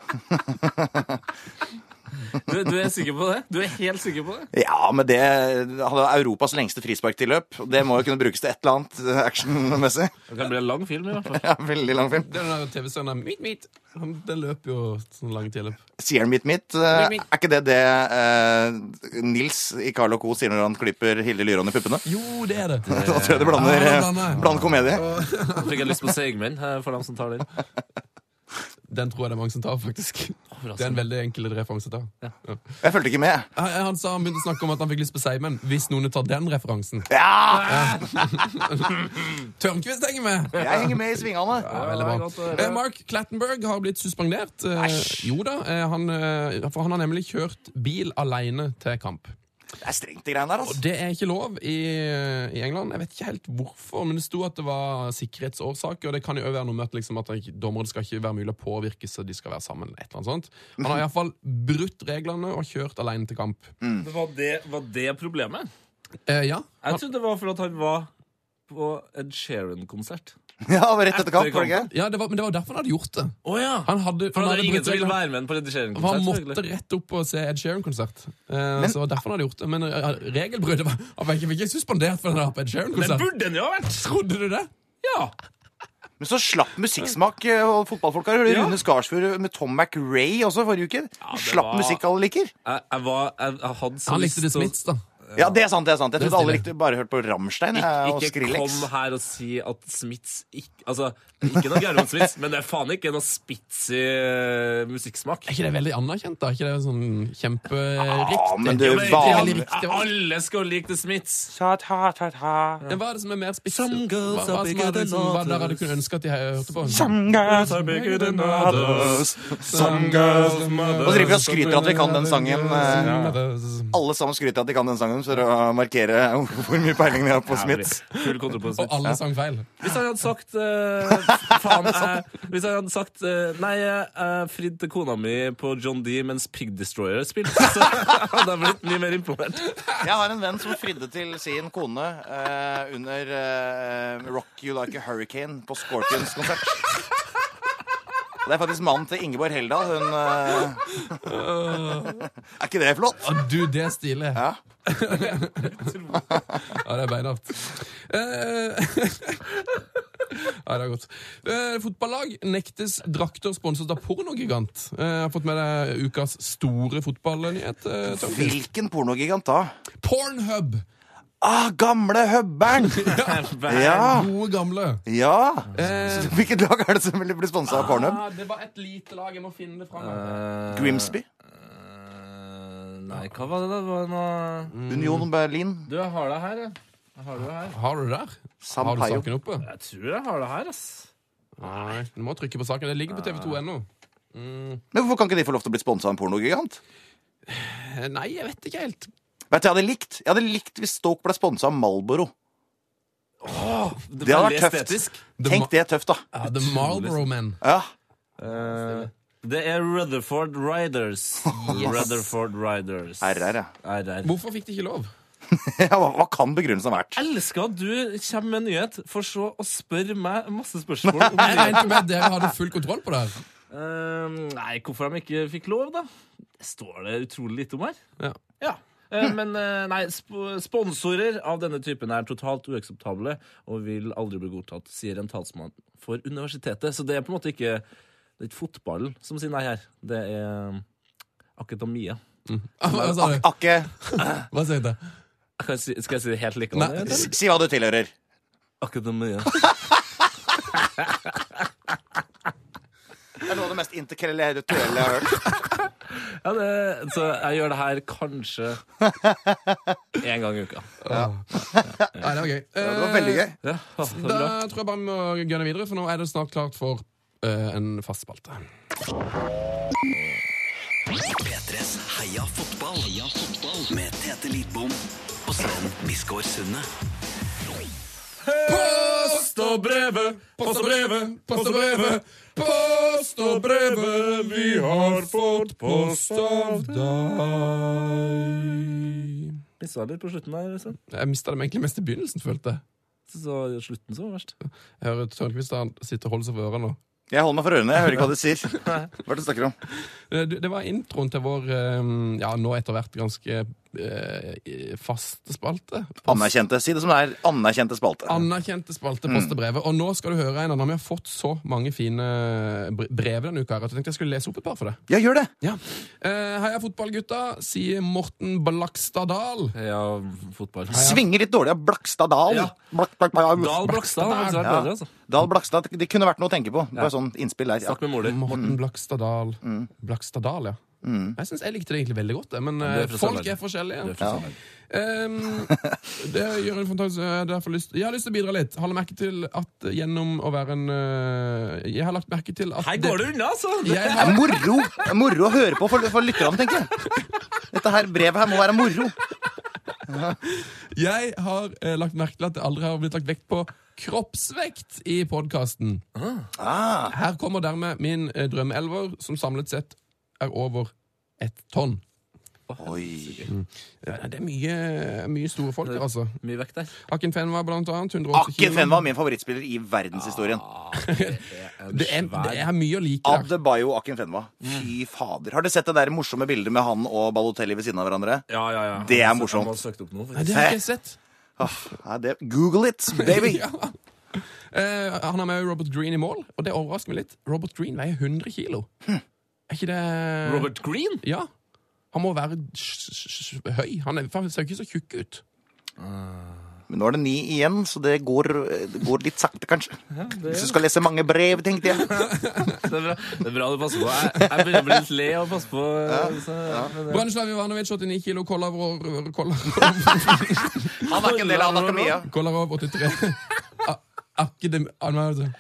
[SPEAKER 5] Du, du er sikker på det? Du er helt sikker på det?
[SPEAKER 6] Ja, men det hadde Europas lengste frisparktilløp. Det må jo kunne brukes til et eller annet eh, actionmessig.
[SPEAKER 5] Det kan bli en lang film, i hvert fall.
[SPEAKER 6] Ja, veldig lang film.
[SPEAKER 2] Det er den der TV-serien der, Meet Meet. Han- Den løper jo sånn lang tilløp.
[SPEAKER 6] Sier han mitt mitt? eh, Er ikke det det eh, Nils i Carl Co. sier når han klipper Hilde Lyrån i puppene?
[SPEAKER 2] Jo, det er det!
[SPEAKER 6] Da tror jeg det blander,
[SPEAKER 2] Ja,
[SPEAKER 6] eh,
[SPEAKER 2] det blander.
[SPEAKER 6] blander komedie.
[SPEAKER 5] Nå fikk jeg lyst på Seigmenn eh, for dem som tar den.
[SPEAKER 2] Den tror jeg det er mange som tar, faktisk. Det er en veldig enkel referanse å ta. Ja.
[SPEAKER 6] Jeg fulgte ikke med.
[SPEAKER 2] Han- Han sa han begynte å snakke om at han fikk lyst på seigmenn. Hvis noen tar den referansen.
[SPEAKER 6] Ja!
[SPEAKER 2] Tørnquist henger med!
[SPEAKER 6] Jeg henger med i svingene.
[SPEAKER 2] Ja, veldig bra. Eh, Mark Clattenberg har blitt suspendert. Eh, jo da, eh, han, eh, for han har nemlig kjørt bil alene til kamp.
[SPEAKER 6] Det er strengt, de greiene der. altså.
[SPEAKER 2] Det er ikke lov i, eh, i England. Jeg vet ikke helt hvorfor, men det sto at det var sikkerhetsårsaker. Og det kan jo også være noe med at, liksom, at det ikke- dommere det skal ikke være mulig å påvirke så de skal være sammen. Et eller annet sånt. Han har iallfall brutt reglene og kjørt alene til kamp.
[SPEAKER 5] Var det, var det problemet?
[SPEAKER 2] Eh, ja. Han,
[SPEAKER 5] Jeg trodde det var for at han var på Ed Sheeran-konsert.
[SPEAKER 6] Ja, det var Rett etter kamp,
[SPEAKER 5] Etter
[SPEAKER 6] var det ikke?
[SPEAKER 2] ja det var, men det var derfor han hadde gjort det.
[SPEAKER 5] Å ja!
[SPEAKER 2] Han hadde,
[SPEAKER 5] For
[SPEAKER 2] han
[SPEAKER 5] det
[SPEAKER 2] hadde
[SPEAKER 5] er ingen
[SPEAKER 2] brutt
[SPEAKER 5] som vil
[SPEAKER 2] reglene.
[SPEAKER 5] være med på Ed
[SPEAKER 2] For han
[SPEAKER 5] Sheeran-konsert.
[SPEAKER 2] måtte
[SPEAKER 5] selvfølgelig.
[SPEAKER 2] rett opp og se Ed Sheeran-konsert. Eh, så derfor han hadde gjort det. Men eh, regelbruddet var Han var ikke, fikk ikke suspendert for den der på Ed
[SPEAKER 5] Det
[SPEAKER 2] Sheeran-konsert.
[SPEAKER 5] burde han jo ha vært!
[SPEAKER 2] Trodde du det?
[SPEAKER 5] Ja!
[SPEAKER 6] Men så slapp musikksmak eh, og fotballfolk har.
[SPEAKER 5] Ja.
[SPEAKER 6] Rune Skarsfjord med Tom McRae også forrige uke.
[SPEAKER 5] det
[SPEAKER 6] Slapp
[SPEAKER 5] var-
[SPEAKER 6] musikk alle liker.
[SPEAKER 5] Jeg, jeg, var, jeg, jeg hadde så
[SPEAKER 2] Han likte
[SPEAKER 5] lyst
[SPEAKER 2] det
[SPEAKER 6] altså.
[SPEAKER 5] til å-
[SPEAKER 2] Smiths, da.
[SPEAKER 6] Ja, det er sant. det er sant Jeg trodde alle
[SPEAKER 2] stiller.
[SPEAKER 6] likte bare hørt på Rammstein jeg, og
[SPEAKER 5] Ikke
[SPEAKER 6] Skrillex.
[SPEAKER 5] kom her og si at Smiths ikke, Altså, ikke noe Gjermund Smiths, men det er faen ikke noe spitsy eh, musikksmak.
[SPEAKER 2] Er ikke det veldig anerkjent, da? Er ikke det sånn kjemperiktig?
[SPEAKER 6] Ja, men du,
[SPEAKER 5] Ja, men det er
[SPEAKER 2] veldig
[SPEAKER 6] vanlig
[SPEAKER 2] riktig.
[SPEAKER 5] Ja, Alle skal like The Smiths.
[SPEAKER 2] Men Hva er det som er mer spiss? Hva,
[SPEAKER 5] Some girls
[SPEAKER 2] hva,
[SPEAKER 5] are
[SPEAKER 2] som
[SPEAKER 5] bigger
[SPEAKER 2] er det
[SPEAKER 5] than
[SPEAKER 2] som, hva dere hadde
[SPEAKER 5] others.
[SPEAKER 2] kunnet ønske at de hørte på?
[SPEAKER 6] Some Nå driver vi og skryter at vi kan den sangen. eh, Alle sammen skryter at de kan den sangen for å markere hvor mye peiling de har på Smiths.
[SPEAKER 5] Full kontroll på
[SPEAKER 2] Og
[SPEAKER 5] Smiths.
[SPEAKER 2] alle sang feil.
[SPEAKER 5] Hvis han hadde sagt eh, Faen, jeg, Hvis han hadde sagt eh, Nei, jeg uh, fridde til kona mi på John D mens Pig Destroyer spilte, så hadde jeg blitt mye mer imponert.
[SPEAKER 6] Jeg har en venn som fridde til sin kone eh, under eh, Rock You Like a Hurricane på Scorpions konsert. Det er faktisk mannen til Ingeborg Heldal. Hun eh, Er ikke det flott?
[SPEAKER 2] Å, du, det er stilig.
[SPEAKER 6] Ja.
[SPEAKER 2] Ja, det er beinhardt. Eh, ja, det er godt. Eh, fotballag nektes drakter sponset av pornogigant. Eh, jeg har fått med deg ukas store fotballnyhet. eh, Tom.
[SPEAKER 6] Hvilken pornogigant da?
[SPEAKER 2] Pornhub!
[SPEAKER 6] Ah, gamle Høbbern! Ja.
[SPEAKER 2] Gode, gamle.
[SPEAKER 6] ja.
[SPEAKER 2] Eh,
[SPEAKER 6] Hvilket lag er det som vil bli sponsa av Pornhub?
[SPEAKER 2] det var et lite lag. Jeg må finne det fram. Ah.
[SPEAKER 6] Grimsby?
[SPEAKER 5] Eh, nei, hva var det da? Det var noe
[SPEAKER 6] Union Berlin?
[SPEAKER 5] Du, jeg har det her, jeg. Jeg har det her.
[SPEAKER 2] Eh, Har du det der? Har du
[SPEAKER 6] Sampaio?
[SPEAKER 2] saken oppe?
[SPEAKER 5] Jeg tror jeg har det her, ass.
[SPEAKER 2] Nei, du må trykke på saken. Det ligger på tv2.no.
[SPEAKER 6] Men hvorfor kan ikke de få lov til å bli sponsa av en pornogigant?
[SPEAKER 2] Eh, Nei, jeg vet ikke helt.
[SPEAKER 6] Vet du, jeg hadde likt Jeg hadde likt hvis Stoke ble sponsa av Malboro. Det hadde
[SPEAKER 5] veldig
[SPEAKER 6] vært tøft.
[SPEAKER 5] estetisk.
[SPEAKER 6] Tenk det er tøft, da.
[SPEAKER 2] Ja, The Marlboro Men.
[SPEAKER 6] Ja.
[SPEAKER 5] Eh, det er Rutherford Riders. Rutherford Riders.
[SPEAKER 6] RR, ja.
[SPEAKER 5] RR.
[SPEAKER 2] Hvorfor fikk de ikke lov?
[SPEAKER 6] ja hva, hva kan begrunnelsen ha vært?
[SPEAKER 5] Elsker at du kommer med en nyhet, for så å spørre meg masse spørsmål om
[SPEAKER 2] Jeg regnet med at dere hadde full kontroll på det her.
[SPEAKER 5] Eh, nei, hvorfor de ikke fikk lov, da? Det står det utrolig litt om her.
[SPEAKER 2] Ja.
[SPEAKER 5] Eh, Men eh, nei, sp sponsorer av denne typen er totalt uakseptable og vil aldri bli godtatt, sier en talsmann for universitetet. Så det er på en måte ikke Det er ikke fotballen som sier nei her. Det er eh, akademia.
[SPEAKER 2] Hva sa du?
[SPEAKER 6] Akke,
[SPEAKER 2] Hva sa du?
[SPEAKER 5] Skal jeg si, skal jeg si det helt
[SPEAKER 2] Nei.
[SPEAKER 5] likedan?
[SPEAKER 6] s- si hva du tilhører.
[SPEAKER 5] Akademia.
[SPEAKER 6] Det er noe av det mest intellektuelle jeg har hørt.
[SPEAKER 5] Ja, det, så jeg gjør det her kanskje én gang i uka.
[SPEAKER 2] Nei, det var gøy.
[SPEAKER 6] Ja, det var veldig gøy.
[SPEAKER 5] Ja, ha, det
[SPEAKER 2] Da
[SPEAKER 5] bra.
[SPEAKER 2] tror jeg bare vi må gønne videre, for nå er det snart klart for eh, en fast spalte.
[SPEAKER 4] P3s Heia fotball. Heia fotball. Med Tete Lidbom og Sven Biskår Sunde.
[SPEAKER 2] Post og brevet, post og brevet, post og brevet. Post og brevet, vi har fått post av deg.
[SPEAKER 5] Missa litt på slutten der. Sven.
[SPEAKER 2] Jeg mista dem egentlig mest i begynnelsen, følte jeg.
[SPEAKER 5] Så slutten så var verst.
[SPEAKER 2] Jeg hører Tørnquist han sitter og holder seg for ørene nå.
[SPEAKER 6] Jeg holder meg for ørene. Jeg hører ikke hva du sier. Hva er det du snakker om?
[SPEAKER 2] Eh, du, Det var introen til vår eh, ja, nå etter hvert ganske eh, faste spalte. Post-
[SPEAKER 6] Anerkjente. Si det som det er. Anerkjente spalte.
[SPEAKER 2] Anerkjente spalte,
[SPEAKER 5] Mm.
[SPEAKER 2] post og brevet. Og nå skal du høre en annen. Vi har fått så mange fine eh, bre- brev denne uka her, at jeg tenkte jeg skulle lese opp et par for deg.
[SPEAKER 6] Ja, gjør det!
[SPEAKER 2] Ja. Eh, heia fotballgutta, sier Morten Blakstad Dahl.
[SPEAKER 5] Ja, fotball.
[SPEAKER 6] Svinger litt dårlig av Blakstad Dahl.
[SPEAKER 5] Ja.
[SPEAKER 6] Blak, blak, blak.
[SPEAKER 5] Dahl Blakstad har faktisk vært
[SPEAKER 6] Ja.
[SPEAKER 5] bedre, altså.
[SPEAKER 6] Dahl Blakstad. Det kunne vært noe å tenke på. Bare sånn innspill der. Ja.
[SPEAKER 5] Snakk med mor di.
[SPEAKER 2] Morten Blakstad Dahl.
[SPEAKER 5] Mm.
[SPEAKER 2] Blakstad Dahl, ja. Jeg synes jeg likte det egentlig veldig godt, jeg, men
[SPEAKER 5] det er
[SPEAKER 2] eh,
[SPEAKER 5] fra
[SPEAKER 2] folk
[SPEAKER 5] Sørlandet.
[SPEAKER 2] er forskjellige.
[SPEAKER 5] Det er for sånn.
[SPEAKER 2] Ehm, eh, det gjør en fantastisk Jeg har derfor lyst, jeg har lyst til å bidra litt. Har lagt merke til at gjennom å være en øh, Jeg har lagt merke til at
[SPEAKER 5] Her går det unna, altså! Det-
[SPEAKER 2] jeg
[SPEAKER 6] Det
[SPEAKER 2] har,
[SPEAKER 6] er moro, det er moro å høre på for, for lytterne, tenker jeg. Dette her brevet her må være moro.
[SPEAKER 2] jeg har eh, lagt merke til at det aldri har blitt lagt vekt på kroppsvekt i podkasten.
[SPEAKER 6] Ah,
[SPEAKER 2] Her kommer dermed min eh, drømmeelver, som samlet sett er over ett tonn.
[SPEAKER 6] oi.
[SPEAKER 2] Ja, nei, det er mye, mye store folk her, altså.
[SPEAKER 5] Mye vekk der.
[SPEAKER 2] Akken Fenwa, blant annet. 180
[SPEAKER 6] Akken
[SPEAKER 2] kilo.
[SPEAKER 6] Fenn var min favorittspiller i verdenshistorien.
[SPEAKER 2] Det er, det er mye å like der.
[SPEAKER 6] Adebayo Akken Fenwa. Fy fader. Har du sett det der morsomme bildet med han og Balotelli ved siden av hverandre?
[SPEAKER 5] Ja, ja, ja.
[SPEAKER 6] Det er
[SPEAKER 5] Jeg må-
[SPEAKER 6] morsomt.
[SPEAKER 5] jeg må søke det opp nå,
[SPEAKER 2] Nei,
[SPEAKER 5] faktisk.
[SPEAKER 2] det har ikke jeg sett.
[SPEAKER 6] Nei, Ah, det, Google it, baby!
[SPEAKER 2] Ja. Eh, han har med Robert Green i mål, og det overrasker meg litt. Robert Green veier 100 kilo. Er ikke det
[SPEAKER 5] Robert Green?
[SPEAKER 2] Ja. Han må være s- s- s- høy. Han er, for han ser jo ikke så tjukk ut.
[SPEAKER 6] Men nå er det ni igjen, så det går, det går litt sakte, kanskje. Hvis du skal lese mange brev, tenkte jeg.
[SPEAKER 5] Det er bra, det er bra du passer på. Jeg, jeg begynner å bli litt lei av å passe på. Så, men,
[SPEAKER 2] Branislav Ivanovic, 89 kilo, Kollarov,
[SPEAKER 6] Han er ikke en del av akademia.
[SPEAKER 2] Kollarov 83. A- Akadem... anmeldelse.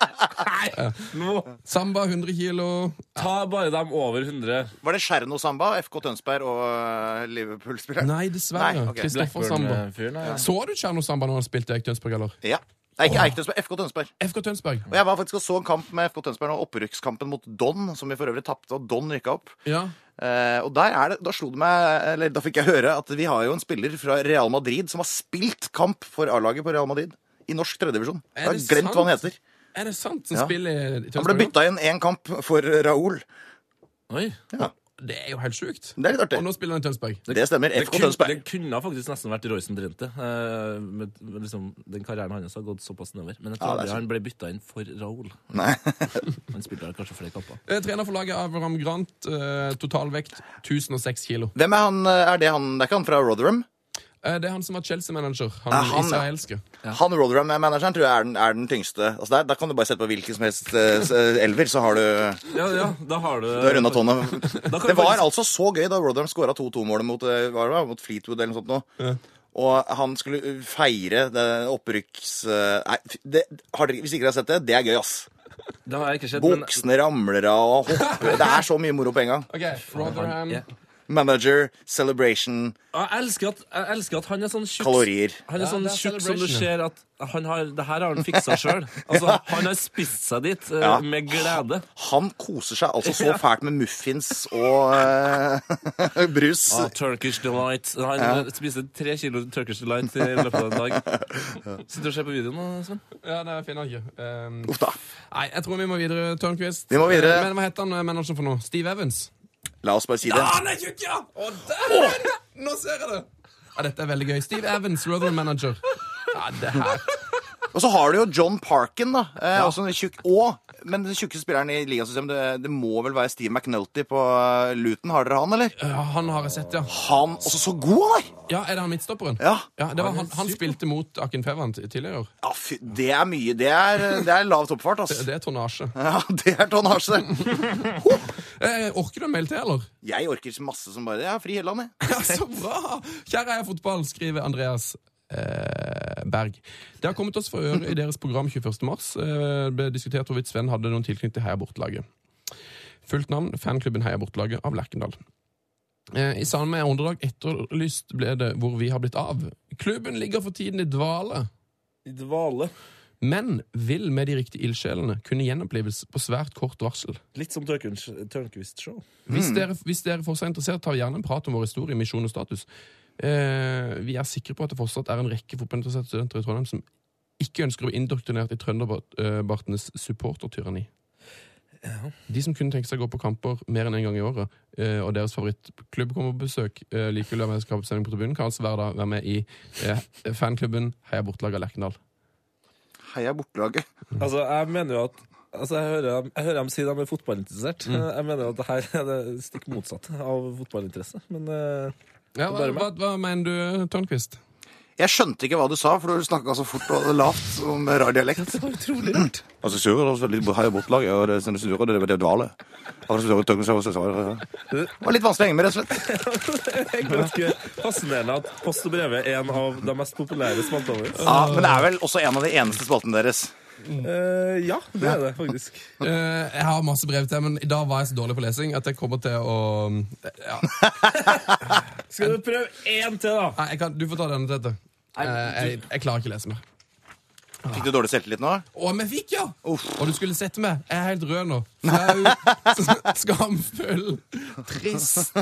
[SPEAKER 5] eh, nå,
[SPEAKER 2] Samba 100 kilo.
[SPEAKER 5] ta bare dem over 100.
[SPEAKER 6] Var det Scherno Samba, FK Tønsberg og eh, Liverpool-spilleren?
[SPEAKER 2] Nei, dessverre.
[SPEAKER 6] Nei, ok. eh.
[SPEAKER 2] Kristoffer Samba.
[SPEAKER 5] Blackburn-fyren. Ja.
[SPEAKER 2] Så du Tjerno Samba når han spilte i Tønsberg, eller?
[SPEAKER 6] Ja. Nei, ikke Eik Tønsberg, FK Tønsberg.
[SPEAKER 2] FK Tønsberg.
[SPEAKER 6] Og jeg var faktisk og så en kamp med FK Tønsberg nå, opprykkskampen mot Don, som vi for øvrig tapte, og Don rykka opp.
[SPEAKER 2] Ja.
[SPEAKER 6] Eh, og der er det, da slo det meg, eller da fikk jeg høre at vi har jo en spiller fra Real Madrid som har spilt kamp for A-laget på Real Madrid. I norsk tredjedivisjon. Jeg har
[SPEAKER 2] det
[SPEAKER 6] glemt hva han
[SPEAKER 2] sant?
[SPEAKER 6] heter.
[SPEAKER 2] Er det sant? Som
[SPEAKER 6] Ja.
[SPEAKER 2] spiller i
[SPEAKER 6] Han ble
[SPEAKER 2] Tønsberg?
[SPEAKER 6] bytta inn én kamp for Raoul.
[SPEAKER 5] Oi.
[SPEAKER 6] Ja,
[SPEAKER 2] Det er jo helt sjukt.
[SPEAKER 6] det er litt
[SPEAKER 2] Og
[SPEAKER 6] artig.
[SPEAKER 2] nå spiller han i Tønsberg.
[SPEAKER 6] Det stemmer.
[SPEAKER 5] Det
[SPEAKER 6] FK
[SPEAKER 5] kunne, det
[SPEAKER 6] Tønsberg.
[SPEAKER 5] kunne faktisk nesten vært Roysen Drente. eh, men men liksom, den karrieren hans har gått såpass nedover. Men jeg tror
[SPEAKER 6] Ja, det er
[SPEAKER 5] aldri
[SPEAKER 6] sant.
[SPEAKER 5] han ble bytta inn for Raoul.
[SPEAKER 6] Nei.
[SPEAKER 5] Han spilte vel kanskje flere kamper.
[SPEAKER 2] Eh, Trener for laget Avram Grant. Eh, totalvekt 1006 kilo.
[SPEAKER 6] Hvem er han? eh, Er det han? Det er ikke han fra Rotherham?
[SPEAKER 2] Eh, det er han som var Chelsea-manager. Han,
[SPEAKER 6] Ah, han, ja.
[SPEAKER 2] israelske.
[SPEAKER 6] Han Rotherham-manageren tror jeg er den, er den tyngste. Altså der, der kan du bare sette på hvilken som helst eh, s- eh, elver, så har du,
[SPEAKER 5] Ja, ja, da har du
[SPEAKER 6] du har runda tonna.
[SPEAKER 5] kan
[SPEAKER 6] Det
[SPEAKER 5] vi
[SPEAKER 6] var
[SPEAKER 5] faktisk-
[SPEAKER 6] altså så gøy da Rotherham skåra 2-2-målet mot, eh, hva var det, mot Fleetwood eller noe sånt nå. Og han skulle eh, feire det opprykks... eh, Nei, fy- det, har dere, hvis ikke dere har sett det, det er gøy, ass.
[SPEAKER 5] Det har jeg ikke sett, men
[SPEAKER 6] Buksene ramler av og hopper. Det er så mye moro på en gang.
[SPEAKER 2] Ok, Rotherham.
[SPEAKER 5] Ja.
[SPEAKER 6] Manager, celebration,
[SPEAKER 5] jeg elsker, at, jeg elsker at han er sånn tjukk
[SPEAKER 6] kalorier.
[SPEAKER 5] Han er
[SPEAKER 2] Ja,
[SPEAKER 5] sånn
[SPEAKER 2] det er
[SPEAKER 5] tjukk som du
[SPEAKER 2] celebration,
[SPEAKER 5] ser at han har, det her har han fiksa sjøl. Altså, han har spist seg dit eh,
[SPEAKER 6] Ja.
[SPEAKER 5] med glede.
[SPEAKER 6] Han koser seg altså så fælt med muffins og eh, brus.
[SPEAKER 5] Ah, Turkish Delight. Han eh, spiste tre kilo Turkish Delight i løpet av en dag. Sitter du og ser på videoen nå, Sven?
[SPEAKER 2] Ja, det finner jeg ikke. Um,
[SPEAKER 6] Uff da.
[SPEAKER 2] nei, jeg tror vi må videre, Tørnquist.
[SPEAKER 6] Vi må videre.
[SPEAKER 2] Men hva heter han eh, manageren for nå? Steve Evans?
[SPEAKER 6] La oss bare si
[SPEAKER 5] Ah,
[SPEAKER 6] det.
[SPEAKER 2] han er tjukk, ja! Å, dæven! Nå ser jeg det! Ja, dette er veldig gøy. Steve Evans, Rotherham-manager. Ja, det her
[SPEAKER 6] Og så har du jo John Parkin, da. Eh, også en tjukk, og, men den tjukkeste spilleren i ligasystemet, det, det må vel være Steve McNulty på eh, Luton. Har dere han, eller?
[SPEAKER 2] ja, Eh, Han har jeg sett, ja.
[SPEAKER 6] Han også så god han er!
[SPEAKER 2] Ja, Er det han midtstopperen?
[SPEAKER 6] Ja.
[SPEAKER 2] det var han, han spilte mot Akin Fevan tidligere i år.
[SPEAKER 6] ja fy, det er mye. Det er, det er lav toppfart,
[SPEAKER 2] Det-
[SPEAKER 6] ass.
[SPEAKER 2] Det er tonnasje.
[SPEAKER 6] Ja, det er tonnasje.
[SPEAKER 2] Eh, orker du en mail til, eller?
[SPEAKER 6] Jeg orker så masse som bare Jeg har fri hele landet. jeg.
[SPEAKER 2] Ja, så bra! Kjære Heia Fotball, skriver Andreas eh, Berg. Det har kommet oss for øre i deres program 21. mars. Eh, det ble diskutert hvorvidt Sven hadde noen tilknytning til Heia Bortelaget. Fullt navn fanklubben Heia Bortelaget av Lerkendal. Eh, I samme åndedrag etterlyst ble det hvor vi har blitt av. Klubben ligger for tiden i dvale,
[SPEAKER 5] I dvale.
[SPEAKER 2] men vil med de riktige ildsjelene kunne gjenopplives på svært kort varsel.
[SPEAKER 5] Litt som Tørnquist-show.
[SPEAKER 2] Hvis dere, hvis dere fortsatt er interessert, tar vi gjerne en prat om vår historie, misjon og status. Eh, vi er sikre på at det fortsatt er en rekke fotballinteresserte studenter i Trondheim som ikke ønsker å bli indoktrinert i trønderbartenes supportertyranni. De som kunne tenke seg å gå på kamper mer enn én en gang i året, eh, og deres favorittklubb kommer på besøk, eh, likevel er medskapssending på tribunen, kan altså hver dag være med i eh, fanklubben Heia Bortelaget Lerkendal.
[SPEAKER 6] Heia bortelaget.
[SPEAKER 5] Altså, jeg mener jo at Altså, jeg hører, dem- jeg hører dem si de er fotballinteressert. Jeg mener at det her er det stikk motsatte av fotballinteresse. Men eh,
[SPEAKER 2] Ja, hva,
[SPEAKER 5] Bare meg.
[SPEAKER 2] hva, hva mener du, Tørnquist?
[SPEAKER 6] Jeg skjønte ikke hva du sa, for du snakka så fort og lavt om rar dialekt.
[SPEAKER 5] det var utrolig rart.
[SPEAKER 6] Altså, jeg suger også litt her i vårt lag, og det er sånn suger, og det er dvale. Altså, suger, tøkken, så- så- så- så- Det var litt vanskelig å henge med, rett og slett.
[SPEAKER 5] det er ganske fascinerende at Post og brevet er en av de mest populære spaltene våre.
[SPEAKER 6] Ja, men det er vel også en av de eneste spaltene deres.
[SPEAKER 5] Eh, ja, det er det faktisk.
[SPEAKER 2] Eh, jeg har masse brev til, men i dag var jeg så dårlig på lesing at jeg kommer til å mm, ja.
[SPEAKER 5] Skal du prøve én til, da?
[SPEAKER 2] Nei, jeg kan, Du får ta denne, Tete. Eh, jeg, jeg klarer ikke å lese mer.
[SPEAKER 6] Fikk du dårlig selvtillit nå?
[SPEAKER 2] Å, vi fikk, ja! Og du skulle sett meg. Jeg er helt rød nå. Flau. Skamfull. Trist.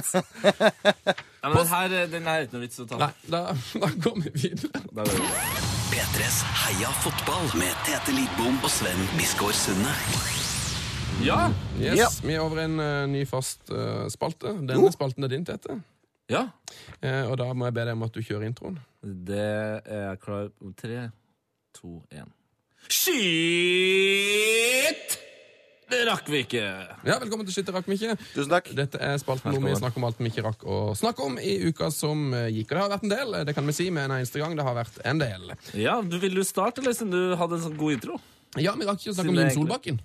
[SPEAKER 5] Ja, men her, den her er ikke noe vits å ta.
[SPEAKER 2] Nei, da, da går vi videre.
[SPEAKER 4] P3s Heia fotball med Tete Lidbom og Sven Biskår Sunde.
[SPEAKER 5] Ja!
[SPEAKER 2] Yes,
[SPEAKER 6] Ja.
[SPEAKER 2] Vi er over i en eh, ny fast eh, spalte. Denne spalten er din, Tete.
[SPEAKER 5] ja.
[SPEAKER 2] Eh, og da må jeg be deg om at du kjører introen.
[SPEAKER 5] Det er jeg klar på. Tre, to, én. Skyt! Det rakk vi ikke.
[SPEAKER 2] Ja, Velkommen til Shit, det rakk vi ikke.
[SPEAKER 6] Tusen takk.
[SPEAKER 2] Dette er spalten hvor vi snakker om alt vi ikke rakk å snakke om i uka som eh, gikk. Og det har vært en del, eh, det kan vi si med en eneste gang. Det har vært en del.
[SPEAKER 5] Ja, du Vil du starte, eller siden du hadde en sånn god intro?
[SPEAKER 2] Ja, vi rakk ikke å snakke om
[SPEAKER 5] Siden det
[SPEAKER 2] Jim
[SPEAKER 5] er
[SPEAKER 2] Solbakken.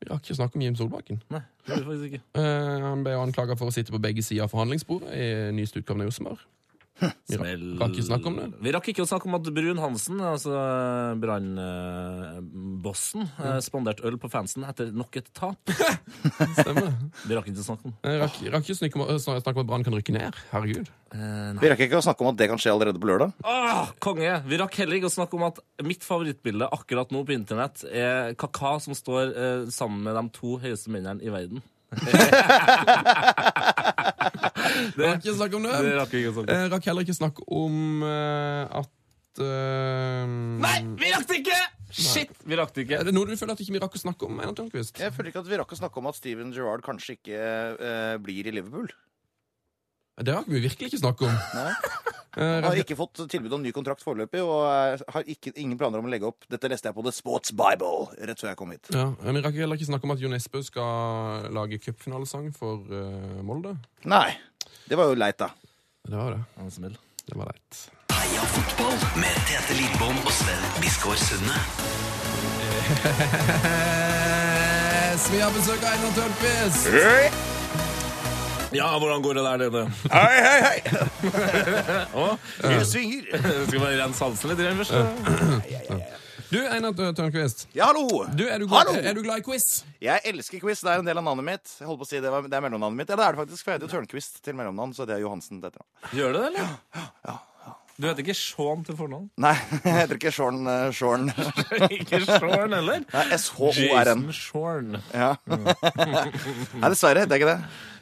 [SPEAKER 2] Vi rakk ikke å snakke om Jim Solbakken.
[SPEAKER 5] Nei, det gjorde du faktisk ikke.
[SPEAKER 2] Eh, han ble jo anklaga for å sitte på begge sider av forhandlingsbordet i nyeste utgave av Josemar. Vi rakk-
[SPEAKER 5] Smell.
[SPEAKER 2] rakk ikke snakke om det.
[SPEAKER 5] Vi rakk ikke å snakke om at Brun Hansen, altså eh, brannbossen, spanderte eh, øl på fansen etter nok et tap.
[SPEAKER 2] Stemmer det?
[SPEAKER 5] Det rakk ikke å snakke om.
[SPEAKER 2] Eh, Rakk, rakk ikke å snakke om, å snakke om at Brann kan rykke ned. Herregud.
[SPEAKER 5] Eh, nei.
[SPEAKER 6] Vi rekker ikke å snakke om at det kan skje allerede på lørdag.
[SPEAKER 5] Åh, Ah, konge! Vi rakk heller ikke å snakke om at mitt favorittbilde akkurat nå på internett er Kaka som står eh, sammen med de to høyeste mennene i verden. det,
[SPEAKER 2] Rakk ikke å snakke om
[SPEAKER 5] det
[SPEAKER 2] det.
[SPEAKER 5] rakk vi ikke å snakke om.
[SPEAKER 2] Eh, rakk heller ikke snakke om eh, at eh,
[SPEAKER 5] Nei, vi rakk det ikke! Shit, vi rakk det ikke.
[SPEAKER 2] Er det noe du føler at ikke vi rakk å snakke om? Einar Tørnquist?
[SPEAKER 6] Jeg føler ikke at vi rakk å snakke om at Steven Gerrard kanskje ikke eh, blir i Liverpool.
[SPEAKER 2] Det rakk vi virkelig ikke snakke om.
[SPEAKER 6] Nei.
[SPEAKER 2] Eh,
[SPEAKER 6] Han har
[SPEAKER 2] rakk,
[SPEAKER 6] ikke fått tilbud om ny kontrakt foreløpig, og eh, har ikke, ingen planer om å legge opp. Dette leste jeg på The Sports Bible rett før jeg kom hit.
[SPEAKER 2] ja, eh, vi rakk heller ikke snakke om at Jo Nesbø skal lage cupfinalesang for eh, Molde.
[SPEAKER 6] Nei. Det var jo leit, da.
[SPEAKER 2] Det var det.
[SPEAKER 5] Han smell.
[SPEAKER 2] Det var leit.
[SPEAKER 4] Heia fotball med Tete Lidbom og Sven Biskår Sunde.
[SPEAKER 2] Yes, vi har besøk av Einar Tørnquist!
[SPEAKER 6] Hei,
[SPEAKER 5] Ja, hvordan går det der nede?
[SPEAKER 6] hei, hei!
[SPEAKER 5] Å,
[SPEAKER 6] Jeg svinger.
[SPEAKER 5] Skal vi bare rense halsen litt igjen først?
[SPEAKER 2] Du, Einar Tør- Tørnquist,
[SPEAKER 6] Ja, hallo!
[SPEAKER 2] du, er, du
[SPEAKER 6] Hallo!
[SPEAKER 2] god, er du glad i quiz?
[SPEAKER 6] Jeg elsker quiz. Det er en del av navnet mitt. Jeg holdt på å si Det, var, det er mellomnavnet mitt. Ja, det er det faktisk, for jeg heter Tørnquist til mellomnavn, så det er Johansen til etternavn.
[SPEAKER 5] Gjør du det, eller? Du heter ikke Sean til fornavn?
[SPEAKER 6] Nei, jeg heter ikke Shorn. eh, Shorn.
[SPEAKER 5] ikke Sean heller?
[SPEAKER 6] Nei, S-H-O-R-N.
[SPEAKER 5] Jason Shorn.
[SPEAKER 6] Ja. Nei, dessverre heter jeg ikke det.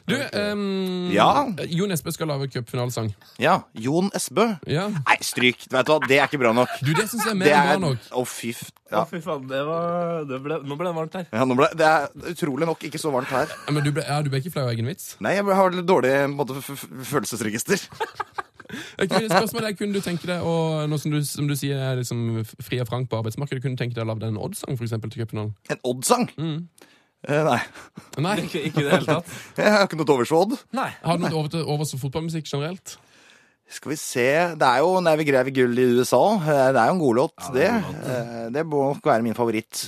[SPEAKER 2] Du, ehm,
[SPEAKER 6] Ja.
[SPEAKER 2] Jo Nesbø skal lage cupfinalesang.
[SPEAKER 6] Ja, Jon Esbø.
[SPEAKER 2] Ja.
[SPEAKER 6] Nei, stryk. Vet du hva, det er ikke bra nok.
[SPEAKER 2] Du, det syns jeg er
[SPEAKER 6] Det
[SPEAKER 2] mer
[SPEAKER 6] er
[SPEAKER 2] enn bra nok.
[SPEAKER 6] Å, fy f...
[SPEAKER 5] Å,
[SPEAKER 6] Ja.
[SPEAKER 5] fy faen, det var det ble, Nå ble det varmt her.
[SPEAKER 6] Ja, nå ble, det er utrolig nok ikke så varmt her.
[SPEAKER 2] Ja, Men du ble, ja, du ble ikke flau av egen vits?
[SPEAKER 6] Nei, jeg har litt dårlig på en måte, f- f- følelsesregister.
[SPEAKER 2] Kunne- Spørsmålet er, kunne du tenke deg å, nå som du, som du sier er liksom fri og frank på arbeidsmarkedet, kunne du tenke deg å lage deg en Odd-sang for eksempel til cupfinalen?
[SPEAKER 6] En Odd-sang? Eh, nei.
[SPEAKER 2] Nei.
[SPEAKER 5] Ikke, ikke i det hele tatt.
[SPEAKER 6] Jeg har ikke noe til overs for Odd.
[SPEAKER 5] Nei.
[SPEAKER 2] Har du noe over til overs for fotballmusikk generelt?
[SPEAKER 6] Skal vi se Det er jo 'Nei, vi grev gull i USA'. Eh, Det er jo en god låt, det.
[SPEAKER 5] er en god
[SPEAKER 6] Eh, Det må nok være min favoritt.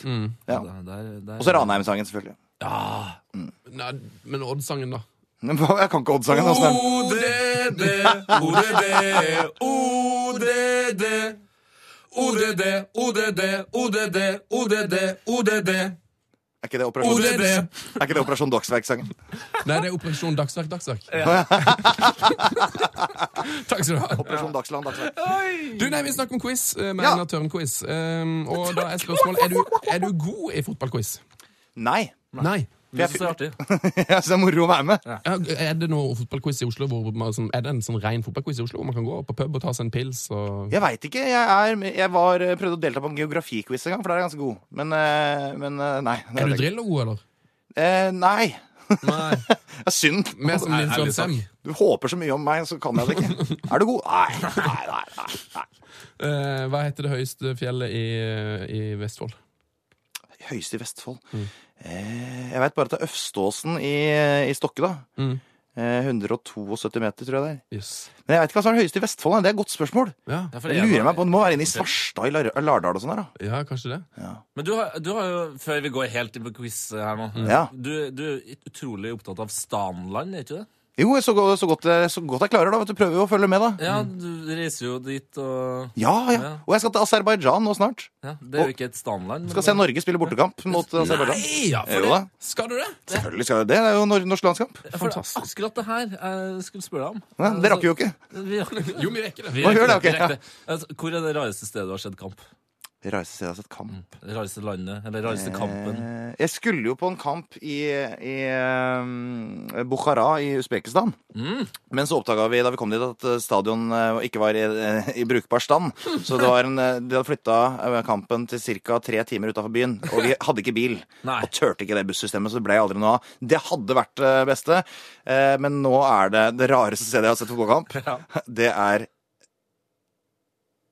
[SPEAKER 6] Ja.
[SPEAKER 5] Der, der, der.
[SPEAKER 6] Og så Ranheim-sangen, selvfølgelig.
[SPEAKER 2] Nei, men Odd-sangen, da?
[SPEAKER 6] Men Jeg kan ikke Odd-sangen. Altså, den-
[SPEAKER 2] ODD, ODD, ODD. ODD, ODD, ODD, ODD, ODD.
[SPEAKER 6] er ikke det Operasjon,
[SPEAKER 2] ODD.
[SPEAKER 6] er ikke det Operasjon Dagsverk-sangen?
[SPEAKER 2] Nei, det er Operasjon Dagsverk, Dagsverk. Takk skal du ha.
[SPEAKER 6] Operasjon Dagsland, Dagsverk.
[SPEAKER 2] Du, nei, Vi snakker om quiz eh, med
[SPEAKER 6] Ja.
[SPEAKER 2] Einar Tørn-quiz. Um, og da er spørsmålet er du, er du god i fotballquiz.
[SPEAKER 6] Nei.
[SPEAKER 2] Nei.
[SPEAKER 5] Det synes jeg er artig.
[SPEAKER 6] Jeg synes det er moro å være med.
[SPEAKER 2] Ja, Er det noe fotballquiz i Oslo hvor man, sånn- Er det en sånn ren fotballquiz i Oslo hvor man kan gå på pub og ta seg en pils? Og...
[SPEAKER 6] Jeg veit ikke. Jeg, er, jeg var, eh, prøvde å delta på en geografiquiz en gang, for der er jeg ganske god. Men, eh, men eh, nei. det
[SPEAKER 2] Er du
[SPEAKER 6] jeg ikke.
[SPEAKER 2] Drillo, eller?
[SPEAKER 6] Eh, nei.
[SPEAKER 2] Nei.
[SPEAKER 6] Det er synd.
[SPEAKER 2] Mer som sånn Nils Johan Sem.
[SPEAKER 6] Du håper så mye om meg, så kan jeg det ikke. Er du god? Nei. Nei, nei, nei. nei.
[SPEAKER 2] Eh, hva heter det høyeste fjellet i, i Vestfold?
[SPEAKER 6] Høyeste i Vestfold.
[SPEAKER 2] Mm.
[SPEAKER 6] Eh, jeg veit bare at det er Øfståsen i, i Stokke, da.
[SPEAKER 2] Mm.
[SPEAKER 6] Eh, 172 meter, tror jeg det er.
[SPEAKER 2] Yes.
[SPEAKER 6] Men jeg veit ikke hva som er det høyeste i Vestfold. da. Det er et godt spørsmål.
[SPEAKER 2] Ja.
[SPEAKER 5] Ja, for det
[SPEAKER 6] Jeg
[SPEAKER 5] er-
[SPEAKER 6] lurer meg på, Det må være inne i Svarstad i Lar- Lardal og sånn der, da.
[SPEAKER 2] ja, kanskje det.
[SPEAKER 5] Men du har, du har jo, før vi går helt inn på quiz her nå
[SPEAKER 6] Ja.
[SPEAKER 5] du, du er utrolig opptatt av Stanland, er ikke det?
[SPEAKER 6] Jo, så, go- så, godt, jeg- så godt jeg klarer, da. Vet du, prøver jo å følge med, da.
[SPEAKER 5] Ja, du reiser jo dit og
[SPEAKER 6] Ja, ja.
[SPEAKER 5] Ja.
[SPEAKER 6] Og jeg skal til Aserbajdsjan nå snart.
[SPEAKER 5] ja, Det er jo ikke et Stanland. men-
[SPEAKER 6] Skal se Norge spille bortekamp mot Aserbajdsjan.
[SPEAKER 2] Nei, ja, for
[SPEAKER 6] Jo da.
[SPEAKER 2] det. Skal du det?
[SPEAKER 6] Selvfølgelig skal jeg det. Det er jo nor- norsk landskamp.
[SPEAKER 5] Ja, for Akkurat det her jeg skulle spørre deg om. Altså,
[SPEAKER 6] Ja, det rakk vi jo ikke.
[SPEAKER 5] Vi rakk-
[SPEAKER 2] Jo, vi rekker det.
[SPEAKER 5] vi
[SPEAKER 6] Hva gjør det,
[SPEAKER 5] rakk- vi
[SPEAKER 6] ok,
[SPEAKER 5] rakk det. Altså, Hvor er det rareste stedet du har sett kamp?
[SPEAKER 6] Vi reiser til oss et kamp.
[SPEAKER 5] Det rareste landet, eller rareste kampen?
[SPEAKER 6] Eh, Jeg skulle jo på en kamp i, i um, Bukhara i Usbekistan.
[SPEAKER 5] Mm.
[SPEAKER 6] Men så oppdaga vi da vi kom dit at eh, stadion eh, ikke var i, eh, i brukbar stand. Så det var en, eh, de hadde flytta kampen til ca. tre timer utafor byen. Og vi hadde ikke bil.
[SPEAKER 5] Nei.
[SPEAKER 6] Og turte ikke det bussystemet, så det ble aldri noe av. Det hadde vært det beste, eh, men nå er det det rareste stedet jeg har sett fotballkamp. Det er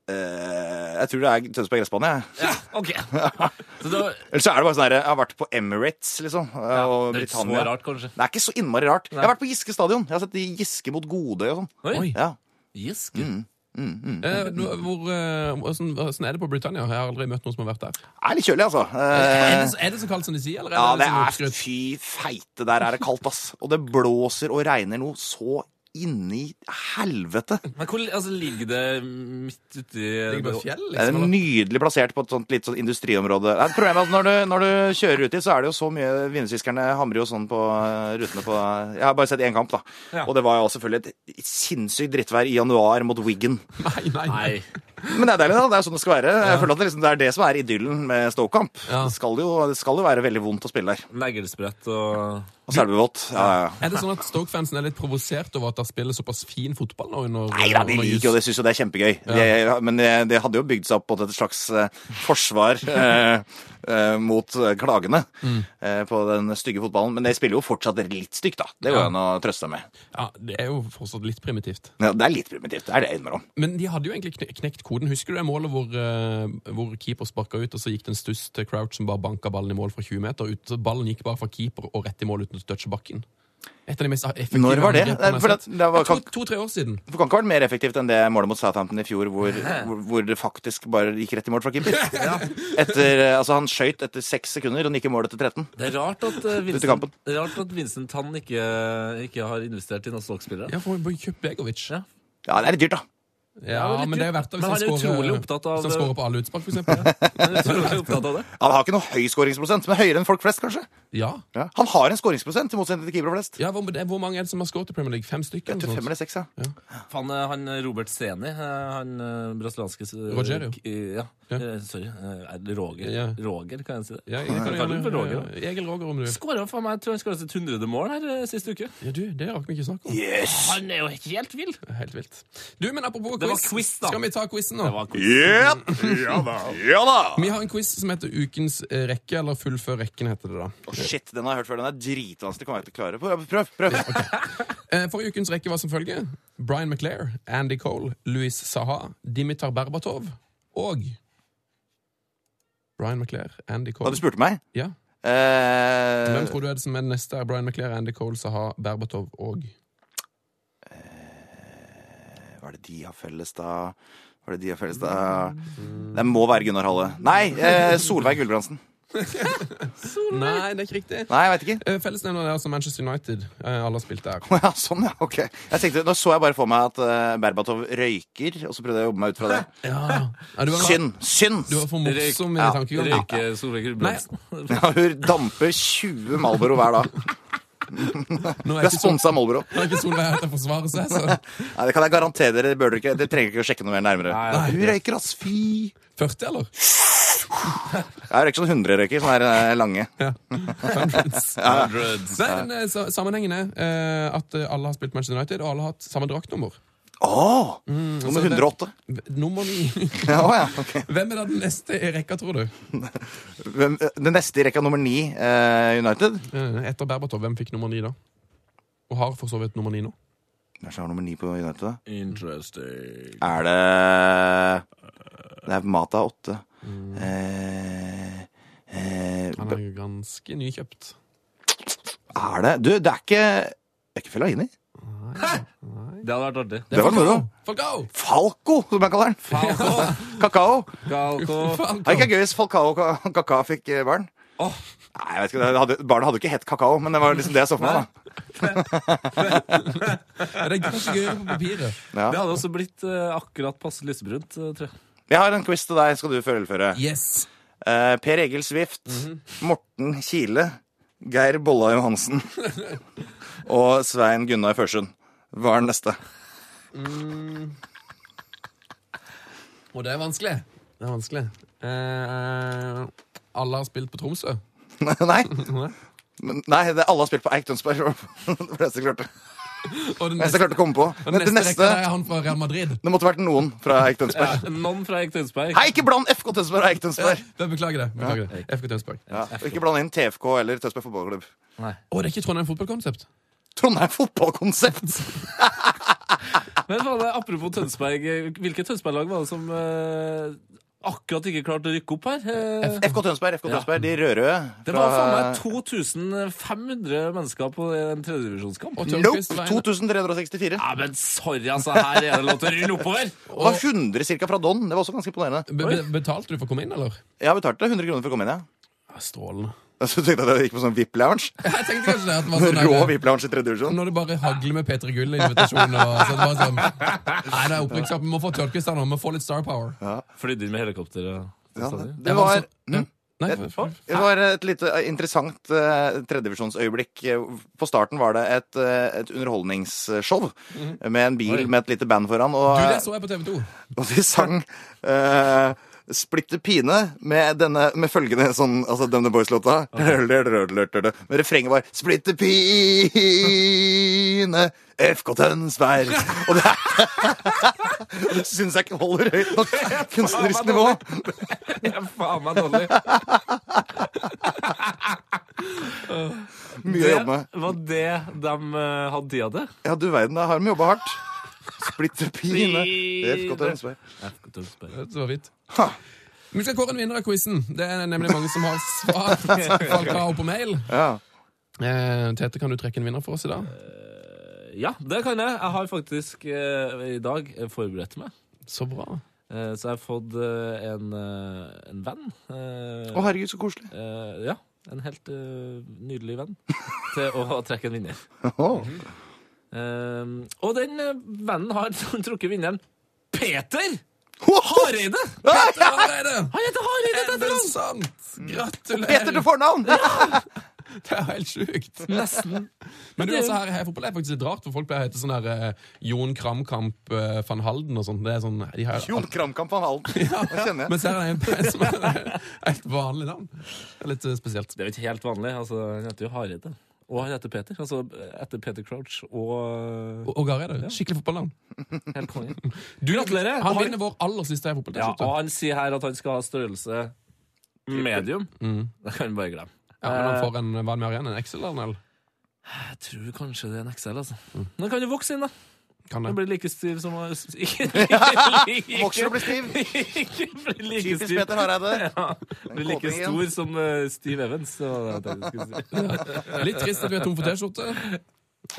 [SPEAKER 6] eh, Jeg tror det er Tønsberg gressbane, jeg.
[SPEAKER 5] Ja, ok. Så det var
[SPEAKER 6] Eller så er det bare sånn her Jeg har vært på Emirates, liksom. og
[SPEAKER 5] det er ikke så
[SPEAKER 6] Britannia.
[SPEAKER 5] rart, kanskje.
[SPEAKER 6] Det er ikke så innmari rart. Jeg har vært på Giske stadion. Jeg har sett de Giske mot Godøy og sånn.
[SPEAKER 5] Oi,
[SPEAKER 6] Ja.
[SPEAKER 5] Giske.
[SPEAKER 2] Eh, nå, hvor, eh, hvordan, hvordan er det på Britannia? Jeg har aldri møtt noen som har vært der.
[SPEAKER 6] Det er litt kjølig, altså.
[SPEAKER 2] Er
[SPEAKER 6] Eh,
[SPEAKER 2] det, så- er det så kaldt som de sier, eller
[SPEAKER 6] ja,
[SPEAKER 2] er det,
[SPEAKER 6] det
[SPEAKER 2] liksom
[SPEAKER 6] er
[SPEAKER 2] oppskrytt?
[SPEAKER 6] Fy feite, der er det kaldt, ass. Og det blåser og regner noe så inni helvete.
[SPEAKER 5] Men hvor altså, ligger det midt uti
[SPEAKER 2] Ligger på et fjell,
[SPEAKER 6] Det er
[SPEAKER 2] liksom? eller?
[SPEAKER 6] nydelig plassert på et sånt litt sånn industriområde. Det er et problem at når du, når du kjører uti, så er det jo så mye Vindfiskerne hamrer jo sånn på eh, rutene på Jeg har bare sett én kamp, da.
[SPEAKER 5] Ja.
[SPEAKER 6] Og det var jo selvfølgelig et sinnssykt drittvær i januar mot Wiggen.
[SPEAKER 2] Nei, nei, nei.
[SPEAKER 5] Nei.
[SPEAKER 6] Men det er deilig, da. Det er sånn det skal være. Jeg føler at det, liksom, det er det som er idyllen med Stoke-kamp.
[SPEAKER 2] Ja.
[SPEAKER 6] Det, skal jo- det skal jo være veldig vondt å spille der.
[SPEAKER 5] Neglebrett og
[SPEAKER 6] Og Selbuvåt. Ja, ja, ja.
[SPEAKER 2] Er det sånn at Stoke-fansen er litt provosert over at de spiller såpass fin fotball nå? Under,
[SPEAKER 6] Nei da, de
[SPEAKER 2] under
[SPEAKER 6] liker jo det, syns jo det er kjempegøy. De- men det, det hadde jo bygd seg opp på et slags eh, forsvar eh, eh, mot eh, klagene
[SPEAKER 2] Mm.
[SPEAKER 6] eh, på den stygge fotballen. Men det spiller jo fortsatt litt stygt, da. Det går
[SPEAKER 2] Ja.
[SPEAKER 6] an å trøste seg med.
[SPEAKER 2] Ja, Det er jo fortsatt litt primitivt.
[SPEAKER 6] Ja, det er litt primitivt, det er det innimellom.
[SPEAKER 2] Men de hadde jo egentlig kne- knekt koden. Husker du det målet hvor, eh, hvor keeper sparka ut, og så gikk det en stuss til Crouch som bare banka ballen i mål fra 20 meter? Ut, så ballen gikk bare fra keeper og rett i mål uten å touche bakken. Et av de mest effektive
[SPEAKER 6] Når var det?
[SPEAKER 2] angrepene jeg har
[SPEAKER 6] For det-
[SPEAKER 2] sett.
[SPEAKER 6] det var-
[SPEAKER 2] Jeg tror To-tre år siden.
[SPEAKER 6] Det kan ikke ha vært mer effektivt enn det målet mot Southampton i fjor, hvor, hvor, hvor det faktisk bare gikk rett i mål fra keeper. Etter, eh, altså, han skøyt etter seks sekunder og den gikk i mål etter 13.
[SPEAKER 5] Det er rart at eh,
[SPEAKER 6] Ute i
[SPEAKER 5] Vincent,
[SPEAKER 6] kampen.
[SPEAKER 5] det er rart at Vincent Tann ikke, ikke har investert i noen Stoke-spillere.
[SPEAKER 2] Ja, for vi kjøpt Begovic.
[SPEAKER 5] Ja.
[SPEAKER 6] Ja, det er litt dyrt, da.
[SPEAKER 2] Ja,
[SPEAKER 5] litt
[SPEAKER 2] men det er
[SPEAKER 5] dyrt.
[SPEAKER 2] verdt det
[SPEAKER 5] Men han
[SPEAKER 2] hvis
[SPEAKER 5] er
[SPEAKER 2] han
[SPEAKER 5] utrolig
[SPEAKER 2] skårer-
[SPEAKER 5] opptatt av-
[SPEAKER 2] hvis han skårer på alle utspark, for eksempel.
[SPEAKER 5] Jeg er utrolig opptatt av det.
[SPEAKER 6] Han har ikke noe høy skåringsprosent, men høyere enn folk flest, kanskje.
[SPEAKER 2] Ja.
[SPEAKER 6] Ja. Han har en skåringsprosent, i motsetning til keepere flest.
[SPEAKER 2] ja hvor, det, hvor mange er det som har skåret i Premier League? Fem stykker?
[SPEAKER 6] Jeg
[SPEAKER 2] eller noe
[SPEAKER 6] tror fem
[SPEAKER 2] sånt?
[SPEAKER 6] eller seks, ja.
[SPEAKER 5] Faen, eh, han eh, Robert Seni, eh, han eh, brasilianske s-
[SPEAKER 2] Rogerio.
[SPEAKER 5] k- Ja.
[SPEAKER 2] Ja.
[SPEAKER 5] eh, Sorry. eh, er det Roger?
[SPEAKER 2] Ja.
[SPEAKER 5] Roger, kan jeg si det?
[SPEAKER 2] Ja, jeg kan
[SPEAKER 5] Kaller du for Roger,
[SPEAKER 2] gjerne, Egil Roger, om du vil.
[SPEAKER 5] Skåra faen meg, jeg tror han skåra sitt 100. mål her eh, siste uke.
[SPEAKER 2] Ja, du, det rakk vi ikke snakke om.
[SPEAKER 6] Yes!
[SPEAKER 5] Han er jo helt vill!
[SPEAKER 2] Helt vilt. Du, men apropos
[SPEAKER 5] Det var
[SPEAKER 2] quiz,
[SPEAKER 5] quiz, da.
[SPEAKER 2] skal vi ta quizen nå?
[SPEAKER 5] Det var quiz.
[SPEAKER 6] Yep. Ja da. Ja da.
[SPEAKER 2] Vi har en quiz som heter Ukens eh, rekke, eller Fullfør rekken, heter det da.
[SPEAKER 6] Shit, den har jeg hørt før. Den er dritvanskelig. Kommer jeg til å klare Prøv, prøv. prøv.
[SPEAKER 2] Eh, Forrige ukens rekke var som følger. Brian McLair, Andy Cole, Louis Saha, Dimitar Berbatov og Brian McLair, Andy
[SPEAKER 6] Da
[SPEAKER 2] Cole
[SPEAKER 6] du spurte meg
[SPEAKER 2] Ja.
[SPEAKER 6] eh,
[SPEAKER 2] Hvem tror du er det som er den neste? Er Brian McLair, Andy Cole, Saha, Berbatov og
[SPEAKER 6] Eh, Hva er det de har felles, da? Hva er det de har felles, da? Det må være Gunnar Halle. Nei, eh, Solveig Gulbrandsen.
[SPEAKER 2] Nei, det er ikke riktig.
[SPEAKER 6] Nei, jeg veit ikke.
[SPEAKER 2] Eh, Fellesnevneren er altså Manchester United. Eh, Alle har spilt der.
[SPEAKER 6] Ja, sånn, ja. Ok. Jeg tenkte, Nå så jeg bare for meg at eh, Berbatov røyker, og så prøvde jeg å jobbe meg ut fra det.
[SPEAKER 2] Ja. du var,
[SPEAKER 6] Synd! Synd!
[SPEAKER 2] Du var for morsom i
[SPEAKER 6] Ja.
[SPEAKER 2] tankegangen.
[SPEAKER 5] Røyke Solveig Gulbrandsen.
[SPEAKER 6] Ja, hun damper 20 Malboro hver dag.
[SPEAKER 2] Nå er
[SPEAKER 6] Hun er
[SPEAKER 2] ikke Sol-
[SPEAKER 6] sponsa av Malboro.
[SPEAKER 2] nå er ikke Solveig her til å forsvare seg, så
[SPEAKER 6] Nei, det kan jeg garantere dere. Bør dere ikke, dere trenger ikke å sjekke noe mer nærmere.
[SPEAKER 5] Nei,
[SPEAKER 6] Nei, hun røyker, ass. Fy!
[SPEAKER 2] 40, eller?
[SPEAKER 6] Jeg røyker sånn 100 røyker, sånn her eh, lange.
[SPEAKER 5] Hundreds.
[SPEAKER 2] Nei, men eh, sa- Sammenhengen er eh, at eh, alle har spilt Manchester United, og alle har hatt samme draktnummer.
[SPEAKER 6] Åh! Nummer
[SPEAKER 2] altså, det-
[SPEAKER 6] 108.
[SPEAKER 2] V- Nummer ni.
[SPEAKER 6] Ja, å ja. ok.
[SPEAKER 2] Hvem er da den neste i rekka, tror du?
[SPEAKER 6] Hvem, den neste i rekka nummer 9, eh, United.
[SPEAKER 2] Eh, Etter Berbatov, hvem fikk nummer ni da? Og har for så vidt nummer ni nå.
[SPEAKER 6] Hvem er det som har nummer 9 på United? da?
[SPEAKER 5] Interesting.
[SPEAKER 6] Er det Det er Mata 8. Eh, eh,
[SPEAKER 2] Han er jo ganske nykjøpt.
[SPEAKER 6] er det Du, det er ikke Det er ikke Fellaini.
[SPEAKER 5] Det hadde vært artig.
[SPEAKER 6] Det var moro.
[SPEAKER 2] Falcao!
[SPEAKER 6] Falco, som jeg kaller den. Kakao.
[SPEAKER 5] Galko.
[SPEAKER 6] Det er
[SPEAKER 2] Falcao.
[SPEAKER 6] ikke gøy hvis Falcao og Kaka fikk eh, barn.
[SPEAKER 5] Åh.
[SPEAKER 6] Nei, jeg vet ikke, det hadde, Barnet hadde jo ikke hett kakao, men det var liksom det jeg så for meg. da.
[SPEAKER 2] Det er ganske gøy på papiret.
[SPEAKER 5] Det hadde også blitt eh, akkurat passe lysebrunt, eh, tror jeg.
[SPEAKER 6] Jeg har en quiz til deg. Skal du føre eller føre?
[SPEAKER 2] Yes.
[SPEAKER 6] Eh, per Egil Swift, Morten Kile, Geir Bolla Johansen og Svein Gunnar Førsund var den neste.
[SPEAKER 2] Og det er vanskelig. Det er vanskelig. Eh, alle har spilt på Tromsø.
[SPEAKER 6] nei. Men, nei, det alle har spilt på Eik Tønsberg. Det var det eneste jeg klarte.
[SPEAKER 2] Og den
[SPEAKER 6] Det eneste jeg klarte å komme på.
[SPEAKER 2] Og
[SPEAKER 6] Men det
[SPEAKER 2] neste rekke
[SPEAKER 6] neste
[SPEAKER 2] er han fra Real Madrid.
[SPEAKER 6] Det måtte vært noen fra Eik Tønsberg.
[SPEAKER 5] Noen fra Eik Tønsberg.
[SPEAKER 6] Nei, ikke bland FK Tønsberg og Eik Tønsberg!
[SPEAKER 2] Ja, Beklager det. beklager det FK Tønsberg. Å,
[SPEAKER 6] Ja, og ikke bland inn TFK eller Tønsberg fotballklubb.
[SPEAKER 2] det er ikke Trondheim fotballkonsept?
[SPEAKER 6] Trondheim fotballkonsept!
[SPEAKER 5] Men faen, apropos Tønsberg, eh, hvilket Tønsberg-lag var det som eh, akkurat ikke klarte å rykke opp her. Eh,
[SPEAKER 6] FK Tønsberg, FK Tønsberg, de rødrøde.
[SPEAKER 5] Det var faen meg 2500 mennesker på en tredjedivisjonskamp.
[SPEAKER 2] Og Tørnquist
[SPEAKER 6] Nope!
[SPEAKER 2] var en-
[SPEAKER 6] 2364.
[SPEAKER 5] Ja, men sorry, altså. Her er det lov til å rulle oppover.
[SPEAKER 6] Det var 100 cirka fra Don. Det var også ganske imponerende.
[SPEAKER 2] Be- be- Betalte du for å komme inn, eller?
[SPEAKER 6] Jeg betalte 100 kroner for å komme inn, jeg.
[SPEAKER 2] Ja, strålende.
[SPEAKER 6] Så tenkte jeg at jeg gikk på sånn VIP-lounge.
[SPEAKER 2] Jeg tenkte kanskje det at det var sånn
[SPEAKER 6] Rå
[SPEAKER 2] der,
[SPEAKER 6] VIP-lounge i tredje divisjon.
[SPEAKER 2] når det bare hagler med P3 Gull i invitasjonen. Og, så det var sånn, nei, det er opprykkskap. Vi må få Tørnquist her nå. Vi må få litt star power.
[SPEAKER 5] Flydde inn med helikopter. og-
[SPEAKER 6] Ja, det-
[SPEAKER 2] Jeg
[SPEAKER 6] det var
[SPEAKER 2] så- ja. Nei,
[SPEAKER 6] Det-
[SPEAKER 2] for-
[SPEAKER 6] Det var et lite eh, interessant eh, tredjedivisjonsøyeblikk. På starten var det et, eh, et underholdningsshow med en bil med et lite band foran, og,
[SPEAKER 2] Mhm. Du, det så jeg på TV 2.
[SPEAKER 6] og de sang eh, Splitter pine med, denne, med følgende sånn, altså denne boys-låta. Men refrenget var Splitter pine, FK Tønsberg. Og det, er- det syns jeg ikke holder høyt nok kunstnerisk nivå.
[SPEAKER 5] Ja, faen meg dårlig.
[SPEAKER 6] Mye å
[SPEAKER 5] Det
[SPEAKER 6] jobbe med.
[SPEAKER 5] var det de eh, hadde tid til.
[SPEAKER 6] Ja, du verden, da har de jobba hardt. Splitter pine. Det er FK Tønsberg.
[SPEAKER 5] Tønsberg.
[SPEAKER 2] Så vidt. Vi skal kåre en vinner av quizen. Det er nemlig mange som har svart. Folk har på mail.
[SPEAKER 6] Ja.
[SPEAKER 2] Eh, Tete, kan du trekke en vinner for oss i dag?
[SPEAKER 5] Ja, det kan jeg. Jeg har faktisk eh, i dag forberedt meg.
[SPEAKER 2] Så bra.
[SPEAKER 5] Eh, så jeg har fått eh, en, eh, en venn. eh,
[SPEAKER 6] Å, herregud, så koselig.
[SPEAKER 5] eh, ja, en helt eh, nydelig venn til å trekke en vinner.
[SPEAKER 6] Åh.
[SPEAKER 5] Eh, og den eh, vennen har trukket vinneren. Peter
[SPEAKER 6] Ho,
[SPEAKER 5] Hareide!
[SPEAKER 2] Petter Hareide!
[SPEAKER 5] Han heter Hareide!
[SPEAKER 2] Er
[SPEAKER 5] dette
[SPEAKER 2] det
[SPEAKER 5] er han!
[SPEAKER 2] sant?
[SPEAKER 6] Peter
[SPEAKER 2] Gratulerer!
[SPEAKER 6] til fornavn!
[SPEAKER 2] Det er jo helt sjukt.
[SPEAKER 5] Nesten.
[SPEAKER 2] Men du, altså, her, her i fotball er det faktisk litt rart, for folk pleier å hete sånn her eh, Jon Kramkamp eh, van Halden og sånn. Det er sånn de har,
[SPEAKER 6] Jon Kramkamp van Halden. Det kjenner jeg.
[SPEAKER 2] Mens her er det en per som er et vanlig navn. Det er litt eh, spesielt.
[SPEAKER 5] Det er jo ikke helt vanlig. altså Han heter jo Hareide. Og han heter Peter. Altså etter Peter Crouch og eh,
[SPEAKER 2] Og og Hareide. Skikkelig fotballnavn.
[SPEAKER 5] helt konge. Gratulerer!
[SPEAKER 2] Han
[SPEAKER 5] Og
[SPEAKER 2] vinner vår aller siste
[SPEAKER 5] ja, og
[SPEAKER 2] fotballtøysjute.
[SPEAKER 5] han sier her at han skal ha størrelse medium. Det kan vi bare glemme.
[SPEAKER 2] Ja, men han får en, eh, hva er det vi har igjen? En XL-arnel?
[SPEAKER 5] Jeg tror kanskje det er en XL, altså. Men kan du vokse inn, da?
[SPEAKER 2] Kan
[SPEAKER 5] Den
[SPEAKER 2] det?
[SPEAKER 5] blir like stiv som Ikke
[SPEAKER 6] Vokser og blir stiv.
[SPEAKER 5] blir like
[SPEAKER 6] Typisk
[SPEAKER 5] stiv.
[SPEAKER 6] Peter Hareide.
[SPEAKER 5] Ja, blir like
[SPEAKER 6] kåpingen.
[SPEAKER 5] stor som eh, Steve Evans. Så det var det jeg tenkte jeg skulle si.
[SPEAKER 2] Litt trist at vi er tom for T-skjorte.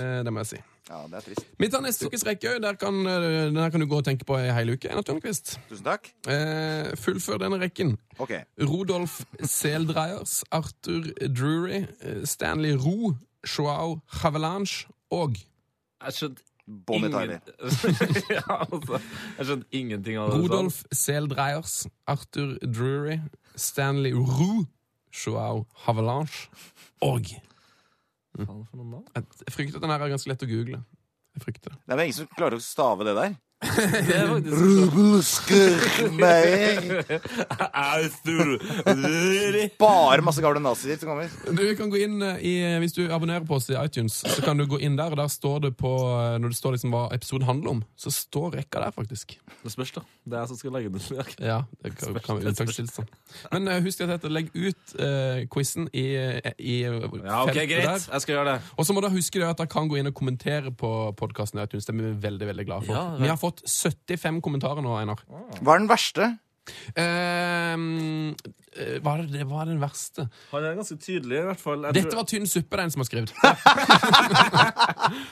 [SPEAKER 2] Eh, det må jeg si.
[SPEAKER 6] Ja, det er trist.
[SPEAKER 2] Vi tar neste ukes rekke. Der kan, eh, den her kan du gå og tenke på ei hel uke. Einar Tørnquist.
[SPEAKER 6] Tusen takk.
[SPEAKER 2] Eh, fullfør denne rekken.
[SPEAKER 6] Ok.
[SPEAKER 2] Rodolf Seldreyers, Arthur Drury, eh, Stanley Roe, Joao Havelange og
[SPEAKER 5] Jeg skjønte
[SPEAKER 6] Bonnie Tyler.
[SPEAKER 5] ja, altså, jeg skjønte ingenting av det. du sa.
[SPEAKER 2] Rodolf Seldreyers, Arthur Drury, Stanley Roe, Joao Havelange og
[SPEAKER 5] Faen, for noen navn.
[SPEAKER 2] Jeg frykter at den her er ganske lett å google. Jeg frykter det.
[SPEAKER 6] Det er vel ingen som klarer å stave det der?
[SPEAKER 5] Det er faktisk
[SPEAKER 6] Rubelskurk, nei. Bare masse gamle nazier som kommer.
[SPEAKER 2] Du kan gå inn eh, i, Hvis du abonnerer på oss i iTunes, så kan du gå inn der, og der står det på eh, Når det står liksom hva episoden handler om, så står rekka der, faktisk.
[SPEAKER 5] Det spørs, da. Det er jeg som skal legge den ut. i dag.
[SPEAKER 2] Ja, det kan, kan være unntakstilstand. Men eh, husk at dette, legg ut uh, quizen i, i
[SPEAKER 5] Ja, ok,
[SPEAKER 2] feltet
[SPEAKER 5] greit. Jeg skal gjøre det.
[SPEAKER 2] Og så må dere huske det at dere kan gå inn og kommentere på podkasten i iTunes. Det er vi veldig veldig glade for.
[SPEAKER 5] Ja, vel.
[SPEAKER 2] vi har fått 75 kommentarer nå, Einar.
[SPEAKER 6] Hva er den verste?
[SPEAKER 2] Uh, hva er det, det var den verste?
[SPEAKER 5] Han er ganske tydelig, i hvert fall.
[SPEAKER 2] Dette var tynn suppe, den som har skrevet.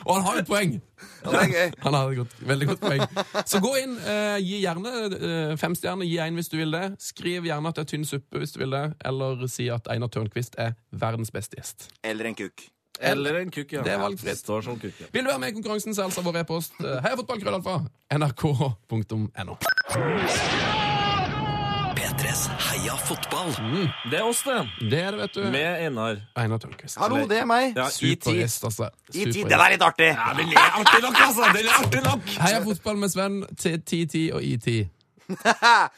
[SPEAKER 2] og han har jo et poeng!
[SPEAKER 6] Ja, det er gøy.
[SPEAKER 2] Han har et godt, veldig godt poeng. Så gå inn. eh, gi gjerne eh, fem stjerner. Gi én hvis du vil det. Skriv gjerne at det er tynn suppe hvis du vil det. Eller si at Einar Tørnquist er verdens beste gjest.
[SPEAKER 6] Eller en kuk.
[SPEAKER 5] Eller en kukk, ja.
[SPEAKER 2] Det er valgfritt.
[SPEAKER 5] Står som kukk, ja.
[SPEAKER 2] Vil du være med i konkurransen, så altså vår e-post eh, heiafotballkrøllalfa nrk.no.
[SPEAKER 4] P3s Heia fotball.
[SPEAKER 5] Det er oss, det.
[SPEAKER 2] Det er det, vet du.
[SPEAKER 5] Med Einar.
[SPEAKER 2] Einar Tørnquist.
[SPEAKER 6] Hallo, det er meg.
[SPEAKER 5] Ja, i tid.
[SPEAKER 2] Supergjest, altså.
[SPEAKER 6] I tid.
[SPEAKER 2] Supergjest.
[SPEAKER 6] Den er litt artig.
[SPEAKER 5] Den er artig nok, altså! Den er artig nok!
[SPEAKER 2] Heia fotball med Sven til 10-10 og i10.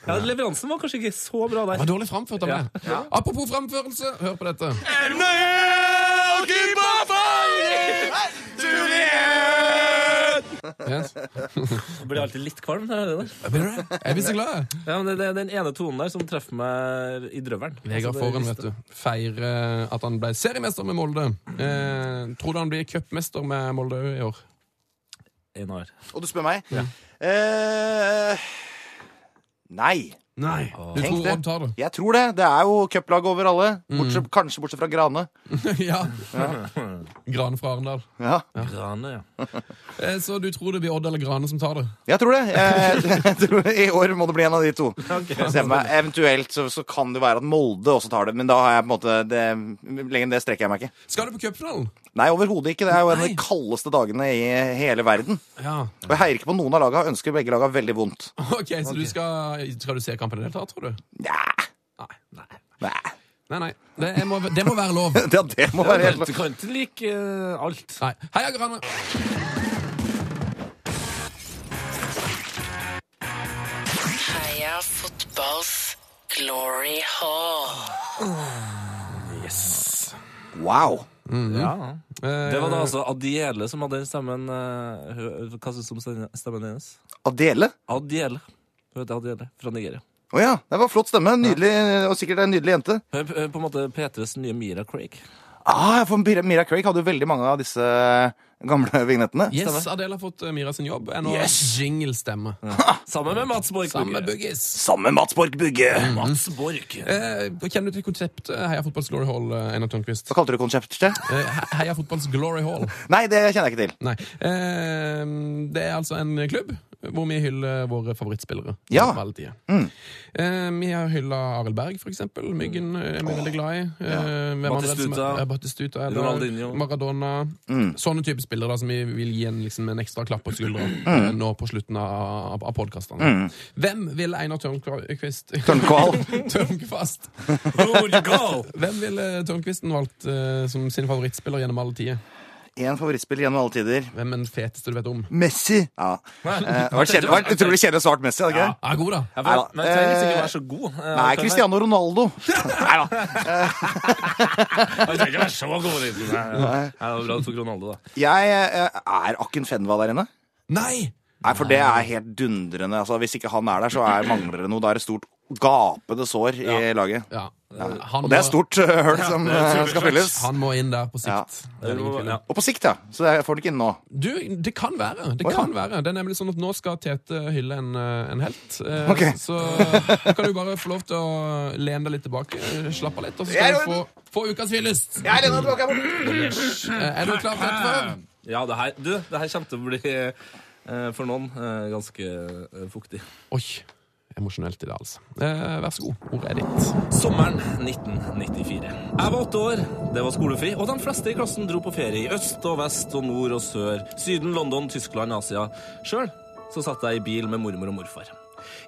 [SPEAKER 5] Ja, leveransen var kanskje ikke så bra
[SPEAKER 2] Det var
[SPEAKER 5] der.
[SPEAKER 2] dårlig framført av meg. Apropos framførelse, hør på dette. Yes.
[SPEAKER 5] Jeg blir alltid litt kvalm. når jeg hører det der.
[SPEAKER 2] Blir du det? Jeg blir så glad. jeg.
[SPEAKER 5] Ja, men det, det er den ene tonen der som treffer meg i drøvelen.
[SPEAKER 2] Vegard
[SPEAKER 5] Altså, det-
[SPEAKER 2] Foren, vet du. Feirer at han ble seriemester med Molde. Eh, tror du han blir cupmester med Molde i år?
[SPEAKER 5] Einar.
[SPEAKER 6] Og du spør meg? Eh, nei.
[SPEAKER 2] Nei. Du
[SPEAKER 6] Tenk
[SPEAKER 2] tror
[SPEAKER 6] det.
[SPEAKER 2] Odd tar det?
[SPEAKER 6] Jeg tror det. Det er jo cuplag over alle. Bortsett, Kanskje bortsett fra Grane.
[SPEAKER 2] ja. Grane fra Arendal.
[SPEAKER 6] Ja,
[SPEAKER 5] Grane, ja.
[SPEAKER 2] Eh, Så du tror det blir Odd eller Grane som tar det?
[SPEAKER 6] jeg tror det. Jeg, jeg tror I år må det bli en av de to. Se for meg. Eventuelt så, så kan det være at Molde også tar det, men da har jeg på en måte det, Lenger enn det strekker jeg meg ikke.
[SPEAKER 2] Skal du på cupfinalen?
[SPEAKER 6] Nei, overhodet ikke. Det er jo en av
[SPEAKER 2] Nei.
[SPEAKER 6] de kaldeste dagene i hele verden.
[SPEAKER 2] Ja.
[SPEAKER 6] Og jeg heier ikke på noen av laga. Ønsker begge laga veldig vondt.
[SPEAKER 2] Ok, så du skal Skal du se kampen i det hele tatt, tror du?
[SPEAKER 6] Nja.
[SPEAKER 2] Nei. Nei,
[SPEAKER 6] Nei.
[SPEAKER 2] nei. nei. Det, jeg må, det må være lov.
[SPEAKER 6] Ja, det må være helt
[SPEAKER 5] Du kan ikke like eh, alt.
[SPEAKER 2] Nei. Heia Grane!
[SPEAKER 1] Heia fotballs glory hall.
[SPEAKER 6] Wow.
[SPEAKER 5] Ja.
[SPEAKER 2] Eh,
[SPEAKER 5] Det var da altså Adiele som hadde den stemmen. eh, hø- Hva syns du om stemmen- stemmen hennes?
[SPEAKER 6] Adele.
[SPEAKER 5] Adiele. Hun heter Adiele fra Nigeria.
[SPEAKER 6] Å ja. Det var flott stemme. Nydelig, og sikkert en nydelig jente.
[SPEAKER 5] Hun er p- på en måte P3s nye Mira Craig.
[SPEAKER 6] Ah, for Mira, Mira Craig hadde jo veldig mange av disse gamle vignettene.
[SPEAKER 2] Yes, Adele har fått eh, Mira sin jobb. Er nå jinglestemme.
[SPEAKER 5] Sammen med Mats Borch.
[SPEAKER 2] Samme
[SPEAKER 5] Borge.
[SPEAKER 2] buggis.
[SPEAKER 6] Sammen med Mats Borg Bugge.
[SPEAKER 2] Mm.
[SPEAKER 5] Mats Borch.
[SPEAKER 2] Eh, kjenner du til konseptet Heia fotballs glory hall, eh, Einar Tørnquist?
[SPEAKER 6] Hva kalte du konseptet?
[SPEAKER 2] Eh, he- Heia fotballs glory hall.
[SPEAKER 6] Nei, det kjenner jeg ikke til.
[SPEAKER 2] Nei. Eh, det er altså en klubb hvor vi hyller våre favorittspillere.
[SPEAKER 6] Ja.
[SPEAKER 2] På alle tider. Eh, vi har hylla Arild Berg, for eksempel. Myggen eh, er vi veldig glad i. Eh, hvem andre er det som er-
[SPEAKER 5] Batistuta.
[SPEAKER 2] ja, Batistuta er det.
[SPEAKER 5] Ronaldinho.
[SPEAKER 2] Maradona. Sånne type spillere da, som vi vil gi en, liksom, en ekstra klapp på skuldra eh, nå på slutten av, av- av podkastene. Hvem vil Einar Tørnquist
[SPEAKER 6] Tørnkål.
[SPEAKER 2] Tørnquist. Hvem ville Tørnquisten valgt eh, som sin favorittspiller gjennom alle tider?
[SPEAKER 6] Én favorittspiller gjennom alle tider.
[SPEAKER 2] Hvem er den feteste du vet om?
[SPEAKER 6] Messi. Ja. Eh, Det var, kjedelig- det var utrolig kjedelig svart Messi. hadde ikke det?
[SPEAKER 2] Ja, god, da.
[SPEAKER 5] Ja,
[SPEAKER 6] Nei da.
[SPEAKER 5] for- Men jeg trenger ikke
[SPEAKER 6] Eh,
[SPEAKER 5] å være så god. Eh,
[SPEAKER 6] Nei,
[SPEAKER 5] jeg trenger-
[SPEAKER 6] Cristiano Ronaldo. Nei da.
[SPEAKER 5] Jeg trenger ikke være så god. Liksom. Nei, nei. Nei, det var bra du tok Ronaldo, da.
[SPEAKER 6] Jeg eh, er Akken Fenva der inne.
[SPEAKER 2] Nei!
[SPEAKER 6] Nei, for det er helt dundrende. Altså, hvis ikke han er der, så er, mangler det noe. Da er det stort gapende sår i laget.
[SPEAKER 2] Ja. Han,
[SPEAKER 6] Og det er
[SPEAKER 2] må-
[SPEAKER 6] stort eh, høl som eh, skal fylles.
[SPEAKER 2] Han må inn der på
[SPEAKER 6] Ja.
[SPEAKER 2] sikt. Det er ingen tvil om.
[SPEAKER 5] Ja.
[SPEAKER 6] Og på sikt, ja. Så jeg får den ikke inn nå.
[SPEAKER 2] Du, det kan være. Det
[SPEAKER 6] Å, ja.
[SPEAKER 2] kan være. Det er nemlig sånn at nå skal Tete hylle en, eh, en helt. Eh,
[SPEAKER 6] Ok.
[SPEAKER 2] Så da kan du bare få lov til å lene deg litt tilbake, eh, slappe av litt, og så
[SPEAKER 6] Jeg
[SPEAKER 2] skal du
[SPEAKER 6] er
[SPEAKER 2] få, få ukas hyllest.
[SPEAKER 6] Jeg er ennå tilbake her borte.
[SPEAKER 2] Eh, Er du klar for dette?
[SPEAKER 5] Ja, det her, du, det her kommer til å bli eh, for noen eh, ganske eh, fuktig.
[SPEAKER 2] Oi. Emosjonelt i det, altså. Eh, Vær så god. Ordet er ditt.
[SPEAKER 5] Sommeren 1994. Jeg var åtte år, det var skolefri, og de fleste i klassen dro på ferie i øst og vest og nord og sør. Syden, London, Tyskland, Asia. Sjøl så satt jeg i bil med mormor og morfar.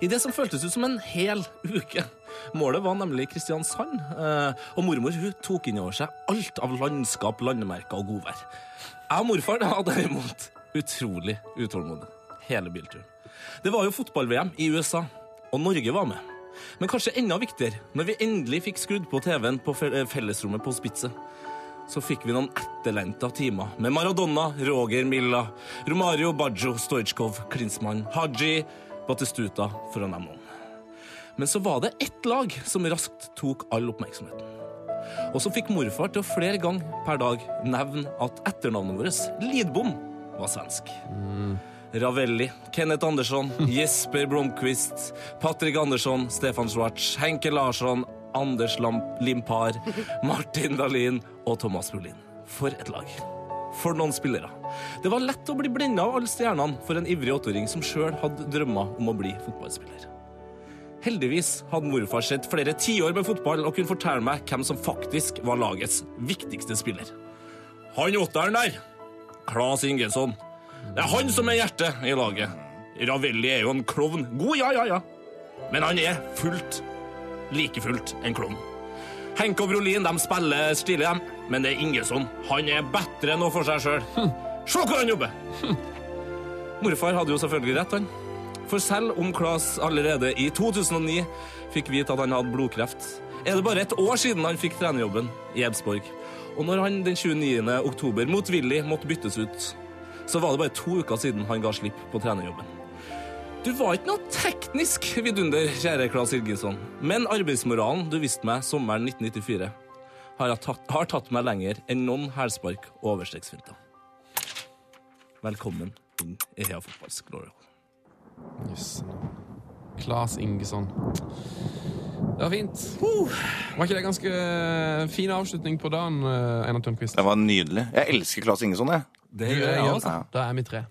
[SPEAKER 5] I det som føltes ut som en hel uke. Målet var nemlig Kristiansand, eh, og mormor hun tok inn over seg alt av landskap, landemerker og godvær. Jeg og morfar var derimot utrolig utålmodig hele bilturen. Det var jo fotball-VM i USA, og Norge var med. Men kanskje enda viktigere, når vi endelig fikk skrudd på TV-en på fe- eh, fellesrommet på Spitze, så fikk vi noen etterlengta timer med Maradona, Roger Milla, Romario Baggio, Stojkov, Klinsmann, Haji, Batistuta, for å nevne noen. Men så var det ett lag som raskt tok all oppmerksomheten. Og så fikk morfar til å flere ganger per dag nevne at etternavnet vårt, Lidbom, var svensk. Ravelli, Kenneth Andersson, Jesper Blomqvist, Patrick Andersson, Stefan Schwartz, Henke Larsson, Anders Lam- Limpar, Martin Dahlin og Thomas Brolin. For et lag. For noen spillere. Det var lett å bli blenda av alle stjernene for en ivrig åtteåring som sjøl hadde drømmer om å bli fotballspiller. Heldigvis hadde morfar sett flere tiår med fotball og kunne fortelle meg hvem som faktisk var lagets viktigste spiller. Han åtteren der, Claes Ingesson. Det er han som er hjertet i laget. Ravelli er jo en klovn. God, ja, ja, ja. Men han er fullt, like fullt, en klovn. Henke og Brolin de spiller stilig, dem. Men det er Ingesson. Han er bedre nå for seg sjøl. Se hvor han jobber! Morfar hadde jo selvfølgelig rett, han. For selv om Claes allerede i 2009 fikk vite at han hadde blodkreft, er det bare et år siden han fikk trenerjobben i Ebsborg. Og når han den 29. oktober motvillig måtte byttes ut, så var det bare to uker siden han ga slipp på trenerjobben. Du var ikke noe teknisk vidunder, kjære Claes Hilgesson, men arbeidsmoralen du viste meg sommeren 1994, har, jeg tatt, har tatt meg lenger enn noen hælspark og overstegsfinter. Velkommen inn i Hea Fotballs glory hall.
[SPEAKER 2] Claes Ingesson. Det var fint. Var ikke det ganske fin avslutning på dagen, eh, Einar Tørnquist?
[SPEAKER 6] Det var nydelig. Jeg elsker Claes Ingesson, jeg.
[SPEAKER 5] Det
[SPEAKER 2] Du
[SPEAKER 5] gjør
[SPEAKER 2] er
[SPEAKER 5] jeg
[SPEAKER 2] ja, altså.
[SPEAKER 5] også.
[SPEAKER 6] Ja.
[SPEAKER 2] Da er vi tre.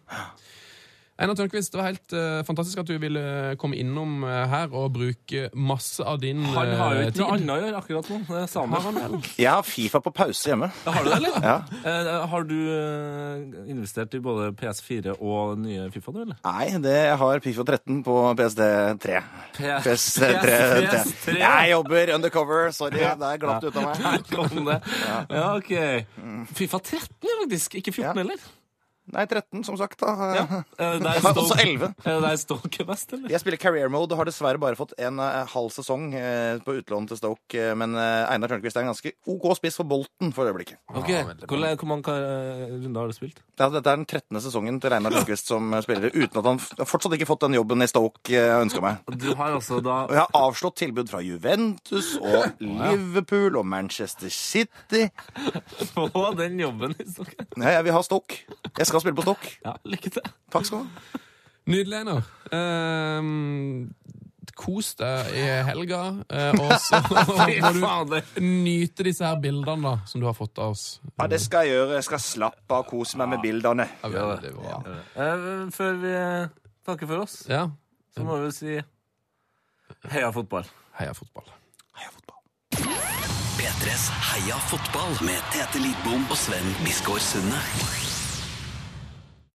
[SPEAKER 2] Einar Tørnquist, det var helt eh, fantastisk at du ville komme innom eh, her og bruke masse av din
[SPEAKER 5] Han har jo
[SPEAKER 2] eh,
[SPEAKER 5] ikke noe annet å gjøre akkurat nå. Det er
[SPEAKER 2] Har han
[SPEAKER 5] samer.
[SPEAKER 2] vel?
[SPEAKER 6] Jeg har Fifa på pause hjemme.
[SPEAKER 5] Har du det, eller?
[SPEAKER 6] Ja.
[SPEAKER 5] Eh, har du eh, investert i både PS4 og nye Fifa, du, eller?
[SPEAKER 6] Nei, det jeg har Fifa 13 på PSD3.
[SPEAKER 5] PS3.
[SPEAKER 6] PSD3. Jeg jobber undercover. Sorry, der glapp det ut av meg.
[SPEAKER 5] Her kom det. Ja, ok. Fifa 13, er faktisk. Ikke 14
[SPEAKER 6] Ja.
[SPEAKER 5] heller.
[SPEAKER 6] Nei, 13, som sagt. da.
[SPEAKER 5] Er det
[SPEAKER 6] Jeg
[SPEAKER 5] der
[SPEAKER 6] har også
[SPEAKER 5] Stoke-
[SPEAKER 6] 11.
[SPEAKER 5] er det der Stoke er best, eller?
[SPEAKER 6] Jeg spiller career mode og har dessverre bare fått en eh, halv sesong eh, på utlån til Stoke. eh, Men eh, Einar Tørnquist er en ganske OK spiss for Bolten for øyeblikket.
[SPEAKER 5] Ok, Hvor, le- hvor mange eh, runder har du spilt?
[SPEAKER 6] Ja, dette er den 13. sesongen til Einar Tørnquist som eh, spiller, uten at han f- fortsatt ikke fått den jobben i Stoke eh, jeg ønska meg.
[SPEAKER 5] Du har altså da
[SPEAKER 6] Og jeg har avslått tilbud fra Juventus og Liverpool og Manchester City.
[SPEAKER 5] på den jobben i Stoke.
[SPEAKER 6] Nei, jeg vil ha Stoke. Jeg skal spille på Stoke.
[SPEAKER 5] Ja, lykke til.
[SPEAKER 6] Takk skal du ha.
[SPEAKER 2] Nydelig, Einar. Ehm, kos deg i helga, eh, og så
[SPEAKER 5] Fy
[SPEAKER 2] må du
[SPEAKER 5] fader.
[SPEAKER 2] nyte disse her bildene da, som du har fått av oss.
[SPEAKER 6] Ja, det skal jeg gjøre. Jeg skal slappe av og kose meg med bildene.
[SPEAKER 2] Ja, veldig bra.
[SPEAKER 5] Eh, Før vi eh, takker for oss,
[SPEAKER 2] Ja.
[SPEAKER 5] så må vi si heia fotball.
[SPEAKER 2] Heia fotball.
[SPEAKER 4] P3s Heia fotball med Tete Lidbom og Sven Biskår Sunde.